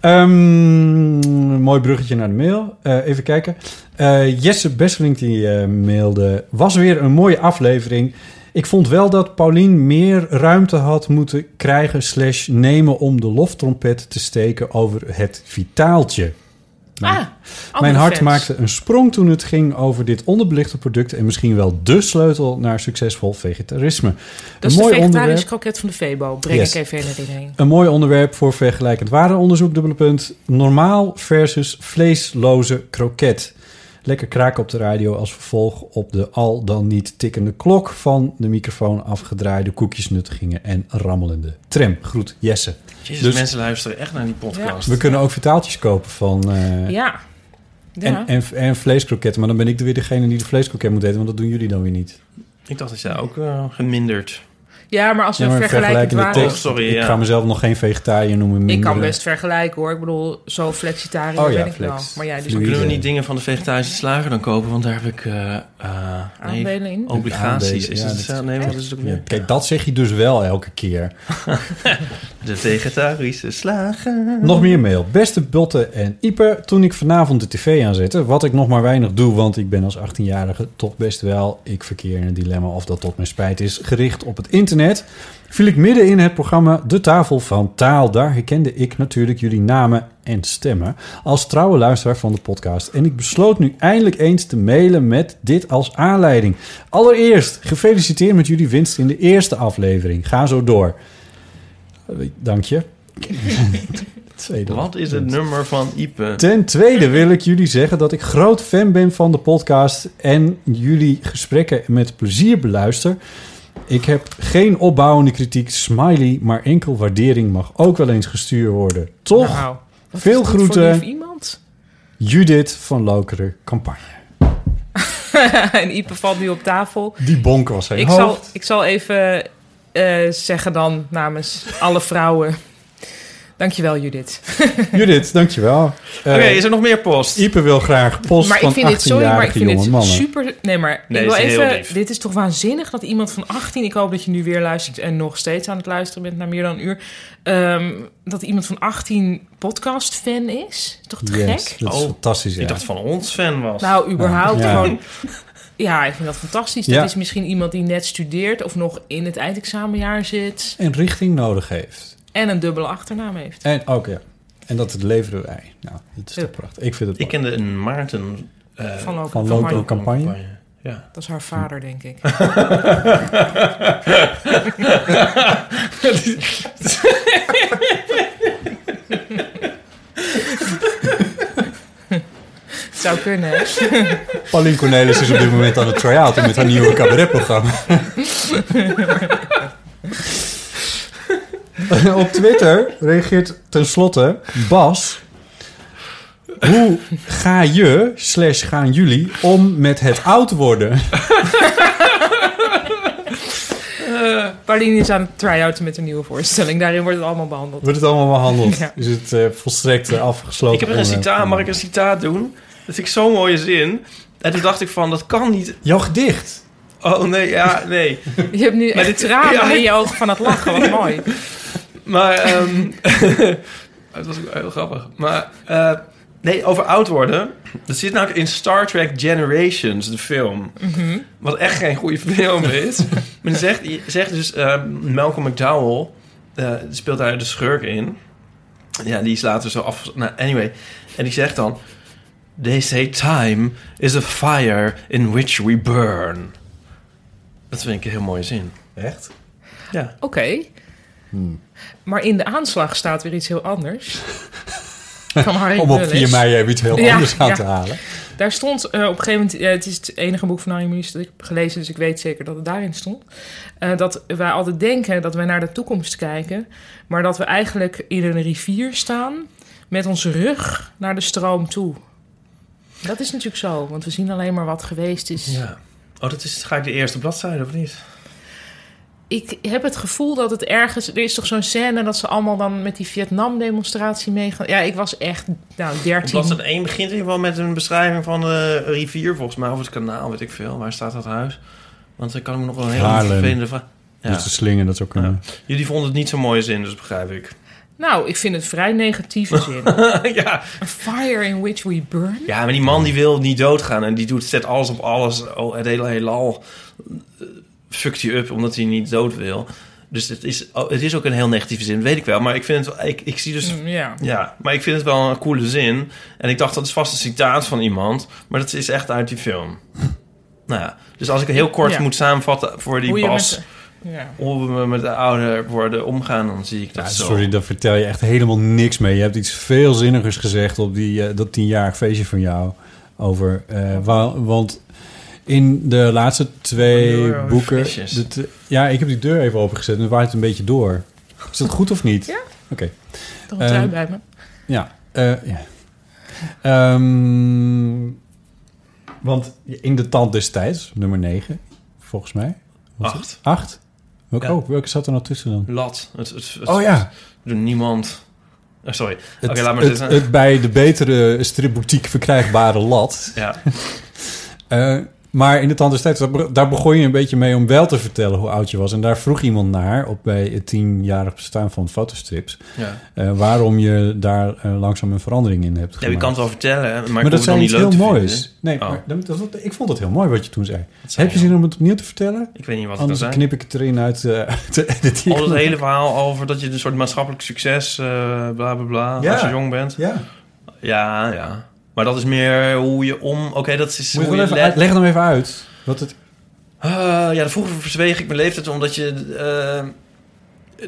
B: Ehm, mooi bruggetje naar de mail. Eh, even kijken. Eh, Jesse Besseling die eh, mailde... Was weer een mooie aflevering. Ik vond wel dat Paulien meer ruimte had moeten krijgen... slash nemen om de loftrompet te steken over het vitaaltje. Mijn-
C: ah,
B: Mijn
C: andere
B: hart
C: fans.
B: maakte een sprong toen het ging over dit onderbelichte product... en misschien wel dé sleutel naar succesvol vegetarisme.
C: Dat is
B: een mooi
C: de vegetarische
B: onderwerp.
C: kroket van de Febo. Breng
B: Yes.
C: ik even in herinnering.
B: Een mooi onderwerp voor vergelijkend warenonderzoek, dubbele punt. Normaal versus vleesloze kroket. Lekker kraken op de radio als vervolg op de al dan niet tikkende klok van de microfoon afgedraaide koekjesnuttigingen en rammelende tram. Groet Jesse.
D: Jezus,
B: Dus-
D: mensen luisteren echt naar die podcast.
B: We kunnen ook vertaaltjes kopen van... eh,
C: Ja.
B: En,
C: Ja.
B: en, en vleeskroketten. Maar dan ben ik weer degene die de vleeskroket moet eten, want dat doen jullie dan weer niet.
D: Ik dacht dat jij ook eh, geminderd.
C: ja, maar als we
B: Ja, maar een
C: vergelijkend
B: vergelijkende
C: waren...
D: tekst.
B: tekst.
D: Oh, sorry,
B: ik
D: ja.
B: ga mezelf nog geen vegetariër noemen.
C: Ik kan
B: mindere-
C: best vergelijken hoor. Ik bedoel, zo flexitariër
B: Oh ja,
C: ben ik
B: flex.
C: wel. Maar jij dus
B: Fluïde.
D: Kunnen we niet dingen van de vegetarische slager dan kopen? Want daar heb ik eh, eh, nee,
C: aandelen in.
D: obligaties.
B: Aandelen,
D: Is
B: ja,
D: het
B: dat-
D: zo? Nee, wat is het ook
B: Ja,
D: weer?
B: kijk, dat zeg je dus wel elke keer.
D: De vegetarische slager.
B: Nog meer mail. Beste Botte en Ieper, toen ik vanavond de tv aanzette, wat ik nog maar weinig doe, want ik ben als 18-jarige toch best wel, ik verkeer in een dilemma of dat tot mijn spijt is, gericht op het internet, viel ik midden in het programma De Tafel van Taal. Daar herkende ik natuurlijk jullie namen en stemmen als trouwe luisteraar van de podcast. En ik besloot nu eindelijk eens te mailen met dit als aanleiding. Allereerst, gefeliciteerd met jullie winst in de eerste aflevering. Ga zo door. Eh, Dank je. Tweede.
D: Wat is het nummer van Ipe?
B: Ten tweede wil ik jullie zeggen dat ik groot fan ben van de podcast en jullie gesprekken met plezier beluister. Ik heb geen opbouwende kritiek, smiley, maar enkel waardering mag ook wel eens gestuurd worden. Toch?
C: Nou, wat
B: Veel
C: is dit
B: groeten.
C: voor lief iemand?
B: Judith van Lokeren Campagne.
C: en Ipe valt nu op tafel.
B: Die bonk was zijn
C: Ik
B: hoofd.
C: zal, ik zal even eh, zeggen dan namens alle vrouwen. Dankjewel Judith.
B: Judith, dankjewel. Eh
D: Oké, is er nog meer post?
B: Ipe wil graag post
C: maar
B: van
C: ik vind dit, sorry, maar ik
B: 18-jarige jonge
C: vind dit
B: mannen.
C: super... Nee, maar
D: Nee,
C: ik wil
D: is heel lief.
C: even... Dit is toch waanzinnig dat iemand van 18... Ik hoop dat je nu weer luistert en nog steeds aan het luisteren bent... na meer dan een uur. ehm, dat iemand van 18 podcast-fan is. Toch te
B: Yes,
C: gek?
B: dat is
D: Oh,
B: fantastisch. Ja.
D: Ik dacht van ons fan was.
C: Nou, überhaupt
B: Ja.
C: gewoon... Ja, ik vind dat fantastisch. Dat
B: Ja.
C: is misschien iemand die net studeert... of nog in het eindexamenjaar zit...
B: En richting nodig heeft.
C: en een dubbele achternaam heeft.
B: En ook ja. En dat het leveren wij. Nou, dat is toch
C: Ja.
B: prachtig. Ik vind het
D: ik kende een Maarten. eh,
C: Van, Lo-
B: van
C: van
B: Lo-
C: Harjo.
B: Campagne?
D: Ja.
C: Dat is haar vader, denk ik. Zou kunnen, hè?
B: Pauline Cornelis is op dit moment aan het try-outen met haar nieuwe cabaretprogramma. op Twitter reageert tenslotte Bas. Hoe ga je, slash gaan jullie, om met het oud worden?
C: Pauline is aan het try-outen met een nieuwe voorstelling. Daarin wordt het allemaal behandeld.
B: Wordt het allemaal behandeld?
C: Ja.
B: Is het eh, volstrekt eh, afgesloten?
D: Ik heb er een
B: onderwerp?
D: citaat. Mag ik een citaat doen? Dat vind ik zo'n mooie zin. En toen dacht ik van, dat kan niet.
B: Jouw gedicht.
D: Oh nee, ja, nee.
C: Je hebt nu echt
D: dit-
C: tranen
D: ja.
C: in je ogen van het lachen. Wat mooi.
D: Maar, ehm het was ook heel grappig. Maar, eh, nee, over oud worden. Dat zit namelijk in Star Trek Generations, de film. Wat echt geen goede film is. maar dan zegt, zegt dus ehm, Malcolm McDowell, eh, speelt daar de schurk in. Ja, die is later zo af... Nou, anyway. En die zegt dan... They say time is a fire in which we burn. Dat vind ik een heel mooie zin.
B: Echt?
D: Ja.
C: Oké.
B: Hmm.
C: Maar in de aanslag staat weer iets heel anders. Van Harry
B: Om op
C: Mullis.
B: 4 mei even iets heel
C: Ja,
B: anders aan
C: ja.
B: te halen.
C: Daar stond eh, op een gegeven moment... eh, het is het enige boek van Harry Mullis dat ik heb gelezen... dus ik weet zeker dat het daarin stond. eh, dat wij altijd denken dat wij naar de toekomst kijken... maar dat we eigenlijk in een rivier staan... met onze rug naar de stroom toe. Dat is natuurlijk zo, want we zien alleen maar wat geweest is.
D: Ja. Oh, dat is, ga ik de eerste bladzijde, of niet?
C: Ik heb het gevoel dat het ergens... Er is toch zo'n scène dat ze allemaal dan met die Vietnam-demonstratie meegaan. Ja, ik was echt nou,
D: Op
C: 13.
D: bladzijde 1 begint in ieder geval met een beschrijving van de rivier, volgens mij. Of het kanaal, weet ik veel. Waar staat dat huis? Want dan kan ik me nog wel een hele
B: Haarlem.
D: vervelende vraag... Ja.
B: Dus de slingen, dat zou kunnen.
D: Jullie vonden het niet zo'n mooie zin, dus begrijp ik.
C: Nou, ik vind het vrij negatieve zin.
D: ja.
C: A fire in which we burn?
D: ja, maar die man die wil niet doodgaan. En die doet, zet alles op alles. Oh, het hele heelal eh, fuckt hij up, omdat hij niet dood wil. Dus het is, oh, het is ook een heel negatieve zin, weet ik wel. Maar ik, vind het, wel- ik, ik zie dus
C: Mm, Ja.
D: Ja, maar ik vind het wel een coole zin. En ik dacht, dat is vast een citaat van iemand. Maar dat is echt uit die film. nou ja, dus als ik het heel kort
C: Ja.
D: moet samenvatten voor die
C: Hoe je
D: Bas...
C: met- Ja.
D: Hoe we met de ouder worden omgaan, dan zie ik dat
B: Ja,
D: zo.
B: sorry, daar vertel je echt helemaal niks mee. Je hebt iets veel zinnigers gezegd op die, eh, dat tienjarig feestje van jou. over. eh, wa- want in de laatste
D: Oh,
B: twee
D: nee, hoor,
B: boeken...
D: flesjes.
B: de t- ja, ik heb die deur even opengezet en het waait een beetje door. Is dat goed of niet?
C: Ja.
B: Oké.
C: Toch een trui
B: Ehm,
C: bij me.
B: Ja. eh, ja. Ehm, want in de tand destijds, nummer 9, volgens mij. Wat-
D: Acht.
B: Acht? Welke,
D: Ja.
B: oh, welke zat er nou tussen dan?
D: Lat. Het, het, het-
B: Oh ja.
D: Doet niemand. Oh, sorry. Oké,
B: Het,
D: laat maar
B: het,
D: zitten.
B: het bij de betere stripboutique verkrijgbare lat.
D: ja.
B: Eh, maar in de tand destijds, daar be- daar begon je een beetje mee om wel te vertellen hoe oud je was. En daar vroeg iemand naar, op bij het tienjarig bestaan van fotostrips,
D: Ja.
B: eh, waarom je daar eh, langzaam een verandering in hebt
D: ja,
B: gemaakt.
D: je kan het wel vertellen, maar,
B: maar
D: ik
B: dat
D: hoef het dan
B: zijn
D: niet
B: iets
D: leuk
B: heel
D: te
B: moois.
D: vinden.
B: Nee,
D: Oh.
B: maar dat- dat- ik vond het heel mooi wat je toen zei.
D: Dat zei
B: Heb je
D: je.
B: zin om het opnieuw te vertellen?
D: Ik weet niet wat het kan
B: Anders
D: zijn.
B: knip ik het erin uit eh, te editeren.
D: Al dat hele verhaal over dat je een soort maatschappelijk succes, eh, bla bla bla,
B: Ja.
D: als je jong bent.
B: Ja.
D: Ja, ja. Maar dat is meer hoe je om... Oké, dat is
B: Moet je
D: hoe
B: wel
D: je
B: even
D: let-
B: uit- leg hem even uit. Wat het,
D: Ah, ja, vroeger verzweeg ik mijn leeftijd omdat je... eh,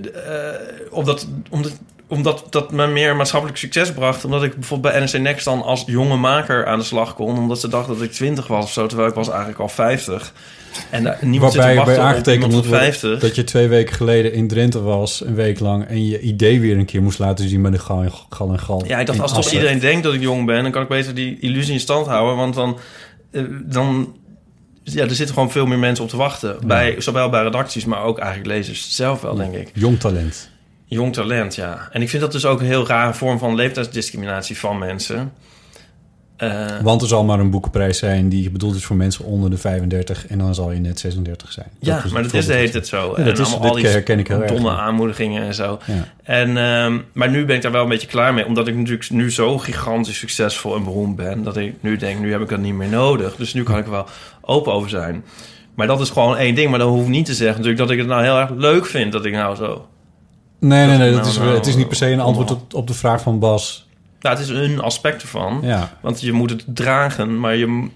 D: eh, omdat, omdat, omdat dat me meer maatschappelijk succes bracht. Omdat ik bijvoorbeeld bij NRC Next dan als jonge maker aan de slag kon. Omdat ze dachten dat ik 20 was of zo, terwijl ik was eigenlijk al 50. En daar- niemand zit te
B: waarbij je bij
D: wachten op
B: aangetekend
D: iemand
B: moet
D: van
B: worden
D: 50.
B: dat je twee weken geleden in Drenthe was, een week lang, en je idee weer een keer moest laten zien bij de gal en gal. En gal
D: Ja, ik dacht,
B: in
D: als toch
B: Assen.
D: iedereen denkt dat ik jong ben, dan kan ik beter die illusie in stand houden. Want dan. eh, dan ja, er zitten gewoon veel meer mensen op te wachten. Bij, zowel bij redacties, maar ook eigenlijk lezers zelf wel, denk ik.
B: Jong talent.
D: Jong talent, ja. En ik vind dat dus ook een heel rare vorm van leeftijdsdiscriminatie van mensen. Eh,
B: Want er zal maar een boekenprijs zijn die bedoeld is voor mensen onder de 35 en dan zal je net 36 zijn.
D: ja, maar dat is de hele tijd zo.
B: Ja, dat is-
D: allemaal
B: dit herken ik heel erg,
D: domme
B: ja.
D: aanmoedigingen en zo.
B: Ja.
D: En, ehm, maar nu ben ik daar wel een beetje klaar mee. Omdat ik natuurlijk nu zo gigantisch succesvol en beroemd ben. Dat ik nu denk, nu heb ik dat niet meer nodig. Dus nu kan ik er wel open over zijn. Maar dat is gewoon één ding. Maar dat hoeft niet te zeggen natuurlijk dat ik het nou heel erg leuk vind. Dat ik nou zo...
B: Nee, nee, nee.
D: Dat-
B: Dat is,
D: nou, nou,
B: het is niet per se een antwoord
D: allemaal.
B: op, op de vraag van Bas.
D: Nou, het is een aspect ervan.
B: Ja.
D: Want je moet het dragen, maar je...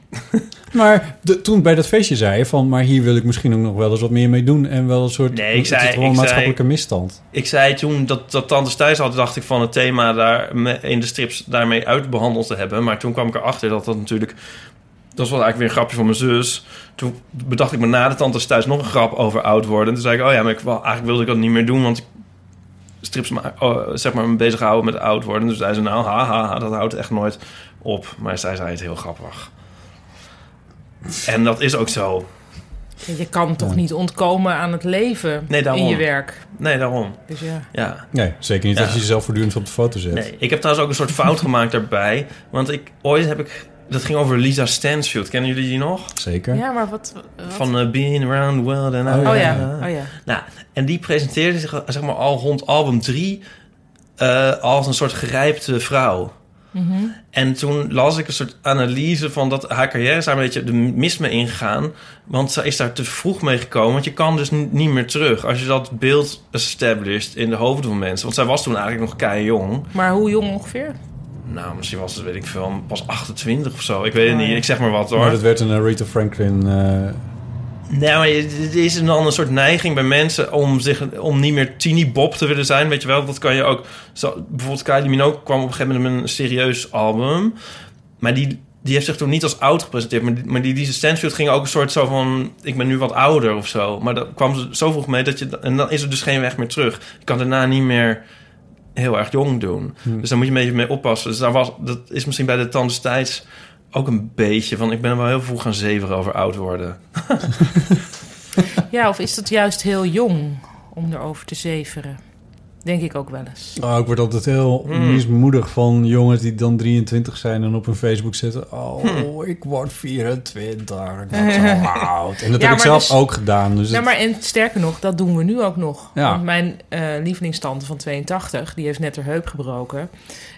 B: Maar de- toen bij dat feestje zei je van, maar hier wil ik misschien ook nog wel eens wat meer mee doen. En wel een soort,
D: Nee, ik
B: het is
D: zei-
B: gewoon
D: ik zei-
B: maatschappelijke misstand.
D: Ik zei toen dat, dat Tantes Thuis had, dacht ik van het thema daar me- in de strips daarmee uitbehandeld te hebben. Maar toen kwam ik erachter dat dat natuurlijk. Dat was eigenlijk weer een grapje van mijn zus. Toen bedacht ik me na de Tantes Thuis nog een grap over oud worden. En toen zei ik, oh ja, maar ik, wel, eigenlijk wilde ik dat niet meer doen, want ik strips ma- oh, zeg maar me bezighouden met oud worden. Dus zei ze, nou, haha, dat houdt echt nooit op. Maar zij zei het heel grappig. En dat is ook zo.
C: Ja, Je kan toch niet ontkomen aan het leven
D: Nee, daarom.
C: in je werk.
D: Nee, daarom.
C: Dus ja.
D: Ja.
B: Nee, zeker niet
D: Ja.
B: dat je jezelf voortdurend op de foto zet.
D: Nee, ik heb trouwens ook een soort fout gemaakt daarbij. Want ik, ooit heb ik... Dat ging over Lisa Stansfield. Kennen jullie die nog?
B: Zeker.
C: Ja, maar wat... wat-
D: Van eh, Being Around the World. En
C: oh ja, oh ja.
D: Nou, en die presenteerde zich zeg maar, al rond album 3 eh, als een soort gerijpte vrouw.
C: Mhm.
D: En toen las ik een soort analyse van dat haar carrière is daar een beetje de mis mee ingegaan. Want ze is daar te vroeg mee gekomen. Want je kan dus n- niet meer terug als je dat beeld established in de hoofden van mensen. Want zij was toen eigenlijk nog kei jong.
C: Maar hoe jong ongeveer?
D: Nou, misschien was het, weet ik veel, pas 28 of zo. Ik weet het niet, ik zeg maar wat hoor.
B: Maar dat werd een eh, Rita Franklin... eh,
D: Nee, maar het is dan een soort neiging bij mensen om, zich, om niet meer teeny bob te willen zijn. Weet je wel, dat kan je ook... Zo, bijvoorbeeld Kylie Minogue kwam op een gegeven moment met een serieus album. Maar die, die heeft zich toen niet als oud gepresenteerd. Maar die, maar die Lisa Stansfield ging ook een soort zo van... Ik ben nu wat ouder of zo. Maar daar kwam ze zo vroeg mee dat je... En dan is er dus geen weg meer terug. Je kan daarna niet meer heel erg jong doen. Dus daar moet je een beetje mee oppassen. Dus daar was, dat is misschien bij de Tandes Tijds ook een beetje van... Ik ben wel heel vroeg gaan zeveren over oud worden.
C: Ja, of is dat juist heel jong om erover te zeveren? Denk ik ook wel eens.
B: Oh, ik word altijd heel
C: Mm.
B: mismoedig van jongens die dan 23 zijn en op hun Facebook
C: Hm.
B: zetten... Oh, ik word 24, ik word zo oud. En dat
C: Ja,
B: heb ik
C: maar
B: zelf
C: dus-
B: ook gedaan. Dus
C: Nou,
B: het-
C: maar en sterker nog, dat doen we nu ook nog.
B: Ja.
C: Want mijn eh lievelingstante van 82, die heeft net haar heup gebroken.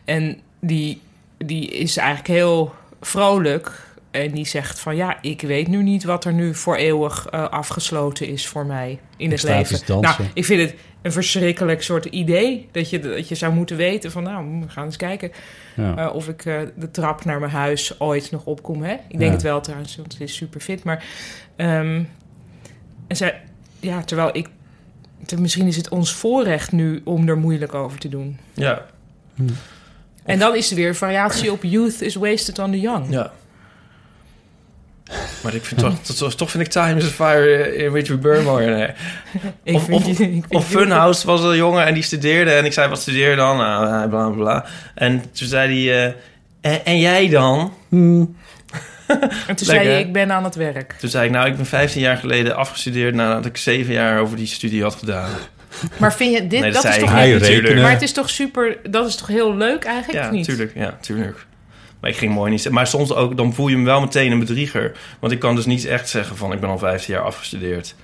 C: En die, die is eigenlijk heel vrolijk. En die zegt van ja, ik weet nu niet wat er nu voor eeuwig eh, afgesloten is voor mij in het
B: Extatisch
C: leven.
B: dansen.
C: Nou, ik vind het een verschrikkelijk soort idee dat je, dat je zou moeten weten van nou, we gaan eens kijken.
B: ja.
C: Eh, of ik eh, de trap naar mijn huis ooit nog opkom. Hè? Ik denk
B: Ja.
C: het wel trouwens, want het is super fit. Maar ehm, en zij, ja, terwijl ik. te- misschien is het ons voorrecht nu om er moeilijk over te doen.
D: Ja,
C: En dan is er weer variatie op youth is wasted on the young.
D: ja. Maar ik vind toch, toch, toch vind ik Time is a Fire in Richard Burmore.
C: Ik
D: Of,
C: vind
D: of,
C: die- ik vind
D: of
C: die-
D: Funhouse was een jongen en die studeerde. En ik zei, wat studeer je dan? Nou, eh, bla, bla, bla. En toen zei hij, eh, en, en jij dan?
C: En toen
D: Lekker,
C: zei
D: hè?
C: je, ik ben aan het werk.
D: Toen zei ik, nou, ik ben 15 jaar geleden afgestudeerd... nadat ik 7 jaar over die studie had gedaan.
C: Maar vind je, dit,
D: Nee,
C: dat,
D: dat,
C: is
D: zei
C: toch...
D: ik
B: Hij
D: niet, natuurlijk.
B: rekenen.
C: Maar het is toch super... Dat is toch heel leuk eigenlijk,
D: Ja,
C: of niet?
D: tuurlijk. Ja, tuurlijk. Maar ik ging mooi niet... Maar soms ook, dan voel je hem wel meteen een bedrieger. Want ik kan dus niet echt zeggen van... ik ben al 15 jaar afgestudeerd.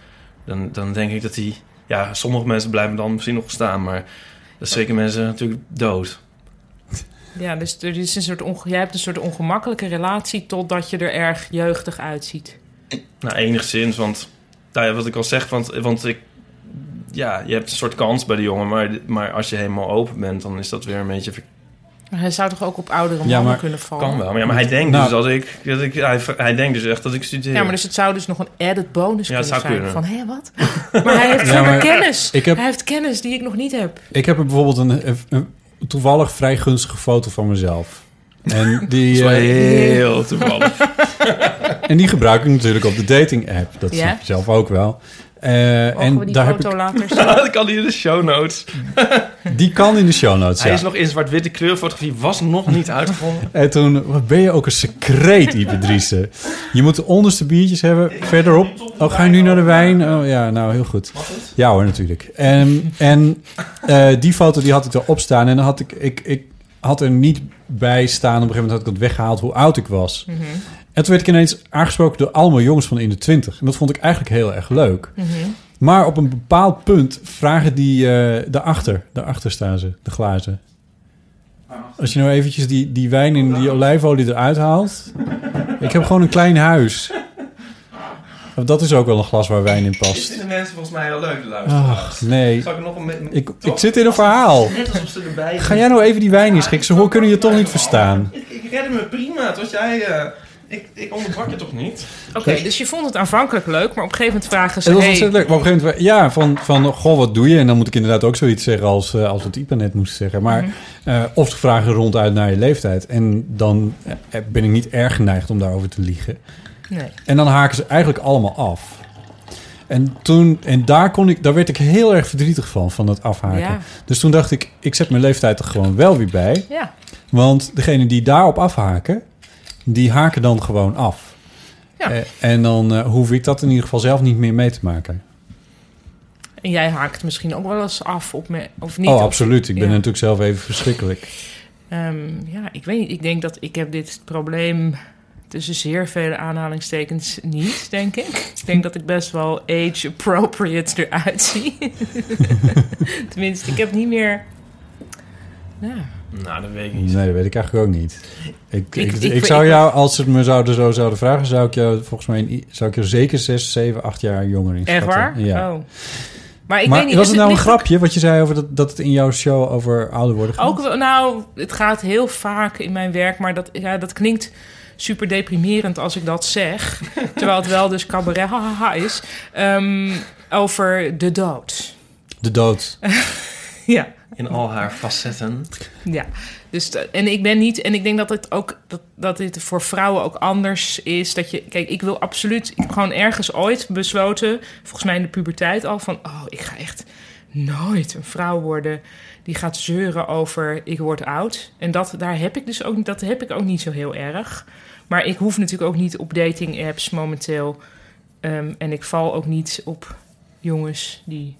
D: Dan, dan denk ik dat hij... Ja, sommige mensen blijven dan misschien nog staan... maar dan schrikken mensen natuurlijk dood.
C: Ja, dus er is een soort onge- jij hebt een soort ongemakkelijke relatie... totdat je er erg jeugdig uitziet.
D: Nou, enigszins, want... Nou ja, wat ik al zeg, want, want ik... Ja, je hebt een soort kans bij de jongen... Maar, maar als je helemaal open bent, dan is dat weer een beetje... ver-
C: Maar hij zou toch ook op oudere
B: Ja,
C: mannen
B: maar-
C: kunnen vallen?
D: Kan wel, maar, ja, maar hij denkt
B: Nou.
D: dus dat ik... Dat ik hij, hij denkt dus echt dat ik studeer.
C: Ja, maar dus het zou dus nog een added bonus
D: Ja,
C: kunnen
D: het zou
C: zijn.
D: kunnen.
C: Van, hé, wat? Maar hij heeft
B: Ja,
C: verder
B: maar
C: kennis.
B: ik heb-
C: Hij heeft kennis die ik nog niet heb.
B: Ik heb er bijvoorbeeld een, een- een toevallig vrij gunstige foto van mezelf. En die,
D: Dat is wel
B: eh,
D: heel toevallig.
B: en die gebruik ik natuurlijk op de dating app. Dat
C: Ja?
B: snap je zelf ook wel. Eh,
C: Mogen we
B: en
C: die
B: daar heb
C: foto
B: ik,
C: later zien?
D: dat kan hier in de show notes.
B: die kan in de show notes.
D: Hij
B: ja.
D: is nog in zwart-witte kleurfotografie, was nog niet uitgevonden.
B: En toen, wat ben je ook een secreet, Ipe Driessen. Je moet de onderste biertjes hebben, verderop. Oh, ga je nu naar de wijn? Oh ja, nou, heel goed. Ja hoor, natuurlijk. En, en eh, die foto die had ik erop staan. En dan had ik, ik, ik had er niet bij staan. Op een gegeven moment had ik dat weggehaald, hoe oud ik was. En toen werd ik ineens aangesproken door allemaal jongens van in de twintig. En dat vond ik eigenlijk heel erg leuk. Maar op een bepaald punt vragen die... eh daarachter, daarachter staan ze, de glazen. Als je nou eventjes die, die wijn en die olijfolie eruit haalt. Ik heb gewoon een klein huis. Dat is ook wel een glas waar wijn in past.
D: vinden mensen volgens mij heel leuk te luisteren.
B: Ach, nee.
D: ik nog een...
B: Ik, ik zit in een verhaal.
D: Net alsof ze erbij
B: Ga jij nou even die wijn inschikken? Ze hoor- kunnen je toch niet verstaan.
D: Ik, ik redde me prima, tot jij... eh, ik, ik onderbrak je toch niet?
C: Oké, dus je vond het aanvankelijk leuk, maar op een gegeven moment vragen ze...
B: Het was
C: hey,
B: ontzettend leuk. Maar op een gegeven moment, ja, van, van goh, wat doe je? En dan moet ik inderdaad ook zoiets zeggen als, eh, als wat Ipa net moest zeggen. Maar,
C: Mhm.
B: eh, of ze vragen ronduit naar je leeftijd. En dan eh, ben ik niet erg geneigd om daarover te liegen.
C: Nee.
B: En dan haken ze eigenlijk allemaal af. En, toen, en daar, kon ik, daar werd ik heel erg verdrietig van, van dat afhaken.
C: Ja.
B: Dus toen dacht ik, ik zet mijn leeftijd er gewoon wel weer bij.
C: Ja,
B: Want degene die daarop afhaken, die haken dan gewoon af.
C: Ja.
B: Eh, en dan eh, hoef ik dat in ieder geval zelf niet meer mee te maken.
C: en jij haakt misschien ook wel eens af op me, of niet?
B: oh,
C: Of-
B: absoluut. Ik ben
C: ja.
B: natuurlijk zelf even verschrikkelijk.
C: Ehm, ja, ik weet niet. Ik denk dat ik heb dit probleem tussen zeer vele aanhalingstekens niet, denk ik. Ik denk dat ik best wel age-appropriate eruit zie. Tenminste, ik heb niet meer... Ja,
D: Nou, dat weet ik niet.
B: Nee, dat weet ik eigenlijk ook niet. Ik, ik,
C: Ik-
B: ik,
C: ik-
B: zou
C: ik-
B: jou, als ze het me zouden, zo zouden vragen, zou ik jou volgens mij in- zou ik jou zeker 6, 7, 8 jaar jonger in
C: echt waar?
B: Ja.
C: Oh. Maar ik
B: maar
C: weet niet... dus
B: was het nou een
C: ligt ook-
B: grapje wat je zei over dat, dat het in jouw show over ouder worden gaat?
C: Ook wel, nou, het gaat heel vaak in mijn werk, maar dat, ja, dat klinkt super deprimerend als ik dat zeg. terwijl het wel dus cabaret hahaha is. Ehm, over de dood.
B: De dood.
C: Ja.
D: In al haar facetten.
C: Ja, dus dat- en ik ben niet, en ik denk dat het ook dat, dat dit voor vrouwen ook anders is. Dat je, kijk, ik wil absoluut, ik heb gewoon ergens ooit besloten, volgens mij in de puberteit al, van oh, ik ga echt nooit een vrouw worden die gaat zeuren over ik word oud. En dat daar heb ik dus ook, dat heb ik ook niet zo heel erg. Maar ik hoef natuurlijk ook niet op dating apps momenteel. Ehm, en ik val ook niet op jongens die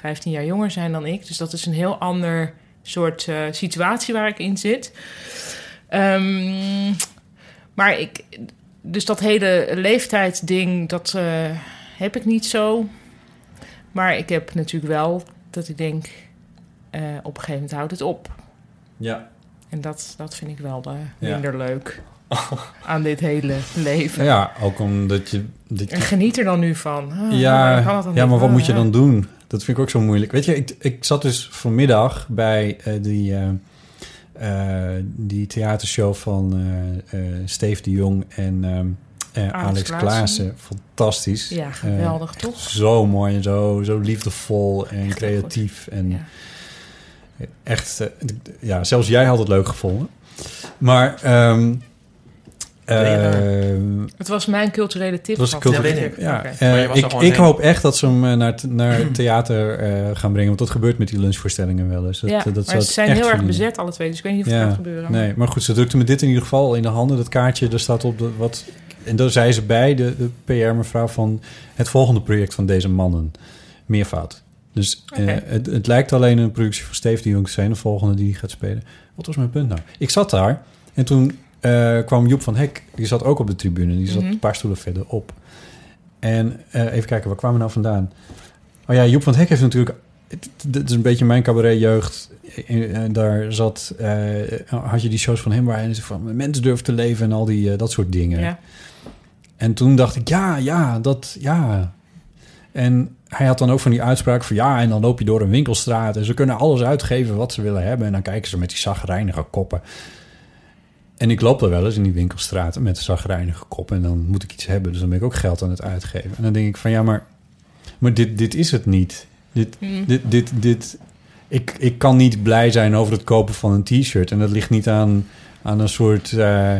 C: 15 jaar jonger zijn dan ik. Dus dat is een heel ander soort eh, situatie waar ik in zit. Ehm, maar ik, dus dat hele leeftijdsding, dat eh, heb ik niet zo. Maar ik heb natuurlijk wel dat ik denk, eh, op een gegeven moment houdt het op.
B: Ja.
C: En dat, dat vind ik wel eh,
B: Ja.
C: minder leuk aan dit hele leven.
B: Ja, ook omdat je... dat je-
C: En geniet er dan nu van. Ah,
B: ja,
C: ik kan het dan
B: ja,
C: niet.
B: maar wat
C: Ah,
B: moet je
C: ja.
B: dan doen? Dat vind ik ook zo moeilijk. Weet je, ik, ik zat dus vanmiddag bij eh, die, eh, eh, die theatershow van eh, eh, Steve de Jong en ehm, eh,
C: Alex
B: Alex
C: Klaassen.
B: Klaassen. Fantastisch.
C: Ja,
B: Eh,
C: geweldig, toch?
B: zo mooi en zo, zo liefdevol en
C: Echt heel
B: creatief. En
C: Ja.
B: echt, eh, d- d- ja, zelfs jij had het leuk gevonden. Maar ehm, Ehm,
C: Het was mijn culturele
B: dat
C: tip.
B: was een
C: vast.
B: culturele-
D: Ja, weet ik.
B: ja,
C: Oké.
B: eh,
D: Maar je was er
B: ik,
D: gewoon
B: ik
D: heen.
B: hoop echt dat ze hem eh, naar, het- naar het theater eh, gaan brengen. Want dat gebeurt met die lunchvoorstellingen wel eens. Dat, eh,
C: ja,
B: dat
C: maar
B: zou
C: ze
B: ik
C: zijn
B: echt
C: heel erg
B: verdienen.
C: bezet, alle twee. Dus ik weet niet of het gaat gebeuren.
B: Nee, maar goed, ze drukte me dit in ieder geval in de handen. Dat kaartje, daar staat op de, wat... En daar zei ze bij, de, de PR-mevrouw, van het volgende project van deze mannen. Meervoud. Dus eh,
C: Oké.
B: het, het lijkt alleen een productie van Steve de Jong te zijn, de volgende die gaat spelen. Wat was mijn punt nou? Ik zat daar en toen eh, kwam Joep van Hek, die zat ook op de tribune. Die zat
C: Mhm.
B: een paar stoelen verderop. En eh, even kijken, waar kwamen we nou vandaan? Oh ja, Joep van het Hek heeft natuurlijk... het- Dit is een beetje mijn cabaretjeugd. En- En daar zat... eh, had je die shows van hem waar hij van... Mensen durven te leven en al die, eh, dat soort dingen.
C: Ja.
B: En toen dacht ik, ja, ja, dat, ja. En hij had dan ook van die uitspraak van... Ja, en dan loop je door een winkelstraat... en ze kunnen alles uitgeven wat ze willen hebben... en dan kijken ze met die zagrijnige koppen. En ik loop er wel eens in die winkelstraten met zagrijnige koppen... en dan moet ik iets hebben, dus dan ben ik ook geld aan het uitgeven. En dan denk ik van, ja, maar... Maar dit, dit is het niet. Dit, dit, dit, dit. Ik, ik kan niet blij zijn over het kopen van een t-shirt. En dat ligt niet aan, aan een soort. eh,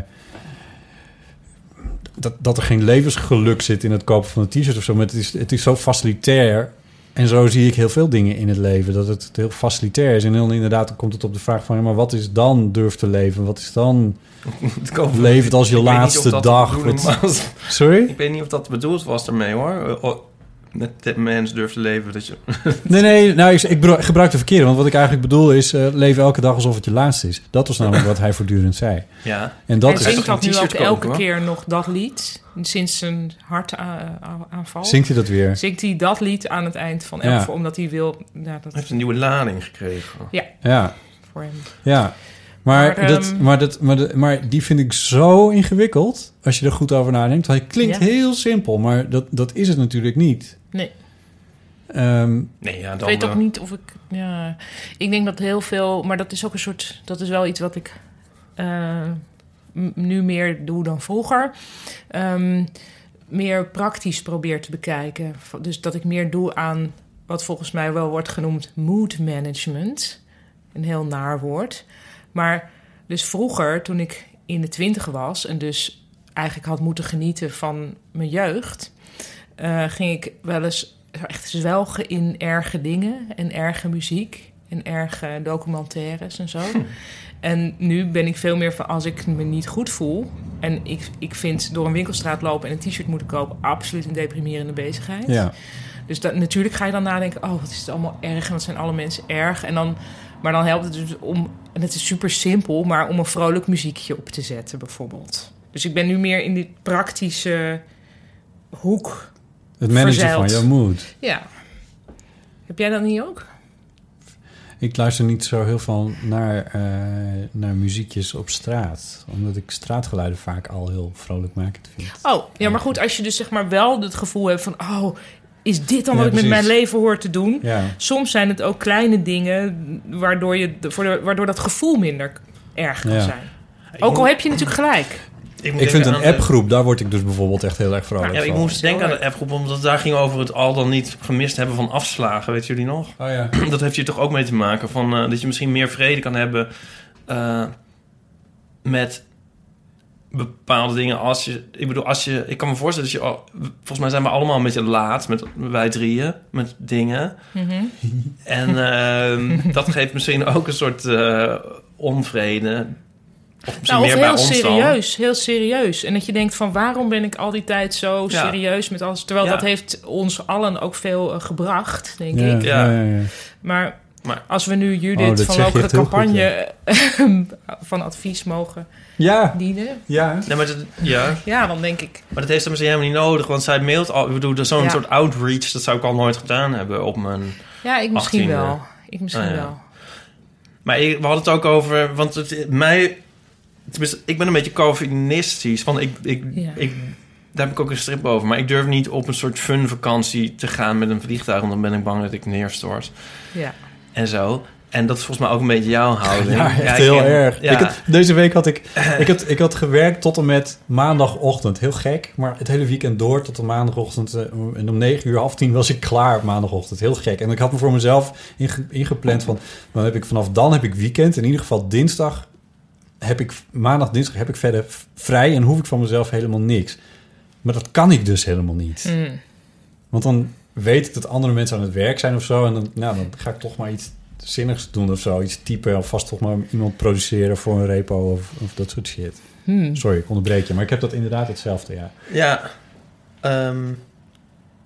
B: dat, dat er geen levensgeluk zit in het kopen van een t-shirt of zo. Maar het is, het is zo facilitair. En zo zie ik heel veel dingen in het leven. Dat het heel facilitair is. En dan inderdaad dan komt het op de vraag van... Ja, maar wat is dan durf te leven? Wat is dan...
D: Het kopen-
B: Leef het als je
D: Ik weet niet of
B: laatste
D: dat
B: dag.
D: de bedoeling
B: Wat-
D: was.
B: Sorry?
D: Ik weet niet of dat bedoeld was ermee hoor. Eh, o- Met de mens durft te leven. Dat je...
B: Nee, nee, nou, ik, ik bro- gebruik de verkeerde. Want wat ik eigenlijk bedoel is... eh, leef elke dag alsof het je laatste is. Dat was namelijk wat hij voortdurend zei.
D: Ja.
B: En
C: Dat hij
B: dat is,
D: toch
C: zingt
D: geen
C: dat nu ook
D: t-shirt kopen,
C: elke
D: hoor?
C: keer nog dat lied. Sinds zijn hartaanval.
B: zingt hij dat weer.
C: zingt hij dat lied aan het eind van
B: Ja.
C: elke voor omdat hij wil... Ja, dat
D: Hij heeft een nieuwe lading gekregen.
B: Ja,
C: voor hem.
B: ja. Maar,
C: Maar,
B: dat,
C: ehm,
B: maar, dat, maar, dat- maar die vind ik zo ingewikkeld, als je er goed over nadenkt. Hij klinkt
C: Ja.
B: heel simpel, maar dat, dat is het natuurlijk niet.
C: Nee.
B: Ehm,
D: Nee, ja,
C: Ik
D: dan,
C: weet ook
D: eh,
C: niet of ik... Ja, ik denk dat heel veel... Maar dat is ook een soort... Dat is wel iets wat ik eh, m- nu meer doe dan vroeger. Ehm, meer praktisch probeer te bekijken. V- Dus dat ik meer doe aan wat volgens mij wel wordt genoemd mood management. Een heel naar woord. Maar dus vroeger, toen ik in de twintig was... en dus eigenlijk had moeten genieten van mijn jeugd... eh, ging ik wel eens nou, echt zwelgen in erge dingen en erge muziek... En erge documentaires en zo. En nu ben ik veel meer van als ik me niet goed voel. En ik, ik vind door een winkelstraat lopen en een t-shirt moeten kopen absoluut een deprimerende bezigheid.
B: ja.
C: Dus dat, natuurlijk ga je dan nadenken, oh, wat is het allemaal erg en wat zijn alle mensen erg. En dan, maar dan helpt het dus om, en het is super simpel, maar om een vrolijk muziekje op te zetten bijvoorbeeld. Dus ik ben nu meer in die praktische hoek.
B: Het managen
C: Verzeild.
B: van je moed.
C: Ja. Heb jij dat niet ook?
B: Ik luister niet zo heel veel naar, eh, naar muziekjes op straat. Omdat ik straatgeluiden vaak al heel vrolijk vind.
C: Oh, ja, maar goed, als je dus zeg maar wel het gevoel hebt van, oh, is dit dan wat
B: Ja,
C: ik met
B: precies.
C: mijn leven hoor te doen?
B: Ja.
C: Soms zijn het ook kleine dingen waardoor, je, de- voor de- waardoor dat gevoel minder erg kan
B: Ja.
C: zijn. Ook al heb je natuurlijk gelijk.
D: ik, moet
B: Ik vind
D: denken
B: een
D: aan de-
B: appgroep, daar word ik dus bijvoorbeeld echt heel erg vrolijk
D: Ja, ik
B: van.
D: moest denken aan de appgroep, omdat daar ging over het al dan niet gemist hebben van afslagen. Weet jullie nog?
B: Oh ja.
D: dat heeft hier toch ook mee te maken. Van, eh, dat je misschien meer vrede kan hebben eh, met bepaalde dingen. Als je, ik bedoel, als je, ik kan me voorstellen dat je... al- volgens mij zijn we allemaal een beetje laat, met, wij drieën, met dingen.
C: Mhm.
D: En ehm, dat geeft misschien ook een soort eh, onvrede. Of
C: Nou,
D: misschien
C: of
D: meer bij
C: heel
D: ons dan.
C: serieus, heel serieus. En dat je denkt van waarom ben ik al die tijd zo
D: Ja.
C: serieus met alles. Terwijl
D: Ja.
C: dat heeft ons allen ook veel eh, gebracht, denk
B: Ja,
C: ik.
B: ja, ja, ja.
C: Maar,
D: Maar-
C: als we nu
B: Oh, dat
C: Judith
B: zeg
C: van
B: je
C: Lokeren
B: echt heel
C: Campagne van advies mogen
B: Ja,
C: dienen.
B: ja.
D: Nee, maar dat, ja.
C: Ja, dan denk ik.
D: Maar dat heeft ze misschien helemaal niet nodig, want zij mailt al. Ik bedoel, dat is zo'n
C: Ja.
D: soort outreach, dat zou ik al nooit gedaan hebben op mijn.
C: Ja, ik misschien
D: 18e.
C: wel. Ik misschien
D: Ah, ja.
C: wel.
D: Maar ik- we hadden het ook over, want het, mij, tenminste, ik ben een beetje Calvinistisch, want ik, ik,
C: Ja.
D: ik, daar heb ik ook een strip over. Maar ik durf niet op een soort fun vakantie te gaan met een vliegtuig, want dan ben ik bang dat ik neerstort
C: Ja.
D: en zo. En dat is volgens mij ook een beetje jouw houding.
B: Ja, echt
D: ik
B: heel
D: ken-
B: erg.
D: Ja.
B: Ik had- deze week had ik, ik, had, ik had gewerkt tot en met maandagochtend. Heel gek, maar het hele weekend door tot de maandagochtend. eh, en om 9 uur, half tien was ik klaar op maandagochtend. Heel gek. En ik had me voor mezelf inge- ingepland van... Dan heb ik, vanaf dan heb ik weekend. In ieder geval dinsdag heb ik maandag, dinsdag heb ik verder v- vrij en hoef ik van mezelf helemaal niks. Maar dat kan ik dus helemaal niet.
D: Hmm.
C: Mm.
B: Want dan weet ik dat andere mensen aan het werk zijn of zo. En dan, nou, dan ga ik toch maar iets zinnigs doen of zo. Iets typen of vast toch maar iemand produceren voor een repo of, of dat soort shit.
C: Hmm.
B: Sorry, ik onderbreek je. Maar ik heb dat inderdaad hetzelfde, ja.
D: Ja. ehm,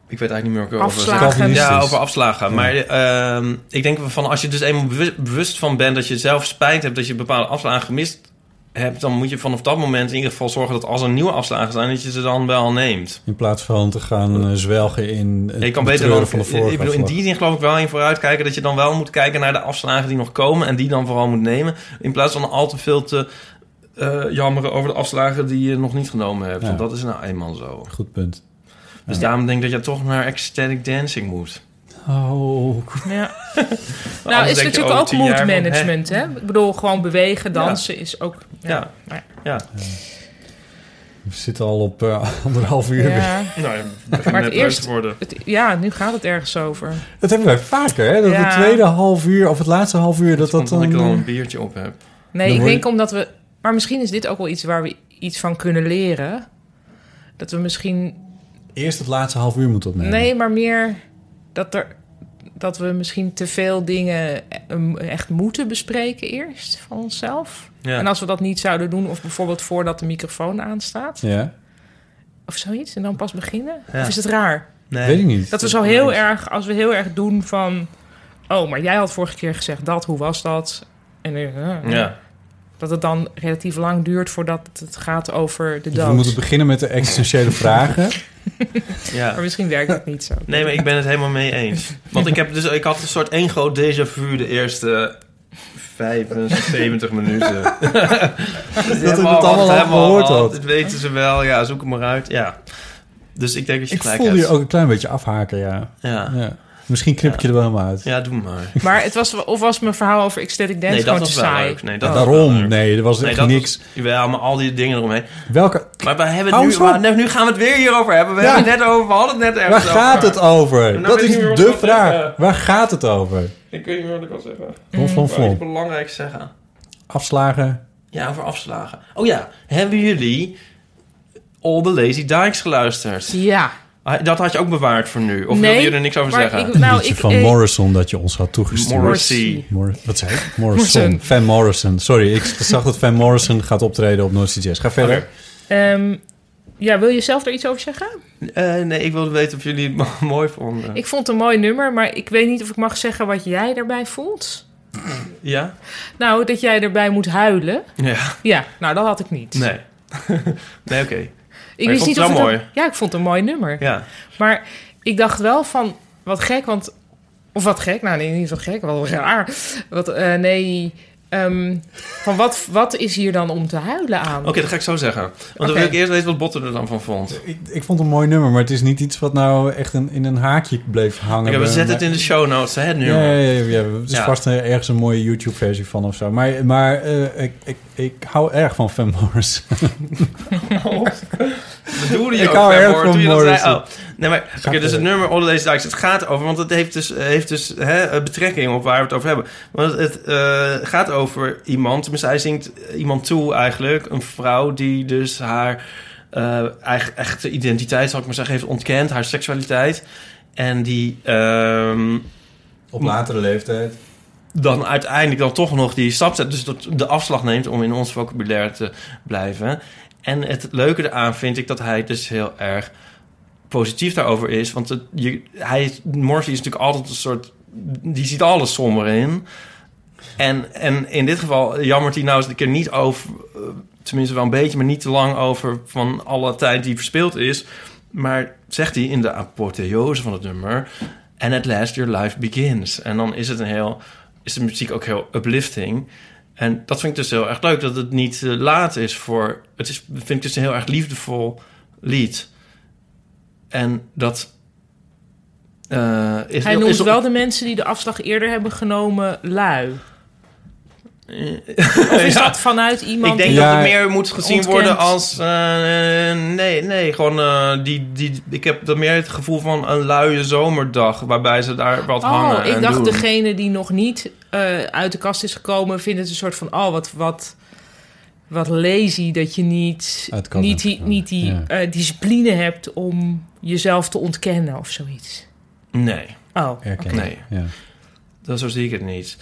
D: ik weet eigenlijk niet meer over
C: Afslagen.
D: Ja,
B: Calvinistisch.
D: over afslagen. Maar ehm, ik denk van als je dus eenmaal bewust, bewust van bent dat je zelf spijt hebt dat je bepaalde afslagen gemist hebt, dan moet je vanaf dat moment in ieder geval zorgen dat als er nieuwe afslagen zijn, dat je ze dan wel neemt.
B: In plaats van te gaan eh, zwelgen in het
D: je kan beter
B: betreuren
D: dan,
B: van de vorige
D: ik bedoel, in
B: afslag.
D: die zin geloof ik wel in vooruitkijken dat je dan wel moet kijken naar de afslagen die nog komen en die dan vooral moet nemen, in plaats van al te veel te eh, jammeren over de afslagen die je nog niet genomen hebt.
B: Ja.
D: Want dat is nou eenmaal zo.
B: Goed punt.
D: Dus daarom denk ik dat je toch naar ecstatic dancing moet.
B: Oh,
C: Ja.
D: denk
C: nou, is
D: je,
C: natuurlijk
D: oh,
C: ook
D: tien jaar
C: mood
D: van, hè?
C: management, hè? Ik bedoel, gewoon bewegen, dansen is ook...
D: Ja.
C: Ja.
D: Ja.
B: we zitten al op eh, anderhalf uur weer.
C: Ja.
D: Nou ja,
C: Maar het eerst-
D: worden.
C: Het- ja, nu gaat het ergens over.
B: Dat hebben wij vaker, hè? Dat
C: Ja.
B: het tweede half uur of het laatste half uur... dat dat
D: Omdat ik
B: dan... eh,
D: er al een biertje op heb.
B: Dan
C: Nee, ik
B: word
C: denk
B: je-
C: omdat we. Maar misschien is dit ook wel iets waar we iets van kunnen leren. Dat we misschien.
B: Eerst het laatste half uur moet opnemen.
C: Nee, maar meer dat er. Dat we misschien te veel dingen eh, echt moeten bespreken eerst van onszelf.
D: Ja.
C: En als we dat niet zouden doen, of bijvoorbeeld voordat de microfoon aanstaat,
B: Ja,
C: of zoiets, en dan pas beginnen.
D: Ja.
C: Of is het raar?
D: Nee.
B: weet ik niet.
C: Dat we zo heel erg, als we heel erg doen van. Oh, maar jij had vorige keer gezegd dat, hoe was dat? En eh, eh,
D: Ja.
C: dat het dan relatief lang duurt voordat het gaat over de
B: Dus
C: dood.
B: we moeten beginnen met de existentiële vragen.
C: Maar
D: ja.
C: misschien werkt dat niet zo.
D: Nee, maar ik ben het helemaal mee eens. Want ik, heb dus, ik had een soort één groot déjà vu de eerste 75 minuten. dat
B: we het allemaal al gehoord had.
D: Dat weten ze wel. Ja, zoek het maar uit. Ja. Dus ik denk dat je
B: Ik
D: gelijk
B: voelde je
D: hebt.
B: ook een klein beetje afhaken, ja.
D: Ja.
B: ja. Misschien knip ik je er wel helemaal uit.
D: ja, doe maar.
C: Maar het was, of was mijn verhaal over ecstatic dance
D: Nee, dat
C: gewoon te
D: was wel
C: saai?
D: leuk. Nee, dat
B: Ja,
D: was wel
B: daarom,
D: leuk.
B: nee, er was
D: Nee,
B: echt
D: dat
B: niks.
D: was- Jawel, maar al die dingen eromheen.
B: Welke,
D: Maar we hebben
B: Hou
D: het nu,
B: eens op.
D: we- nee, nu gaan we het weer hierover hebben. We
B: Ja.
D: hebben het net over, we hadden het net ergens
B: waar gaat
D: over.
B: het over?
D: Nou
B: dat is
D: weet ik niet meer
B: de
D: wat ik wil
B: vraag.
D: zeggen.
B: Waar gaat het over?
D: Ik weet niet meer wat ik wil zeggen.
B: Von, von,
D: Ik wou
B: von.
D: iets belangrijks zeggen.
B: Afslagen.
D: Ja, over afslagen. Oh ja, hebben jullie All the Lazy Dikes geluisterd?
C: Ja.
D: Ah, Dat had je ook bewaard voor nu. Of
C: nee,
D: wil je er niks over
C: maar
D: zeggen?
C: Ik, nou,
B: liedje
C: ik,
B: van
C: eh,
B: Morrison dat je ons had toegestuurd.
D: Morrissey.
B: Mor- wat zei ik? Morrison.
C: Morrison.
B: Van Morrison. Sorry, ik zag dat Van Morrison gaat optreden op Noordse Jazz. Ga verder.
D: Oké.
C: ehm, ja, wil je zelf er iets over zeggen?
D: Eh, nee, ik wilde weten of jullie het mo- mooi vonden.
C: Ik vond het een mooi nummer, maar ik weet niet of ik mag zeggen wat jij daarbij voelt.
D: Ja?
C: Nou, dat jij erbij moet huilen.
D: Ja,
C: Ja, nou, dat had ik niet.
D: nee. nee, oké.
C: Ik
D: Maar je vond het wel
C: of het
D: mooi.
C: Een, ja, ik vond het een mooi nummer.
D: Ja.
C: Maar ik dacht wel van, wat gek, want... Of wat gek, nou nee, niet wat gek, wel raar. Wat, eh, nee, ehm, van wat, wat is hier dan om te huilen aan?
D: Oké, dat ga ik zo zeggen. Want dan
C: Oké.
D: wil ik eerst weten wat Botten er dan van vond.
B: Ik, ik vond het een mooi nummer, maar het is niet iets wat nou echt een, in een haakje bleef hangen.
D: Oké, we
B: bij
D: zetten
B: mij.
D: het in de show notes, hè, nu.
B: Ja, ja, ja, ja, er is
D: Ja.
B: vast eh, ergens een mooie YouTube-versie van of zo. Maar, maar eh, ik, ik, ik hou erg van Van Morrison.
D: bedoelde je
B: Ik
D: ook
B: hou
D: Van
B: erg
D: Morrison,
B: van
D: toen je dat zei?
B: Morrison.
D: Oh, nee, maar oké,
B: verder.
D: dus het nummer All Days Dikes, het gaat over, want het heeft dus, heeft dus hè, eh, betrekking op waar we het over hebben. Want het eh, gaat over iemand, tenminste hij zingt iemand toe eigenlijk, een vrouw die dus haar eh, eigen, echte identiteit, zal ik maar zeggen, heeft ontkend, haar seksualiteit. En die ehm,
B: Op latere leeftijd.
D: dan uiteindelijk dan toch nog die stap zet. Dus dat de afslag neemt om in ons vocabulaire te blijven. En het leuke eraan vind ik dat hij dus heel erg positief daarover is. Want het, je, hij, Morphy is natuurlijk altijd een soort... Die ziet alles somber in. En, en in dit geval jammert hij nou eens een keer niet over... eh, Tenminste wel een beetje, maar niet te lang over van alle tijd die verspild is. Maar zegt hij in de apotheose van het nummer... And at last your life begins. En dan is het een heel is de muziek ook heel uplifting. En dat vind ik dus heel erg leuk, dat het niet eh, laat is voor... Het is, vind ik dus een heel erg liefdevol lied. En dat... eh, is,
C: Hij
D: is-
C: noemt
D: is-
C: wel de mensen die de afslag eerder hebben genomen lui.
D: Eh, Ja,
C: Of is dat vanuit iemand
D: ik denk
B: Ja,
D: dat het meer moet gezien
C: ontkent.
D: worden als... eh, eh, nee, nee, gewoon eh, die, die... Ik heb dan meer het gevoel van een luie zomerdag... waarbij ze daar wat
C: Oh,
D: hangen
C: ik
D: en
C: dacht
D: doen.
C: degene die nog niet eh, uit de kast is gekomen... vindt het een soort van, oh, wat, wat wat lazy dat je niet,
B: Ah, het kan
C: niet, die,
B: ook,
C: niet die
B: ja.
C: eh, discipline hebt om jezelf te ontkennen of zoiets.
D: Nee.
C: Oh,
B: Herkennen.
D: Nee.
B: Ja.
D: Dat, zo zie ik het niet.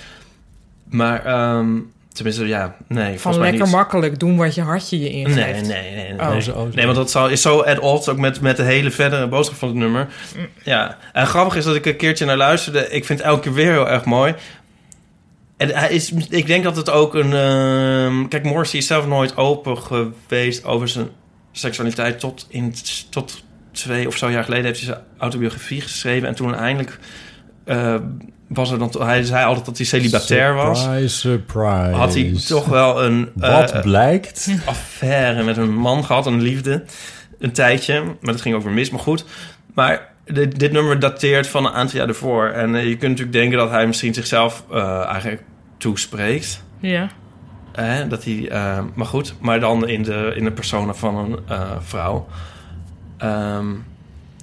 D: Maar, ehm, tenminste, ja, nee. volgens
C: van
D: mij
C: lekker
D: niet.
C: makkelijk doen wat je hartje je ingeeft.
D: Nee, nee, nee. Nee,
C: Oh,
D: nee.
B: zo, oh, zo.
D: nee want dat zou- is zo at odds ook met, met de hele verdere boodschap van het nummer. Ja, en grappig is dat ik een keertje naar luisterde. Ik vind het elke keer weer heel erg mooi. En hij is, ik denk dat het ook een... ehm, kijk, Morrissey is zelf nooit open geweest over zijn seksualiteit. Tot, in, tot twee of zo jaar geleden heeft hij zijn autobiografie geschreven. En toen eindelijk... eh, was er dan, hij zei altijd dat hij celibatair was.
B: Surprise, surprise.
D: Had hij toch eh, wel een...
B: Wat
D: eh,
B: blijkt?
D: affaire met een man gehad, een liefde. Een tijdje, maar dat ging ook weer mis, maar goed. Maar dit, dit nummer dateert van een aantal jaar ervoor. En eh, je kunt natuurlijk denken dat hij misschien zichzelf eh, eigenlijk toespreekt.
C: Ja.
D: Hè? Dat hij, eh, maar goed, maar dan in de, in de persona van een eh, vrouw. Ehm,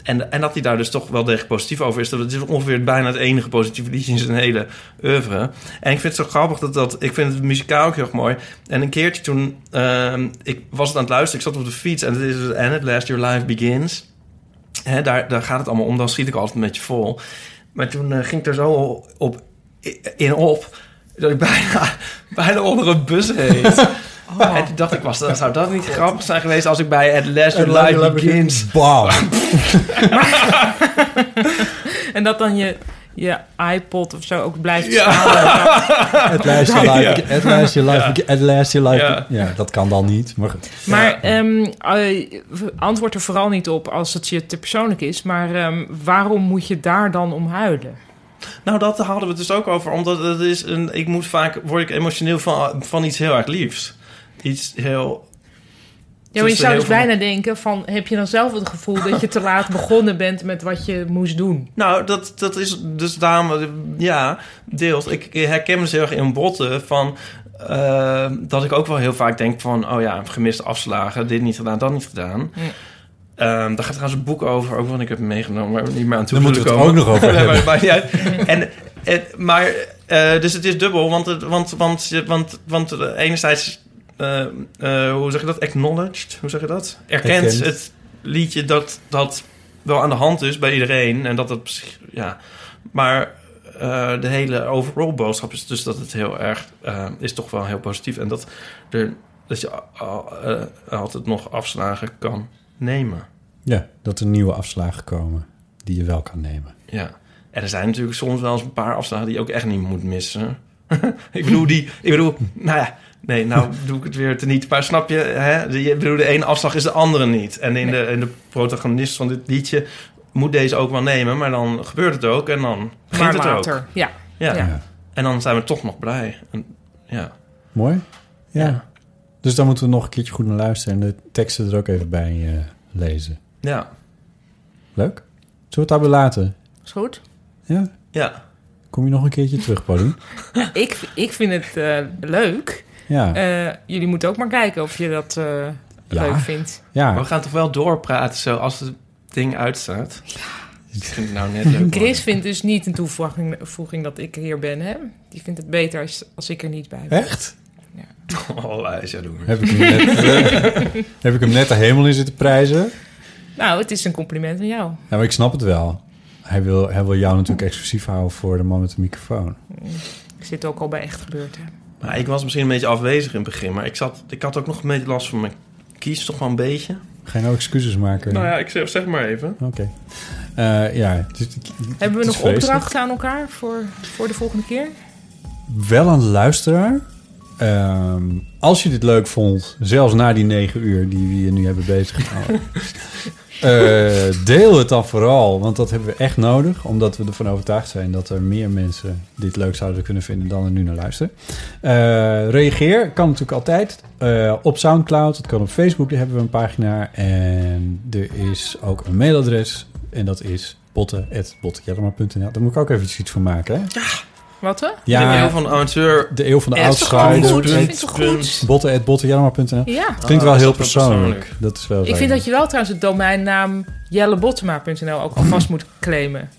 D: en, en dat hij daar dus toch wel degelijk positief over is. Dat is ongeveer bijna het enige positieve liedje in zijn hele oeuvre. En ik vind het zo grappig dat dat... Ik vind het muzikaal ook heel erg mooi. En een keertje toen... ehm, ik was het aan het luisteren. Ik zat op de fiets. En het is het And At Last Your Life Begins. Hè, daar, daar gaat het allemaal om. Dan schiet ik altijd een beetje vol. Maar toen eh, ging ik er zo op, in op... dat ik bijna, bijna onder een bus reed. En toen dacht ik, was, dat- zou dat niet grappig zijn geweest... als ik bij At Last Your Life Begins...
B: Bam.
C: En dat dan je, je iPod of zo ook blijft
D: Ja.
C: staan.
B: Het lijstje live. Het lijstje live. Het lijstje live.
D: Ja.
B: Ja, dat kan dan niet. Maar goed.
C: Maar ehm, eh, antwoord er vooral niet op als het je te persoonlijk is. Maar ehm, waarom moet je daar dan om huilen?
D: Nou, dat hadden we het dus ook over. Omdat het is een. Ik moet vaak. Word ik emotioneel van, van iets heel erg liefs. Iets heel.
C: Ja, maar je
D: Tussen
C: zou
D: heel
C: dus
D: veel-
C: bijna denken van... heb je dan zelf het gevoel dat je te laat begonnen bent met wat je moest doen?
D: Nou, dat, dat is dus daarom. eh, Ja, deels. Ik herken me dus heel erg in botten van. eh, dat ik ook wel heel vaak denk van. Oh ja, gemiste afslagen. Dit niet gedaan, dat niet gedaan.
C: Ja.
D: Ehm, daar gaat trouwens een boek over, ook wat ik heb meegenomen, waar we niet meer aan toe
B: Daar
D: zullen
B: moeten we het
D: komen.
B: ook nog over
D: Nee,
B: hebben.
D: maar, maar, ja. en, en, maar eh, dus het is dubbel, want, het, want, want, je- want, want eh, enerzijds, eh, eh, hoe zeg je dat? Acknowledged, hoe zeg je dat? Erkent,
B: Erkent.
D: het liedje dat dat wel aan de hand is bij iedereen en dat het, misschien- ja, maar eh, de hele overall boodschap is dus dat het heel erg, eh, is toch wel heel positief en dat, er, dat je a- a- eh, altijd nog afslagen kan nemen.
B: Ja, dat er nieuwe afslagen komen die je wel kan nemen.
D: Ja. En er zijn natuurlijk soms wel eens een paar afslagen die je ook echt niet moet missen. ik bedoel, die. Ik bedoel, nou ja. Nee, nou doe ik het weer te niet. Maar snap je, hè? De, ik bedoel, de ene afslag is de andere niet. En in, de, in de protagonist van dit liedje moet deze ook wel nemen. Maar dan gebeurt het ook en dan begint
C: maar
D: het
C: later.
D: ook.
C: Ja.
D: Ja.
C: Ja.
D: En dan zijn we toch nog blij. En, ja.
B: Mooi? Ja.
D: Ja.
B: Dus daar moeten we nog een keertje goed naar luisteren en de teksten er ook even bij eh, lezen.
D: Ja.
B: Leuk? Zullen we het daarbij laten?
C: Is goed?
B: Ja?
D: Ja.
B: Kom je nog een keertje terug, Paulien?
C: Ik, ik vind het eh, leuk.
B: Ja.
C: Eh, jullie moeten ook maar kijken of je dat eh, leuk vindt.
D: Maar
B: ja.
D: we gaan toch wel doorpraten zo als het ding uitstaat. Ik vind het nou net leuk.
C: Chris vindt dus niet een toevoeging voeging dat ik hier ben, hè? Die vindt het beter als, als ik er niet bij ben.
B: Echt?
D: Oh, hij is jaloers.
B: Heb ik, hem net, eh, heb ik hem net de hemel in zitten prijzen?
C: Nou, het is een compliment aan jou.
B: Ja, maar ik snap het wel. Hij wil, hij wil jou natuurlijk exclusief houden voor de man met de microfoon.
C: Ik zit ook al bij echt gebeurd, hè?
D: Maar ik was misschien een beetje afwezig in het begin, maar ik, zat, ik had ook nog een beetje last van mijn kies, toch wel een beetje.
B: Ga je nou excuses maken?
D: Nou ja, ik zeg, zeg maar even.
B: Oké. Eh, ja, het is- het
C: Hebben we
B: is
C: nog
B: feestelijk.
C: opdrachten aan elkaar voor, voor de volgende keer?
B: Wel een luisteraar. Ehm, als je dit leuk vond, zelfs na die negen uur die we hier nu hebben bezig gehouden. eh, deel het dan vooral, want dat hebben we echt nodig. Omdat we ervan overtuigd zijn dat er meer mensen dit leuk zouden kunnen vinden dan er nu naar luisteren. Eh, reageer kan natuurlijk altijd eh, op Soundcloud. Het kan op Facebook, daar hebben we een pagina. En er is ook een mailadres. En dat is botten.bottenjellerman.nl. Daar moet ik ook even iets van maken. Hè?
C: Wat, hè?
D: Ja. Ik ben heel van amateur.
B: De eeuw van de
D: Ja, dat is toch gewoon
B: oudschuider.
C: Goed, ik
D: punt,
C: vind het toch goed?
B: Botten.bottenjarma.nl
C: Ja.
B: Het klinkt
D: Ah,
B: wel
D: dat is
B: heel
D: wel
B: persoonlijk.
D: persoonlijk.
B: Dat is wel
C: Ik vind dat je wel trouwens het domeinnaam jellebottema.nl ook alvast moet claimen.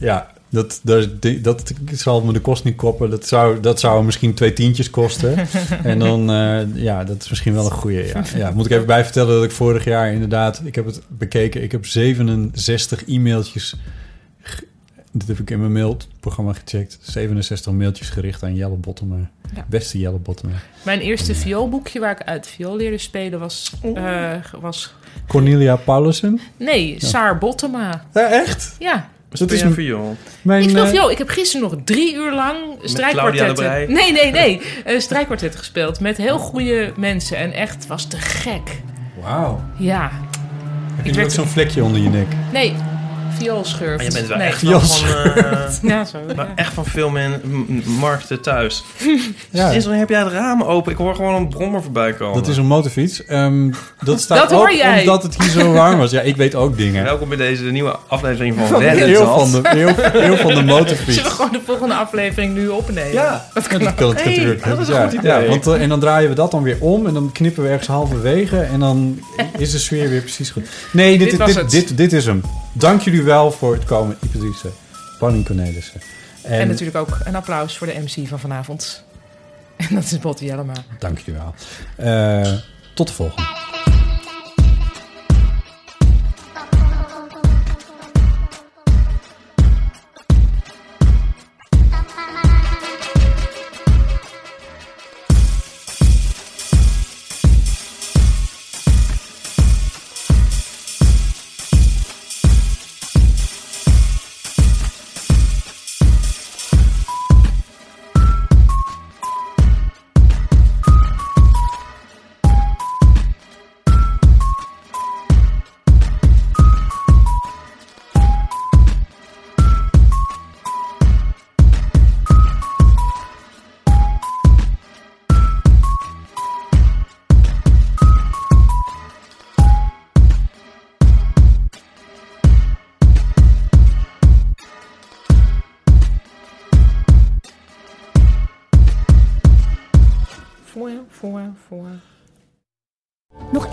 B: Ja, Dat, dat, dat zal me de kost niet koppen. Dat zou, dat zou misschien twee tientjes kosten. en dan, eh, ja, dat is misschien wel een goede. Ja. ja, moet ik even bij vertellen dat ik vorig jaar inderdaad, ik heb het bekeken, ik heb 67 e-mailtjes. ge- Dit heb ik in mijn mailprogramma gecheckt. 67 mailtjes gericht aan Jelle Bottomer.
C: Ja.
B: Beste Jelle Bottomer.
C: Mijn eerste vioolboekje waar ik uit viool leerde spelen was... eh, was
B: Cornelia Paulussen.
C: nee, Saar Bottema.
B: Ja, echt?
C: Ja.
B: Dat is
D: Speel jij viool?
B: mijn...
C: ik
B: eh,
C: speel viool. Ik heb gisteren nog drie uur lang
D: Claudia de
C: strijkkwartetten...
D: Brij.
C: Nee, nee, nee. eh, strijkkwartet gespeeld met heel goede mensen. En echt, het was te gek.
B: Wauw.
C: Ja.
B: Heb
C: Ik
B: je ook
C: werd-
B: zo'n vlekje onder je nek?
C: Nee, vioolschurft.
D: Maar je bent wel
C: nee.
D: echt wel
B: Jos.
D: van, eh,
C: Ja, zo.
D: maar
C: ja.
D: echt van veel men, m- markten thuis. Sinds wanneer heb jij het raam open? Ik hoor gewoon een brommer voorbij komen.
B: Dat is een motorfiets. Ehm, dat staat
C: Dat hoor
B: ook
C: jij.
B: omdat het hier zo warm was. Ja, ik weet ook dingen.
D: Welkom bij deze nieuwe aflevering van,
B: Van de
D: Reddit.
B: eeuw van de, eeuw, eeuw van de motorfiets.
C: Zullen we gewoon de volgende aflevering nu opnemen?
B: Ja, dat kan, dat kan
D: Hey,
B: natuurlijk.
D: dat is een
B: ja.
D: goed idee.
B: Ja, want, eh, en dan draaien we dat dan weer om en dan knippen we ergens halverwege en dan is de sfeer weer precies goed. Nee, dit,
C: Dit
B: dit,
C: was
B: dit,
C: het.
B: dit, dit is hem. Dank jullie wel voor het komen, Ipatrice, Panning Cornelissen.
C: En,
B: En,
C: natuurlijk ook een applaus voor de MC van vanavond. En dat is Botte Jellema.
B: dank jullie wel. Eh, tot de volgende.
C: Voor, voor, voor.
A: Nog